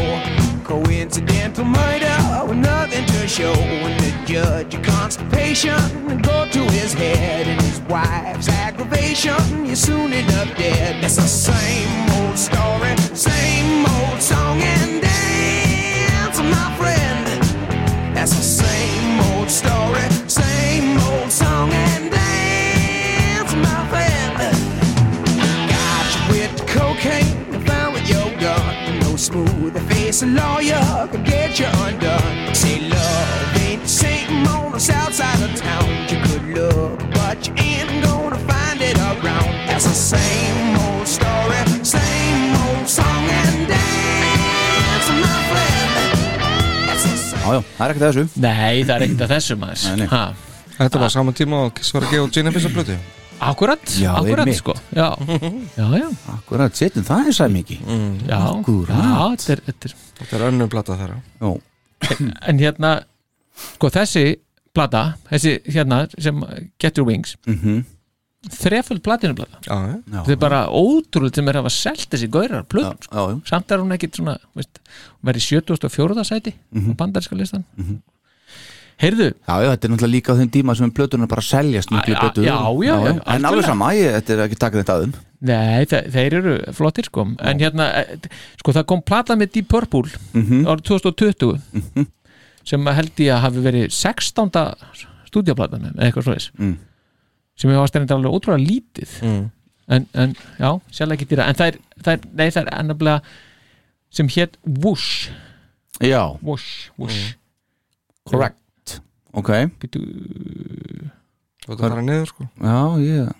[SPEAKER 2] Coincidental murder with nothing to show. When the judge of constipation go to his head and his wife's aggravation, you're soon enough dead. That's the same old story, same old song and dance, my friend. That's the same old story, same old song and dance, my friend. Got you with the cocaine, and found with your gun. No smooth face, a lawyer could get you undone. Say love ain't the same on the south side of town. You could look, but you ain't gonna find it around. That's the same old story, same old song and dance, my friend. That's the same.
[SPEAKER 4] Já, já, það er ekkert að þessu
[SPEAKER 5] Nei, það er ekkert að þessu maður
[SPEAKER 4] Nei, nei.
[SPEAKER 5] Ha,
[SPEAKER 6] Þetta var saman tíma og Kiss var að gefa út sína fyrsta blötu
[SPEAKER 5] Akkurat,
[SPEAKER 4] Já,
[SPEAKER 5] akkurat
[SPEAKER 4] einmitt.
[SPEAKER 5] sko Já, já, já,
[SPEAKER 4] Akkurat, setjum það er sæmingi
[SPEAKER 5] já,
[SPEAKER 4] Akkúrat.
[SPEAKER 5] já þetta er, þetta er.
[SPEAKER 6] Þetta er önnum blata þeirra
[SPEAKER 4] Já,
[SPEAKER 5] En hérna, sko þessi plata, þessi hérna sem Get Your Wings mm -hmm. Þreföld platinuplata
[SPEAKER 6] Já,
[SPEAKER 4] Mhm. já,
[SPEAKER 5] Þetta er bara ótrúlega sem er að hafa selt þessi gaurar plöðum sko.
[SPEAKER 4] já, já,
[SPEAKER 5] Samt er hún ekkit svona, veist, hún verið 74. sæti
[SPEAKER 4] Mhm.
[SPEAKER 5] á bandarinska listan Heyrðu,
[SPEAKER 4] já, já, þetta er náttúrulega líka á þeim tíma sem plötunar bara seljast miklu
[SPEAKER 5] Já,
[SPEAKER 4] betur
[SPEAKER 5] já, já, já,
[SPEAKER 4] En
[SPEAKER 5] algjörlega.
[SPEAKER 4] alveg sama, ég, þetta er ekki takað þetta aðum
[SPEAKER 5] Nei, þe þeir eru flottir sko En hérna, eh, sko það kom plata með Deep Purple árið 2020 sem að held ég að hafi verið 16. stúdíaplata með eða eitthvað svoleiðis
[SPEAKER 4] Mm.
[SPEAKER 5] sem ég var stendin alveg ótrúlega lítið en, en já, sjálf ekki dýra en það er, það er, nei það er ennabla sem hétt Woosh
[SPEAKER 4] Já,
[SPEAKER 5] Woosh, Woosh
[SPEAKER 4] correct Ok,
[SPEAKER 5] Býtu,
[SPEAKER 6] þú ert að fara niður sko
[SPEAKER 4] já, ég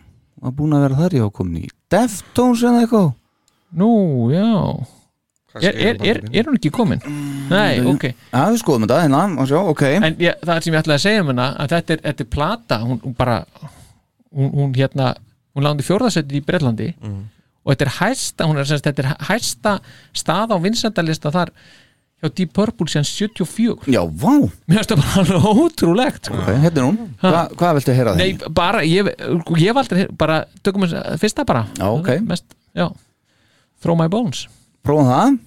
[SPEAKER 4] var búin að vera þar ég á komin í Deftones eða eitthvað
[SPEAKER 5] Nú, já er,
[SPEAKER 6] um
[SPEAKER 5] er, er, er hún ekki komin? Nei, ok
[SPEAKER 4] Já, við skoðum þetta, hérna, og sjá, ok
[SPEAKER 5] en ég, það sem ég ætlaði að segja um hana að þetta er, þetta er plata hún, hún bara hún, hún hérna, hún lándi fjórðasettið í Bretlandi og þetta er hæsta hún er semst, þetta er hæsta stað á vinsendalista þar hjá Deep Purple síðan 74
[SPEAKER 4] Já, vá, ok,
[SPEAKER 5] mér finnst það bara alveg ótrúlegt sko.
[SPEAKER 4] hérna er hún Hva, Hvað viltu heyra
[SPEAKER 5] nei,
[SPEAKER 4] þeim?
[SPEAKER 5] bara, ég, ég valdi bara, tökum við fyrsta bara
[SPEAKER 4] Já, ok.
[SPEAKER 5] Mest, já. Throw My Bones
[SPEAKER 4] Prófum það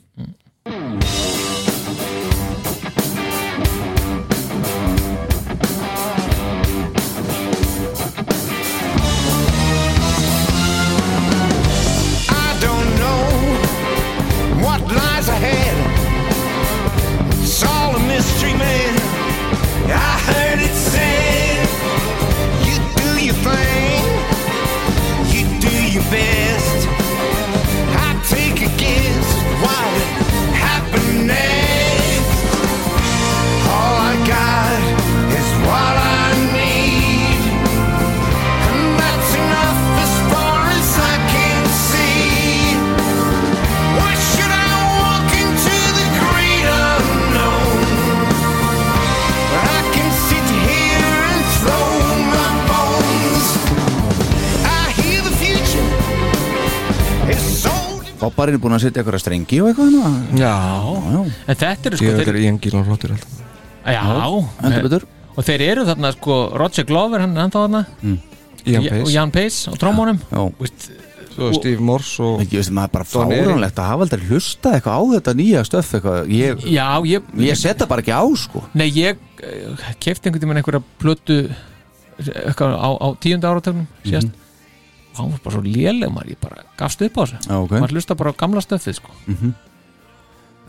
[SPEAKER 4] Bobbarinn er búin að setja eitthvað strengi og eitthvað hérna. hana.
[SPEAKER 5] Já, en þetta eru sko
[SPEAKER 6] Ég veit
[SPEAKER 5] þeir,
[SPEAKER 6] að Ian Gillan flottur alltaf
[SPEAKER 5] Já,
[SPEAKER 4] Endur betur
[SPEAKER 5] og þeir eru þarna sko Roger Glover, hann er ennþá þarna
[SPEAKER 6] Ian
[SPEAKER 5] og
[SPEAKER 6] Pace,
[SPEAKER 5] Jan Pace og trómónum
[SPEAKER 4] Já,
[SPEAKER 5] Vist,
[SPEAKER 6] svo Steve Morse og
[SPEAKER 4] ekki veist maður er bara
[SPEAKER 6] Don Eric.
[SPEAKER 4] fáránlegt að hafa aldrei hlusta eitthvað á þetta nýja stöf eitthvað Ég,
[SPEAKER 5] Já, ég,
[SPEAKER 4] ég setja bara ekki á sko
[SPEAKER 5] nei, ég kefti einhvern tímann einhverja plötu eitthvað á, á tíunda áratögnum síðast
[SPEAKER 4] Mhm.
[SPEAKER 5] og hann var bara svo léleg maður, ég bara gafst upp á þessu
[SPEAKER 4] Já, ok
[SPEAKER 5] maður hlusta bara á gamla stöfið sko.
[SPEAKER 4] Mhm.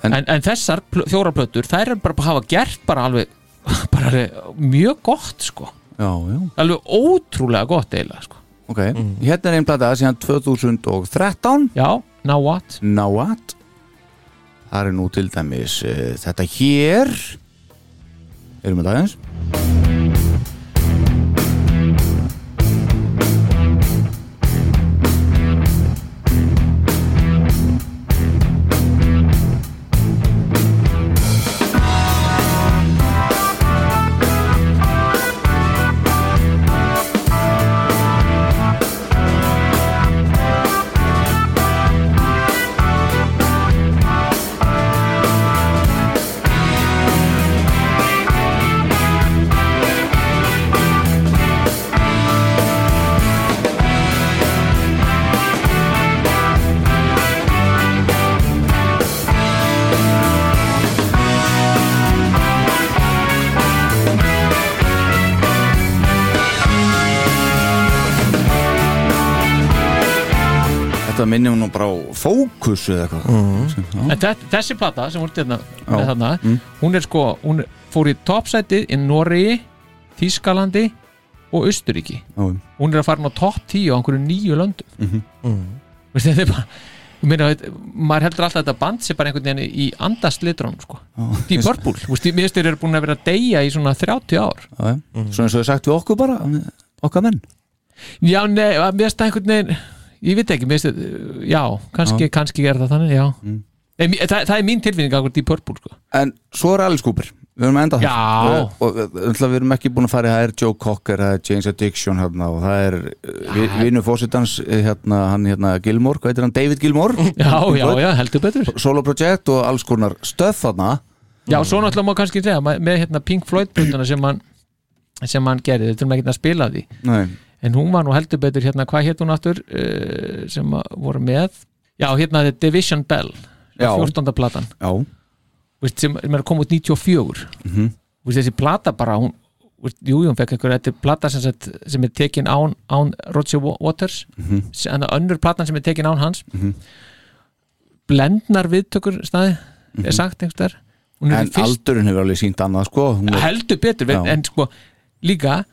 [SPEAKER 4] En-
[SPEAKER 5] en, en, þessar pl fjóraplötur þær er bara að hafa gert bara alveg [LAUGHS] bara alveg mjög gott sko.
[SPEAKER 4] Já, já,
[SPEAKER 5] alveg ótrúlega gott eiginlega sko.
[SPEAKER 4] ok Hérna er einn plata síðan 2013
[SPEAKER 5] já, now what
[SPEAKER 4] Now what? Það er nú til dæmis uh, þetta hér Erum við dagins? Þetta minnum nú bara á fókus eða eitthvað
[SPEAKER 5] en þe- þessi plata sem voru þarna,
[SPEAKER 4] Já. Mm.
[SPEAKER 5] með þarna hún er sko, hún fór í topsætið í Noregi, Þískalandi og Östuríki
[SPEAKER 4] Já,
[SPEAKER 5] hún er að fara inn á topp 10 á einhverju nýju löndum mm -hmm. þetta er bara ég meina, þetta- maður heldur alltaf að þetta band sé bara einhvern veginn í andaslitrunum sko. Deep Purple, Þú veist, ég veist þeir eru búin að vera að deyja í svona 30
[SPEAKER 4] já,
[SPEAKER 5] ár
[SPEAKER 4] já. Svona eins og ég sagt við okkur bara Okkar menn
[SPEAKER 5] já, nei, að mér veist það einhvern veginn ég veit ekki, mér veist þetta já, kannski, kannski er það þannig, já Nei, mér- Það, það er mín tilfinning að Deep Purple sko.
[SPEAKER 4] En svo er Alice Cooper Við erum að enda það
[SPEAKER 5] Já.
[SPEAKER 4] Og, og, og ætla, við erum ekki búin að fara í Það er Joe Cocker, það er James Addiction hérna, og það er vi, vinnu fósitans hérna, hann hérna Gilmore, hvað heitir hann? David
[SPEAKER 5] [LAUGHS]
[SPEAKER 4] Gilmore
[SPEAKER 5] Já, já, já, heldur betur
[SPEAKER 4] Solo Project og alls konar stöð þarna
[SPEAKER 5] Já, svo náttúrulega má kannski segja ma- með hérna Pink Floyd brutuna sem hann sem hann gerði, þetta er maður ekki að spila af því
[SPEAKER 4] Nei,
[SPEAKER 5] en hún var nú heldur betur hérna, hvað hétt hún aftur uh, sem að voru með já, hérna The Division Bell
[SPEAKER 4] Já.
[SPEAKER 5] 14. platan,
[SPEAKER 4] já,
[SPEAKER 5] veist, sem er að koma út 94 mm
[SPEAKER 4] Mhm.
[SPEAKER 5] veist, þessi plata bara hún, veist, jú, jú, hún fekk einhver þetta er plata sem, sett, sem er tekin án, án Roger Wa- Waters mm
[SPEAKER 4] Mhm.
[SPEAKER 5] -hmm. en önnur platan sem er tekin án hans blendnar viðtökur staði, er sagt einhver hún er
[SPEAKER 4] Mhm. en
[SPEAKER 5] í fyrst
[SPEAKER 4] aldurinn hefur alveg sínt annað sko Hún er,
[SPEAKER 5] heldur betur
[SPEAKER 4] Já.
[SPEAKER 5] en sko líka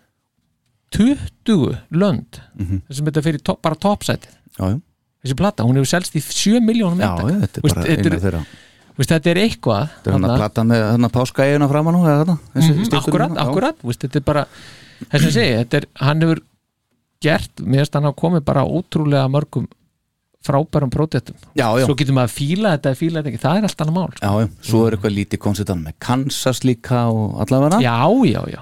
[SPEAKER 5] 20 lönd mm
[SPEAKER 4] Mhm.
[SPEAKER 5] -hmm. sem þetta fyrir top, bara topsætið
[SPEAKER 4] já, já,
[SPEAKER 5] þessi plata, hún hefur selst í 7 miljónum
[SPEAKER 4] já, já, þetta er bara eina
[SPEAKER 5] þetta, er-
[SPEAKER 4] þeirra
[SPEAKER 5] veist, þetta er eitthvað
[SPEAKER 4] Þetta er hann að
[SPEAKER 5] þarna.
[SPEAKER 4] plata með hann að páska eiguna framan nú eða þarna, þessi
[SPEAKER 5] Mhm,
[SPEAKER 4] styttur
[SPEAKER 5] akkurat,
[SPEAKER 4] hérna, já.
[SPEAKER 5] akkurat veist, þetta er bara, þess að segja þetta er, hann hefur gert, mér finnst hann hafa komið bara ótrúlega mörgum frábærum prótettum,
[SPEAKER 4] Já, já,
[SPEAKER 5] svo getur maður að fíla þetta, fíla þetta ekki, það er allt annað mál sko.
[SPEAKER 4] já, já, svo er eitthvað lítið konsertan með Kansas líka og allavega
[SPEAKER 5] já, já, já,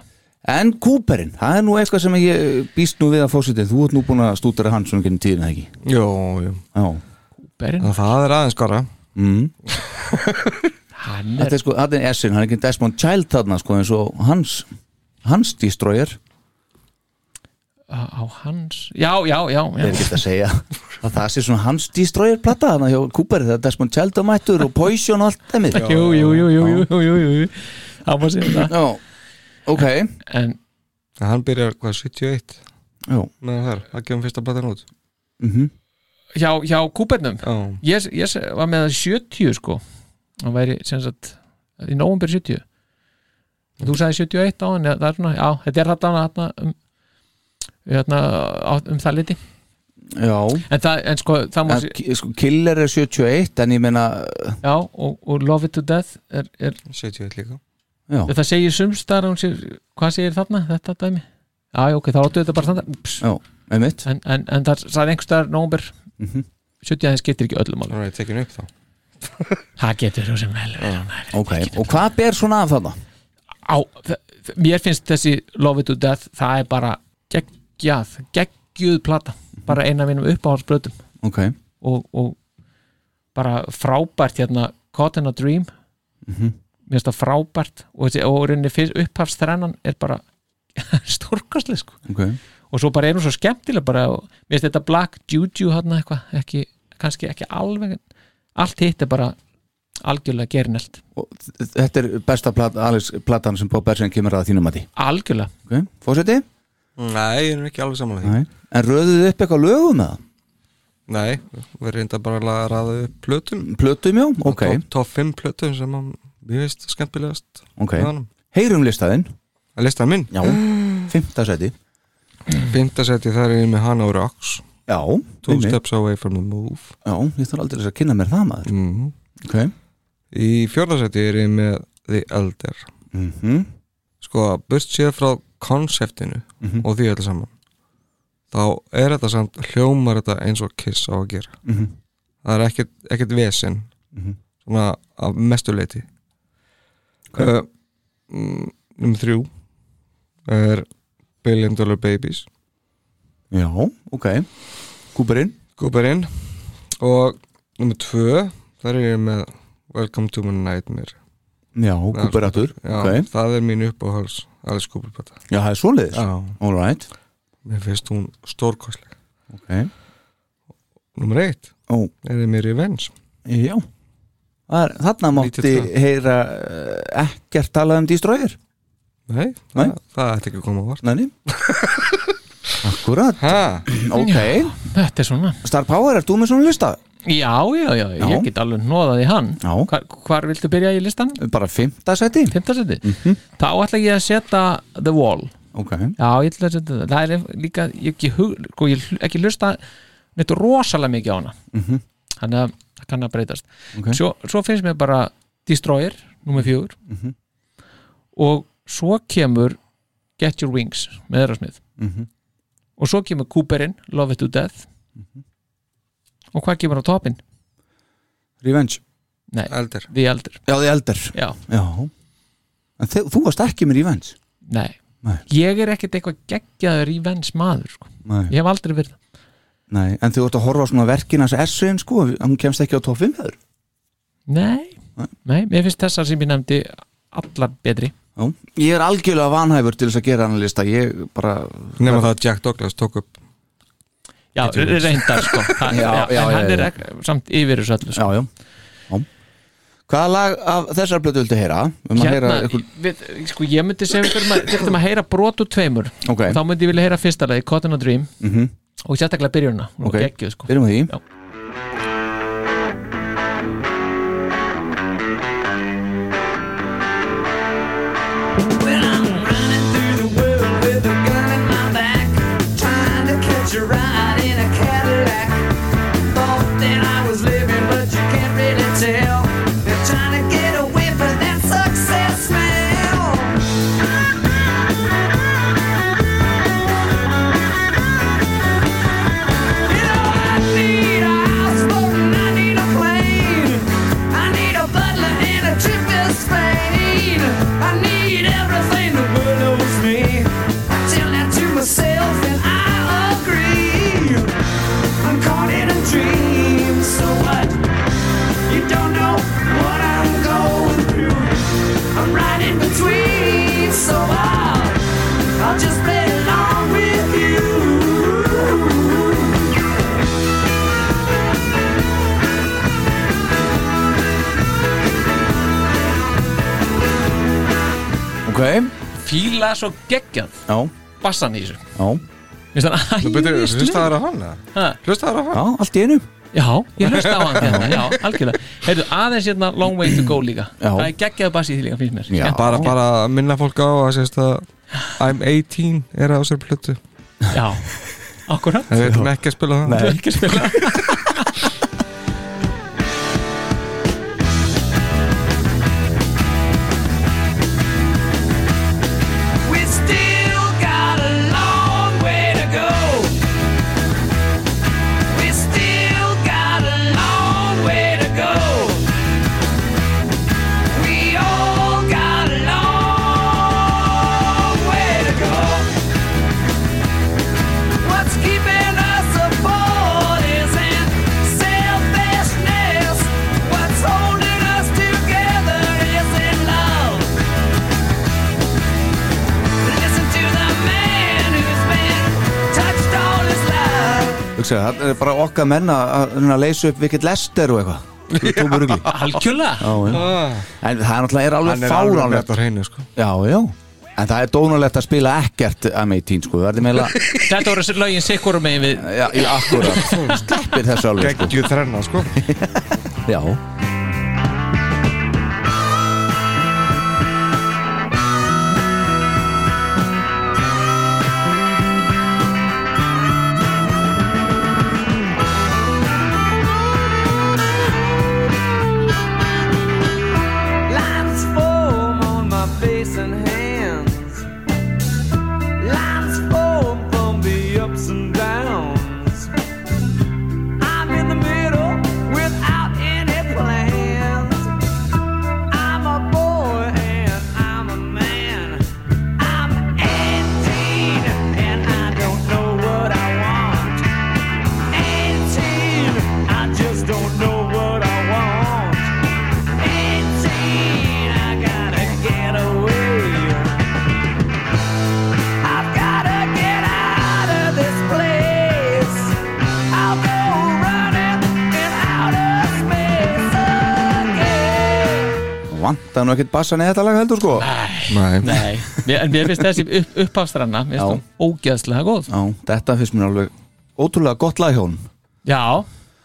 [SPEAKER 4] En Cooperinn, það er nú eitthvað sem ég eh, býst nú við að fósitið, þú ert nú búin að stútara hann svona gennum tíðina ekki
[SPEAKER 6] Jó, jú
[SPEAKER 4] Já,
[SPEAKER 5] Berin,
[SPEAKER 6] En Það er aðeins skara
[SPEAKER 4] mm.
[SPEAKER 5] hann er
[SPEAKER 4] þetta er sko, þetta er S-in, hann er ekki Desmond Child þarna sko eins og hans, hans destroyer
[SPEAKER 5] á á hans, já, já,
[SPEAKER 4] Ég
[SPEAKER 5] já, já.
[SPEAKER 4] er ekki að segja að það sé svona hans destroyer plata þannig hjá Cooperinn, það er Desmond Child á mættur og Poison og allt þeimir Já,
[SPEAKER 5] jú, jú, jú, jú, jú, jú, jú, jú það má segja það
[SPEAKER 4] ok,
[SPEAKER 5] en,
[SPEAKER 6] En Hann byrjar, hvað, 71
[SPEAKER 4] já,
[SPEAKER 6] með þar, það gefum fyrsta platan út
[SPEAKER 4] mhm
[SPEAKER 5] hjá, hjá kúpernum
[SPEAKER 6] Já,
[SPEAKER 5] ég, ég se- var með það 70 sko hann væri sem sagt í nóvumbir 70 Og þú sagði 71 á hann eða það er svona, já, þetta er þetta hann um, hérna, á- um það liti
[SPEAKER 4] Já,
[SPEAKER 5] en, það, en sko, það má
[SPEAKER 4] en,
[SPEAKER 5] sé-
[SPEAKER 4] ki- sko, Killer er 71 en ég meina,
[SPEAKER 5] já, og, og Love It To Death er, er,
[SPEAKER 6] 71 líka
[SPEAKER 4] já,
[SPEAKER 5] það segir sumstar hún sér, hvað segir þarna, þetta dæmi já, já, ok, þá áttu þetta bara standa Pss,
[SPEAKER 4] já, einmitt
[SPEAKER 5] en, en, en það sagði einhverstaðar nóvumbir
[SPEAKER 4] mm
[SPEAKER 5] Mhm. 70 aðeins getur ekki öllum alveg
[SPEAKER 6] Það er tekin upp þá
[SPEAKER 5] það getur þú sem vel verið, maður.
[SPEAKER 4] Ok, og hvað ber svona af þarna?
[SPEAKER 5] á, þ- þ- mér finnst þessi Love It To Death, það er bara geggjað, geggjuð plata bara eina af mínum uppáhaldsbrötum
[SPEAKER 4] Ok,
[SPEAKER 5] og, og bara frábært hérna Caught in a Dream
[SPEAKER 4] Mhm.
[SPEAKER 5] mér finnst það frábært og, þessi- og rauninni fyrst upphafstrennan er bara [LAUGHS] stórkastlega sko
[SPEAKER 4] okay.
[SPEAKER 5] og svo bara er hún svo skemmtileg bara og mér finnst þetta Black Juju hann eitthvað ekki, kannski ekki alveg en allt hitt er bara algjörlega gerinelt
[SPEAKER 4] Þetta er besta plat, Alex, platan sem Bob Bersen kemur að þínum mati
[SPEAKER 5] algjörlega
[SPEAKER 4] okay. Fórseti?
[SPEAKER 6] Nei, ég er ekki alveg saman að því
[SPEAKER 4] Nei. En röðuðu upp eitthvað lögum það?
[SPEAKER 6] Nei, við reynda bara að ræða upp plötum
[SPEAKER 4] Plötum já, ok,
[SPEAKER 6] Top, top 5 plötum sem að mér veist skemmtilegast
[SPEAKER 4] ok
[SPEAKER 6] með honum.
[SPEAKER 4] Heyrum listaðinn,
[SPEAKER 6] Að listan
[SPEAKER 4] [CLEARS THROAT]
[SPEAKER 6] minn
[SPEAKER 4] já, fimmta seti
[SPEAKER 6] Fyndasetti þar er ég með Hana og Rocks
[SPEAKER 4] Já,
[SPEAKER 6] Two
[SPEAKER 4] einmitt.
[SPEAKER 6] Steps Away from the Move
[SPEAKER 4] já, ég þarf aldrei að kynna mér það maður
[SPEAKER 6] mm
[SPEAKER 4] Ok,
[SPEAKER 6] Í fjórðasetti er ég með The Elder
[SPEAKER 4] mhm
[SPEAKER 6] Sko, burt séð frá konseptinu
[SPEAKER 4] Mhm.
[SPEAKER 6] og því öllu saman þá er þetta samt hljómar þetta eins og Kiss á að gera
[SPEAKER 4] Mhm.
[SPEAKER 6] það er ekkert, ekkert vesen
[SPEAKER 4] Mhm.
[SPEAKER 6] svona að mestu leiti uh, mm, Númer þrjú er Billion Dollar Babies
[SPEAKER 4] Já, ok Kúperinn
[SPEAKER 6] Cooperinn og nummer tvö þar er ég með Welcome to my nightmare
[SPEAKER 4] Já, Kúperattur
[SPEAKER 6] Já,
[SPEAKER 4] Ok,
[SPEAKER 6] það er mín uppáhals Alice Cooper plata
[SPEAKER 4] já, það er svoleiðis
[SPEAKER 6] Já,
[SPEAKER 4] All right,
[SPEAKER 6] mér finnst hún stórkostleg
[SPEAKER 4] ok
[SPEAKER 6] Númer eitt
[SPEAKER 4] Ó,
[SPEAKER 6] er þið mér í vens
[SPEAKER 4] já Það er, Þarna mátti
[SPEAKER 6] 92.
[SPEAKER 4] heyra eh, ekkert talað um Destroyer
[SPEAKER 6] Nei,
[SPEAKER 4] Nei.
[SPEAKER 6] Það, það ætti ekki að koma á
[SPEAKER 4] [LAUGHS]
[SPEAKER 6] vart
[SPEAKER 4] Næni Akkurat,
[SPEAKER 6] Ha,
[SPEAKER 4] ok
[SPEAKER 5] þetta er svona
[SPEAKER 4] Star Power, ert þú með svona lista?
[SPEAKER 5] já, já, já,
[SPEAKER 4] Já.
[SPEAKER 5] ég get alveg nóðað í hann
[SPEAKER 4] Já,
[SPEAKER 5] hvar, hvar viltu byrja í listan?
[SPEAKER 4] bara fimmta seti
[SPEAKER 5] Fymtasetti? Mm
[SPEAKER 4] Mhm.
[SPEAKER 5] þá ætla ég að setja The Wall
[SPEAKER 4] Ok,
[SPEAKER 5] já, ég ætla að setja það það er líka, ég ekki, hug, sko, ég hl- ekki hlusta neitt rosalega mikið á hana
[SPEAKER 4] Mhm.
[SPEAKER 5] þannig að það kann að breytast
[SPEAKER 4] Ok.
[SPEAKER 5] svo, svo finnst mér bara Destroyer, nummer fjögur
[SPEAKER 4] Mhm.
[SPEAKER 5] og svo kemur Get Your Wings með Erasmith
[SPEAKER 4] Mhm.
[SPEAKER 5] og svo kemur Cooperinn, Love It to Death
[SPEAKER 4] Mhm.
[SPEAKER 5] og hvað kemur á topin?
[SPEAKER 4] Revenge
[SPEAKER 5] Nei,
[SPEAKER 6] eldir
[SPEAKER 5] The Elder
[SPEAKER 4] Já, þið eldur
[SPEAKER 5] já,
[SPEAKER 4] Já En þe- þú varst ekki með Revenge
[SPEAKER 5] nei.
[SPEAKER 4] Nei.
[SPEAKER 5] ég er ekkert eitthvað geggjaður í vens maður sko.
[SPEAKER 4] Nei,
[SPEAKER 5] ég hef aldrei verið það
[SPEAKER 4] Nei. en þú ert að horfa á svona verkin hans S-in sko, hann kemst ekki á topp 5 meður
[SPEAKER 5] Nei,
[SPEAKER 4] Nei.
[SPEAKER 5] nei, mér finnst þessar sem ég nefndi allar betri
[SPEAKER 4] Já, ég er algjörlega vanhæfur til þess að gera hann lista Ég bara,
[SPEAKER 6] Nefna það að Jack Douglas tók upp
[SPEAKER 5] Já, reyndar
[SPEAKER 4] [LAUGHS]
[SPEAKER 5] sko Þa,
[SPEAKER 4] Já, já,
[SPEAKER 5] En
[SPEAKER 4] já,
[SPEAKER 5] hann
[SPEAKER 4] já.
[SPEAKER 5] er ek, samt yfir þessu öllu sko.
[SPEAKER 4] já, já, já Hvaða lag af þessar blötu viltu heyra? Um
[SPEAKER 5] Hérna-
[SPEAKER 4] að heyra ykkur,
[SPEAKER 5] við, sko, Ég myndi segja fyrir maður Þetta maður um heyra brot úr tveimur
[SPEAKER 4] ok,
[SPEAKER 5] Þá myndi ég vilja heyra fyrsta lagi, Cotton and Dream
[SPEAKER 4] mm -hmm,
[SPEAKER 5] Og sérstaklega byrjunna,
[SPEAKER 4] Ok.
[SPEAKER 5] hún okay. geggjuð sko
[SPEAKER 4] byrjum á því
[SPEAKER 5] Já.
[SPEAKER 9] When I'm running through the world with a gun in my back, trying to catch a ride in a Cadillac. Thought that I was living, but you can't really tell. They're trying to get a whiff of that success smell. You know I need a houseboat and I need a plane. I need a butler and a trip to Spain. I need everything the world owes me. I tell that to myself and I agree. I'm caught in a dream, so what? You don't know what I'm going through. I'm right in between, so I'll, I'll just play along with you.
[SPEAKER 4] Ok,
[SPEAKER 5] Fíla svo geggjað
[SPEAKER 4] já,
[SPEAKER 5] bassan í þessu
[SPEAKER 4] já,
[SPEAKER 5] Mér finnst hann
[SPEAKER 6] Þú betur, hlusta
[SPEAKER 5] æðislega
[SPEAKER 6] það að hana
[SPEAKER 5] Ha?
[SPEAKER 6] Hlusta það að hana
[SPEAKER 4] já, allt í einu
[SPEAKER 5] Já, ég hlusta á hann hérna, já, algjörlega Heyrðu, aðeins hérna Long Way to Go líka
[SPEAKER 4] Já.
[SPEAKER 5] Það er geggjað bassi í því líka, finnst mér
[SPEAKER 4] Já.
[SPEAKER 6] Bara, bara að minna fólk á að sést að I'm 18 er á sér plötu
[SPEAKER 5] já. akkurat
[SPEAKER 6] En við ætlum ekki að spila það
[SPEAKER 4] Nei.
[SPEAKER 5] ekki að spila
[SPEAKER 9] We still got a long way to go. We still got a long way to go. We all got a long way to go. What's keeping us apart isn't
[SPEAKER 4] segja, það er bara okkar menna að, að leysa upp Vikit Lester og eitthvað
[SPEAKER 5] Algjörlega
[SPEAKER 4] [LAUGHS]
[SPEAKER 6] Ah.
[SPEAKER 4] já, já. En það er náttúrulega er
[SPEAKER 6] Hann
[SPEAKER 4] alveg
[SPEAKER 6] er alveg
[SPEAKER 4] fáránlegt
[SPEAKER 6] rétt á hreinu, sko.
[SPEAKER 4] Já, já En það er dónulegt að spila ekkert M18 sko, það er meila [LAUGHS]
[SPEAKER 5] Þetta voru sér lögin sikkurum megin við
[SPEAKER 4] Já, í akkurat Sleppir þessu alveg sko.
[SPEAKER 6] Gekkju þrenna, sko
[SPEAKER 4] Já,
[SPEAKER 9] Lines form on my face and hands. Lines form from the ups and downs. I'm in the middle without any plans. I'm a boy and I'm a man. I'm 18 and I don't know what I want. 18, I just don't know what I want. 18, I gotta get away. I've gotta get out of this place. I'll go running in outer space again.
[SPEAKER 4] vantar nú ekkert bassan í þetta lag heldur sko
[SPEAKER 6] [LAUGHS] Nei,
[SPEAKER 5] Nei, mér- en mér finnst þessi upp, upphafstranna Mér
[SPEAKER 4] Já.
[SPEAKER 5] finnst hún ógeðslega góð
[SPEAKER 4] Já, þetta finnst mér alveg ótrúlega gott lag hjá hún
[SPEAKER 5] Já,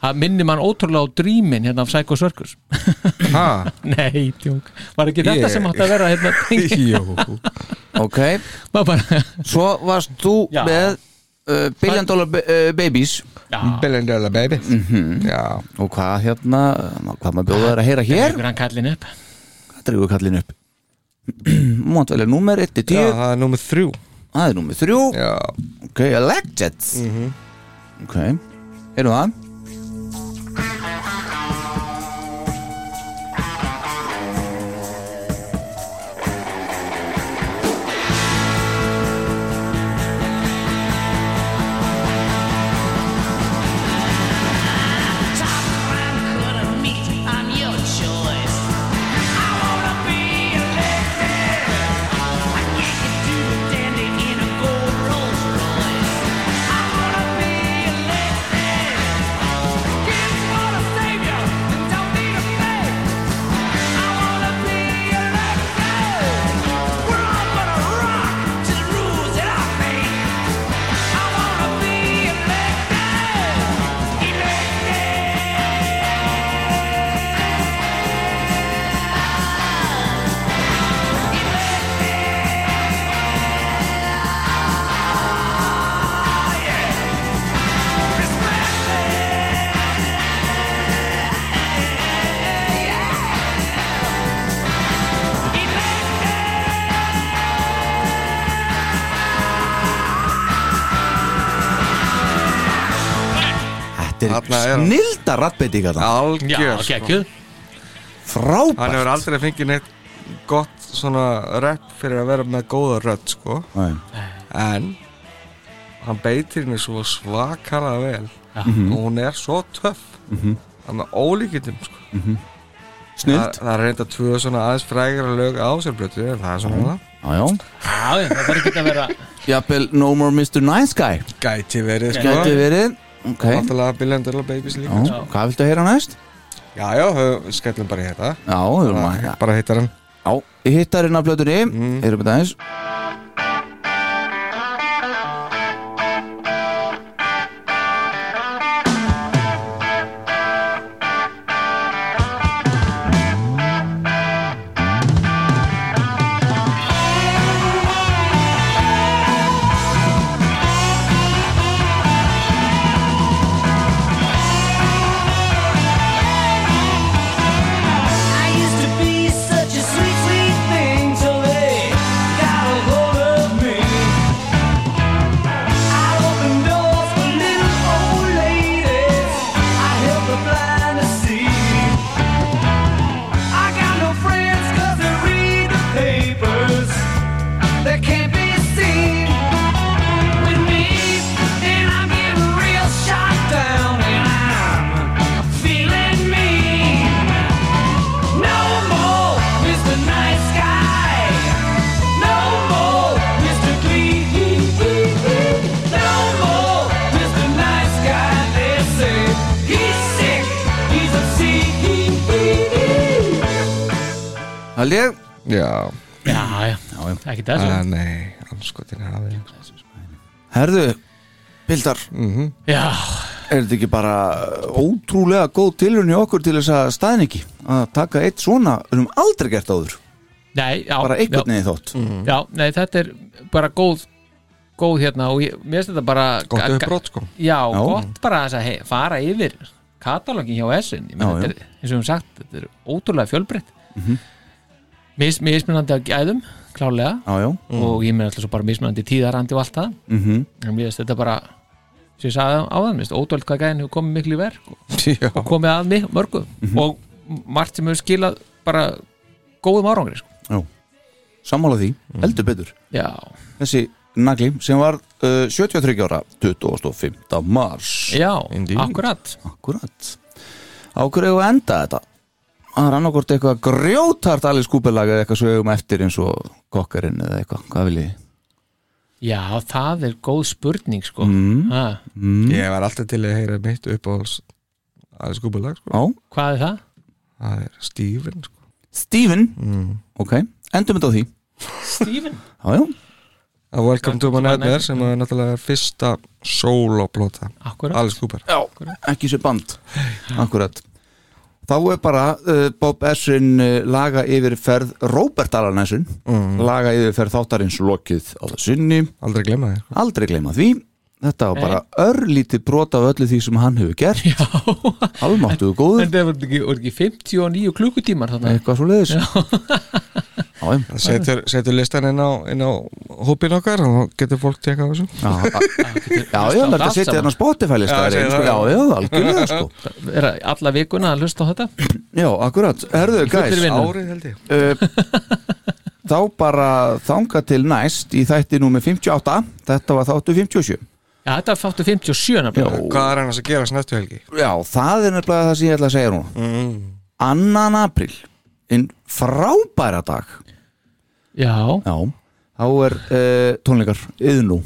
[SPEAKER 5] það minnir mann ótrúlega á drýmin hérna af Psycho Circus
[SPEAKER 6] ha
[SPEAKER 5] [LAUGHS] Nei, tjók, var ekki þetta
[SPEAKER 6] Ég-
[SPEAKER 5] sem átti að vera hérna
[SPEAKER 4] [LAUGHS]
[SPEAKER 5] tengið?
[SPEAKER 6] Jó
[SPEAKER 4] Ok,
[SPEAKER 5] Var bara,
[SPEAKER 4] svo varst þú
[SPEAKER 5] Já.
[SPEAKER 4] með uh, Billion Dollar ba uh, Babies
[SPEAKER 5] já,
[SPEAKER 6] Billion Dollar Baby Já,
[SPEAKER 4] Og hvað hérna, uh, hvað maður bjóða þær að heyra hér
[SPEAKER 5] ykkur hann kallin upp
[SPEAKER 6] hérna.
[SPEAKER 4] Hvað dregur kallin upp? [CLEARS THROAT] Mátt velja númer 1 til
[SPEAKER 6] já,
[SPEAKER 4] 10
[SPEAKER 6] það er númer þrjú
[SPEAKER 4] Það er númer 3
[SPEAKER 6] Já, Mhm.
[SPEAKER 4] Ok, Elected Ok, erum það Þetta
[SPEAKER 6] Þarna er
[SPEAKER 4] er
[SPEAKER 6] hann.
[SPEAKER 4] snilda rattbeitingar það
[SPEAKER 5] Já,
[SPEAKER 6] algjör sko.
[SPEAKER 5] geggjuð
[SPEAKER 6] Hann
[SPEAKER 4] Frábært
[SPEAKER 6] hefur aldrei fengið neitt gott svona rep fyrir að vera með góða rödd sko
[SPEAKER 4] Nei.
[SPEAKER 6] en hann beitir henni svo svakalega vel
[SPEAKER 5] Já.
[SPEAKER 6] og hún er svo töff mm -hmm. hann er ólíkittum sko. það,
[SPEAKER 4] Snillt
[SPEAKER 6] það er reynda tvö svona aðeins frægara lög á sér blötu en það er svona það
[SPEAKER 4] Já, já
[SPEAKER 5] Já, já, það þarf ekki að vera
[SPEAKER 4] Jafnvel No More Mr. Nice Guy
[SPEAKER 6] gæti verið sko
[SPEAKER 4] Gæti verið Ok,
[SPEAKER 6] Náttúrulega Billion Dollar Babies líka
[SPEAKER 4] já,
[SPEAKER 6] já.
[SPEAKER 4] hvað viltu að heyra næst?
[SPEAKER 6] já, já, hö- skellum bara í þetta
[SPEAKER 4] Já, við erum að
[SPEAKER 6] Bara hittar hann
[SPEAKER 4] Já, í hittarinn af blötunni mm. Erum við aðeins
[SPEAKER 9] I used to be such a sweet, sweet thing till they got a E
[SPEAKER 4] held ég
[SPEAKER 6] Já,
[SPEAKER 5] Já, já,
[SPEAKER 4] Já, já.
[SPEAKER 5] ekki
[SPEAKER 6] að
[SPEAKER 5] þessu
[SPEAKER 6] Ah, nei, anskotin hafið
[SPEAKER 4] Herðu, Bildar,
[SPEAKER 5] Já,
[SPEAKER 4] er þetta ekki bara ótrúlega góð tilhörn í okkur til þess að staðningi að taka eitt svona, við erum aldrei gert áður
[SPEAKER 5] nei, já
[SPEAKER 4] bara einhvern
[SPEAKER 5] já,
[SPEAKER 4] veginn þótt
[SPEAKER 5] já, nei, þetta er bara góð góð hérna og ég, mér finnst þetta bara
[SPEAKER 6] Gott
[SPEAKER 5] ga- ga-
[SPEAKER 6] uppbrot sko
[SPEAKER 5] Já,
[SPEAKER 4] Já.
[SPEAKER 5] gott bara þess að he, fara yfir katalógin hjá S-in Ég meina,
[SPEAKER 4] Já, já.
[SPEAKER 5] þetta er, eins og við höfum sagt, þetta er ótrúlega fjölbreytt Mis, Mismunandi af gæðum, klálega
[SPEAKER 4] Já, já,
[SPEAKER 5] og ég meina alltaf svo bara mismunandi tíðarandi og allt það
[SPEAKER 4] mhm,
[SPEAKER 5] en mér finnst þetta bara sem ég sagði áðan, minnst, ótrúlega hvað gæðin hefur komið miklu í verk og
[SPEAKER 6] Já,
[SPEAKER 5] komið að mig mörgu og margt sem hefur skilað bara góðum árangri sko.
[SPEAKER 4] já Sammála því, heldur betur
[SPEAKER 5] Já,
[SPEAKER 4] Þessi nagli sem var uh, 73 ára 25. mars
[SPEAKER 5] já,
[SPEAKER 6] Indeed.
[SPEAKER 5] akkurat
[SPEAKER 4] Akkurat Á hverju eigum við að enda þetta? Það er annarkort eitthvað grjótart Alice Cooper lag eða eitthvað svo eigum eftir eins og kokkarinn eða eitthvað, hvað vil ég?
[SPEAKER 5] Já, það er góð spurning sko.
[SPEAKER 4] Mm.
[SPEAKER 5] ha,
[SPEAKER 6] ég var alltaf til að heyra mitt uppáhalds aðeins skupulag sko
[SPEAKER 4] Já,
[SPEAKER 5] Hvað er það?
[SPEAKER 6] Það er Steven sko
[SPEAKER 4] Steven
[SPEAKER 5] Mm.
[SPEAKER 4] Ok, endum þetta á því
[SPEAKER 5] Steven?
[SPEAKER 4] Já, já,
[SPEAKER 6] Að Welcome to my
[SPEAKER 5] Nightmare,
[SPEAKER 6] nightmare sem er náttúrulega fyrsta sóloplóta
[SPEAKER 5] Akkurat
[SPEAKER 6] Alice Cooper
[SPEAKER 4] ekki sér band Akkurat Þá er bara uh, Bob Essin uh, laga yfirferð Robert Alan Essin
[SPEAKER 5] Mm.
[SPEAKER 4] laga yfirferð þáttarins lokið á þessunni
[SPEAKER 6] Aldrei glemma þér
[SPEAKER 4] Aldrei gleyma því Þetta var
[SPEAKER 5] Nei.
[SPEAKER 4] bara örlítið brot af öllu því sem hann hefur gert
[SPEAKER 5] Já,
[SPEAKER 4] Almáttuðu góður
[SPEAKER 5] en það voru ekki, voru ekki 59 klukkutímar þannig
[SPEAKER 4] eitthvað svo leiðis já,
[SPEAKER 6] Það setur, setur listan inn á, inn á hópin okkar og þá getur fólk tekað á þessu
[SPEAKER 4] já, já, já,
[SPEAKER 5] allt
[SPEAKER 4] þetta setja
[SPEAKER 5] saman.
[SPEAKER 4] hérna Spotify lista
[SPEAKER 6] Já,
[SPEAKER 4] já,
[SPEAKER 6] segir
[SPEAKER 4] sko,
[SPEAKER 6] það.
[SPEAKER 4] já, já, algjörlega sko
[SPEAKER 5] Er það alla vikuna að hlusta á þetta?
[SPEAKER 4] já, akkurat, herðu,
[SPEAKER 5] fullri
[SPEAKER 4] guys
[SPEAKER 5] vinnu.
[SPEAKER 6] Árið held ég
[SPEAKER 4] uh, þá bara þanga til næst í þætti númer 58 þetta var þáttu 57
[SPEAKER 5] Já, þetta er fáttu 57
[SPEAKER 4] já,
[SPEAKER 5] nefnilega
[SPEAKER 6] Hvað er annars að gera snættu helgi?
[SPEAKER 4] já, það er nefnilega það sem ég ætla að segja núna
[SPEAKER 6] Mm.
[SPEAKER 4] annan april en frábæra dag
[SPEAKER 5] Já,
[SPEAKER 4] já, þá er uh, tónleikar yðnú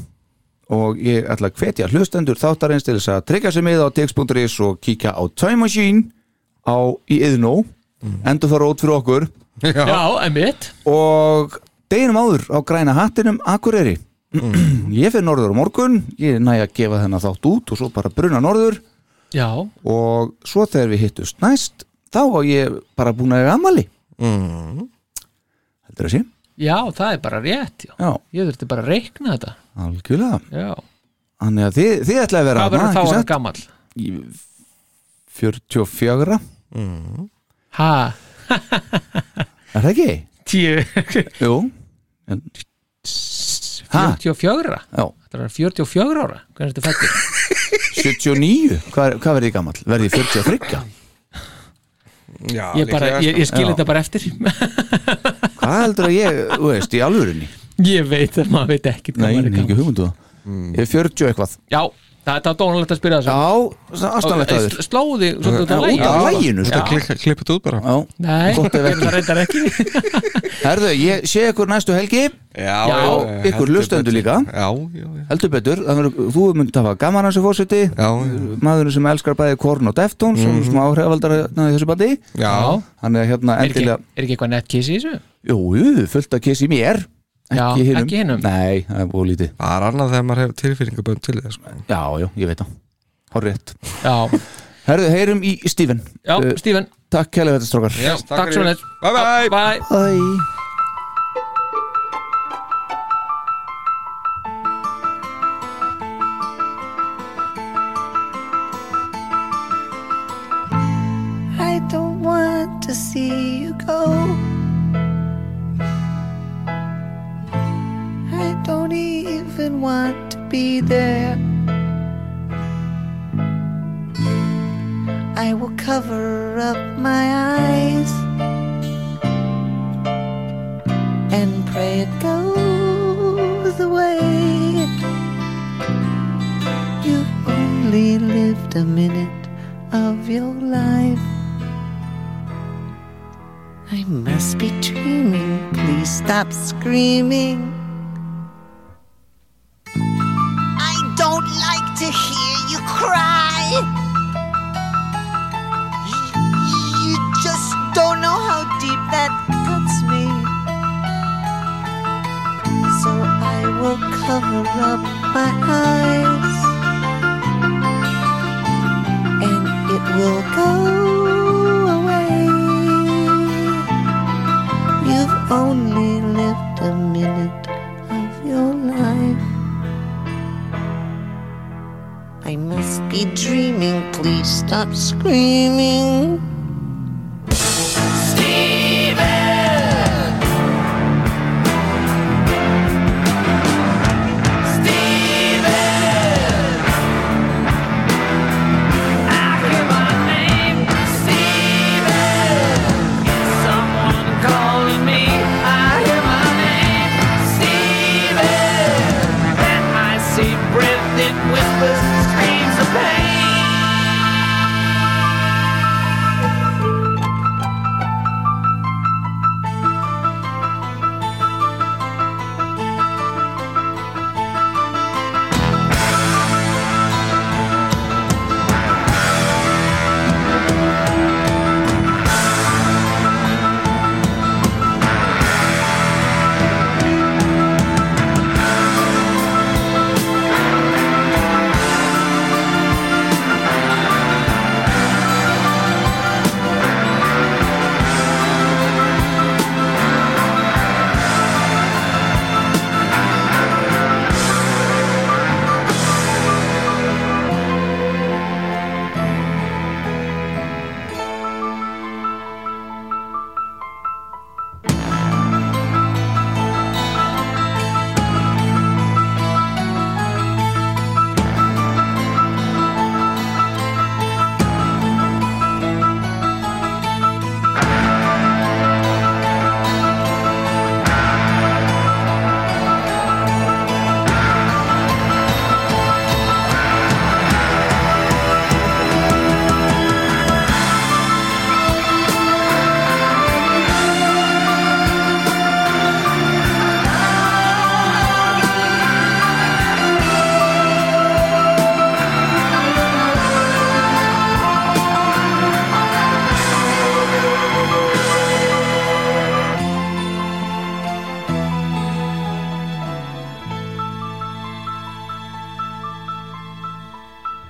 [SPEAKER 4] og ég ætla að hvetja hlustendur þáttarins til þess að tryggja sig með á tx.is og kíkja á Time Machine á, í yðnú endur fara út fyrir okkur
[SPEAKER 5] já, emitt
[SPEAKER 4] og deginum áður á græna hattinum Akureyri [CLEARS THROAT] ég fyrir norður á morgun ég næ að gefa þennan þátt út og svo bara bruna norður
[SPEAKER 5] Já,
[SPEAKER 4] og svo þegar við hittust næst þá á ég bara búin að eiga amali Mm. heldur að sé
[SPEAKER 5] já, það er bara rétt já.
[SPEAKER 4] já,
[SPEAKER 5] Ég þurfti bara að reikna þetta
[SPEAKER 4] algjörlega
[SPEAKER 5] Já,
[SPEAKER 4] þannig að þið, þið ætlaði að vera
[SPEAKER 5] hvað verður
[SPEAKER 4] þarna,
[SPEAKER 5] þá
[SPEAKER 4] ekki
[SPEAKER 5] hann
[SPEAKER 4] satt?
[SPEAKER 5] gamall?
[SPEAKER 4] Í 44
[SPEAKER 5] Ha,
[SPEAKER 4] er það ekki?
[SPEAKER 5] 10
[SPEAKER 4] jú En- ha,
[SPEAKER 5] 44
[SPEAKER 4] já,
[SPEAKER 5] Þetta er 44 ára, hvernig þetta fættir
[SPEAKER 4] 79 hvað, hvað verði ég gamall? verði ég 43?
[SPEAKER 6] Já,
[SPEAKER 5] Ég, bara,
[SPEAKER 6] líklega, sko.
[SPEAKER 5] ég, ég skil
[SPEAKER 4] Já.
[SPEAKER 5] þetta bara eftir [LAUGHS]
[SPEAKER 4] hvað heldur að ég, þú veist, í alvörinni?
[SPEAKER 5] Ég veit að maður veit ekkert hvað
[SPEAKER 4] Nei,
[SPEAKER 5] maður er
[SPEAKER 4] ekki
[SPEAKER 5] gamall.
[SPEAKER 4] hugmyndu það mm. Ég er 40 eitthvað
[SPEAKER 5] Já, þetta er dónalegt að spyrja þessu
[SPEAKER 4] Já, aðstæðanlegt að þér
[SPEAKER 5] Slóði svolítið út af
[SPEAKER 4] Út
[SPEAKER 5] lægi
[SPEAKER 4] af læginu
[SPEAKER 6] sko.
[SPEAKER 4] sko.
[SPEAKER 6] Þetta klikka- klippið þetta út bara
[SPEAKER 4] Já.
[SPEAKER 5] Nei,
[SPEAKER 4] Gott ef
[SPEAKER 5] gerði
[SPEAKER 4] ekki.
[SPEAKER 5] [LAUGHS] það reyndar ekki
[SPEAKER 4] Herðu, ég sé ykkur næstu helgi
[SPEAKER 5] Já,
[SPEAKER 4] ykkur
[SPEAKER 6] heldur
[SPEAKER 4] hlustendur
[SPEAKER 6] betur.
[SPEAKER 4] líka.
[SPEAKER 6] Já, já, já
[SPEAKER 4] Heldur betur, það verður, þú myndi hafa gaman hans í fórseti
[SPEAKER 6] Já, já.
[SPEAKER 4] Maðurinn sem elskar bæði Korn og Defton sem mm.
[SPEAKER 5] Mhm.
[SPEAKER 4] smá hrefaldar í þessu bandi
[SPEAKER 6] Já,
[SPEAKER 4] Hann er hérna
[SPEAKER 5] Er ekki,
[SPEAKER 4] endilega
[SPEAKER 5] er ekki eitthvað nettkiss í þessu?
[SPEAKER 4] Jú, jú, fullt að kissi mér
[SPEAKER 5] Já,
[SPEAKER 4] Ekki hinum
[SPEAKER 5] ekki hinum.
[SPEAKER 4] Nei, það er búið lítið
[SPEAKER 6] það er annað þegar maður hefur tilfinningabönd til þess sko.
[SPEAKER 4] Já, já, ég veit það Hárrétt
[SPEAKER 5] Já,
[SPEAKER 4] Herðu, heyrum í Steven
[SPEAKER 5] já,
[SPEAKER 4] Uh,
[SPEAKER 5] Stífen
[SPEAKER 4] Takk kælega þetta strókar
[SPEAKER 6] Já,
[SPEAKER 5] Takk svo neitt
[SPEAKER 6] Bye bye
[SPEAKER 5] Bye
[SPEAKER 4] Bye
[SPEAKER 2] I don't want to see you go. I don't even want to be there. I will cover up my eyes and pray it goes away. You only lived a minute of your life. I must be dreaming. Please stop screaming. I don't like to hear you cry. You just don't know how deep that cuts me.
[SPEAKER 1] will cover up my eyes and it will go away. You've only lived a minute of your life. I must be dreaming, please stop screaming. Steven!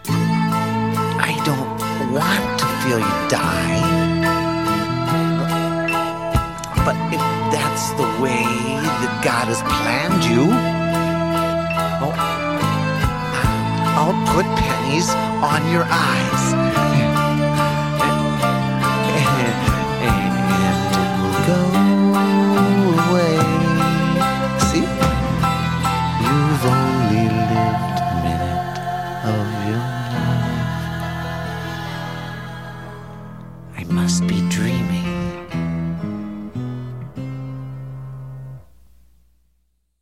[SPEAKER 9] I don't want to feel you die. But if that's the way that God has planned you, well, I'll put pennies on your eyes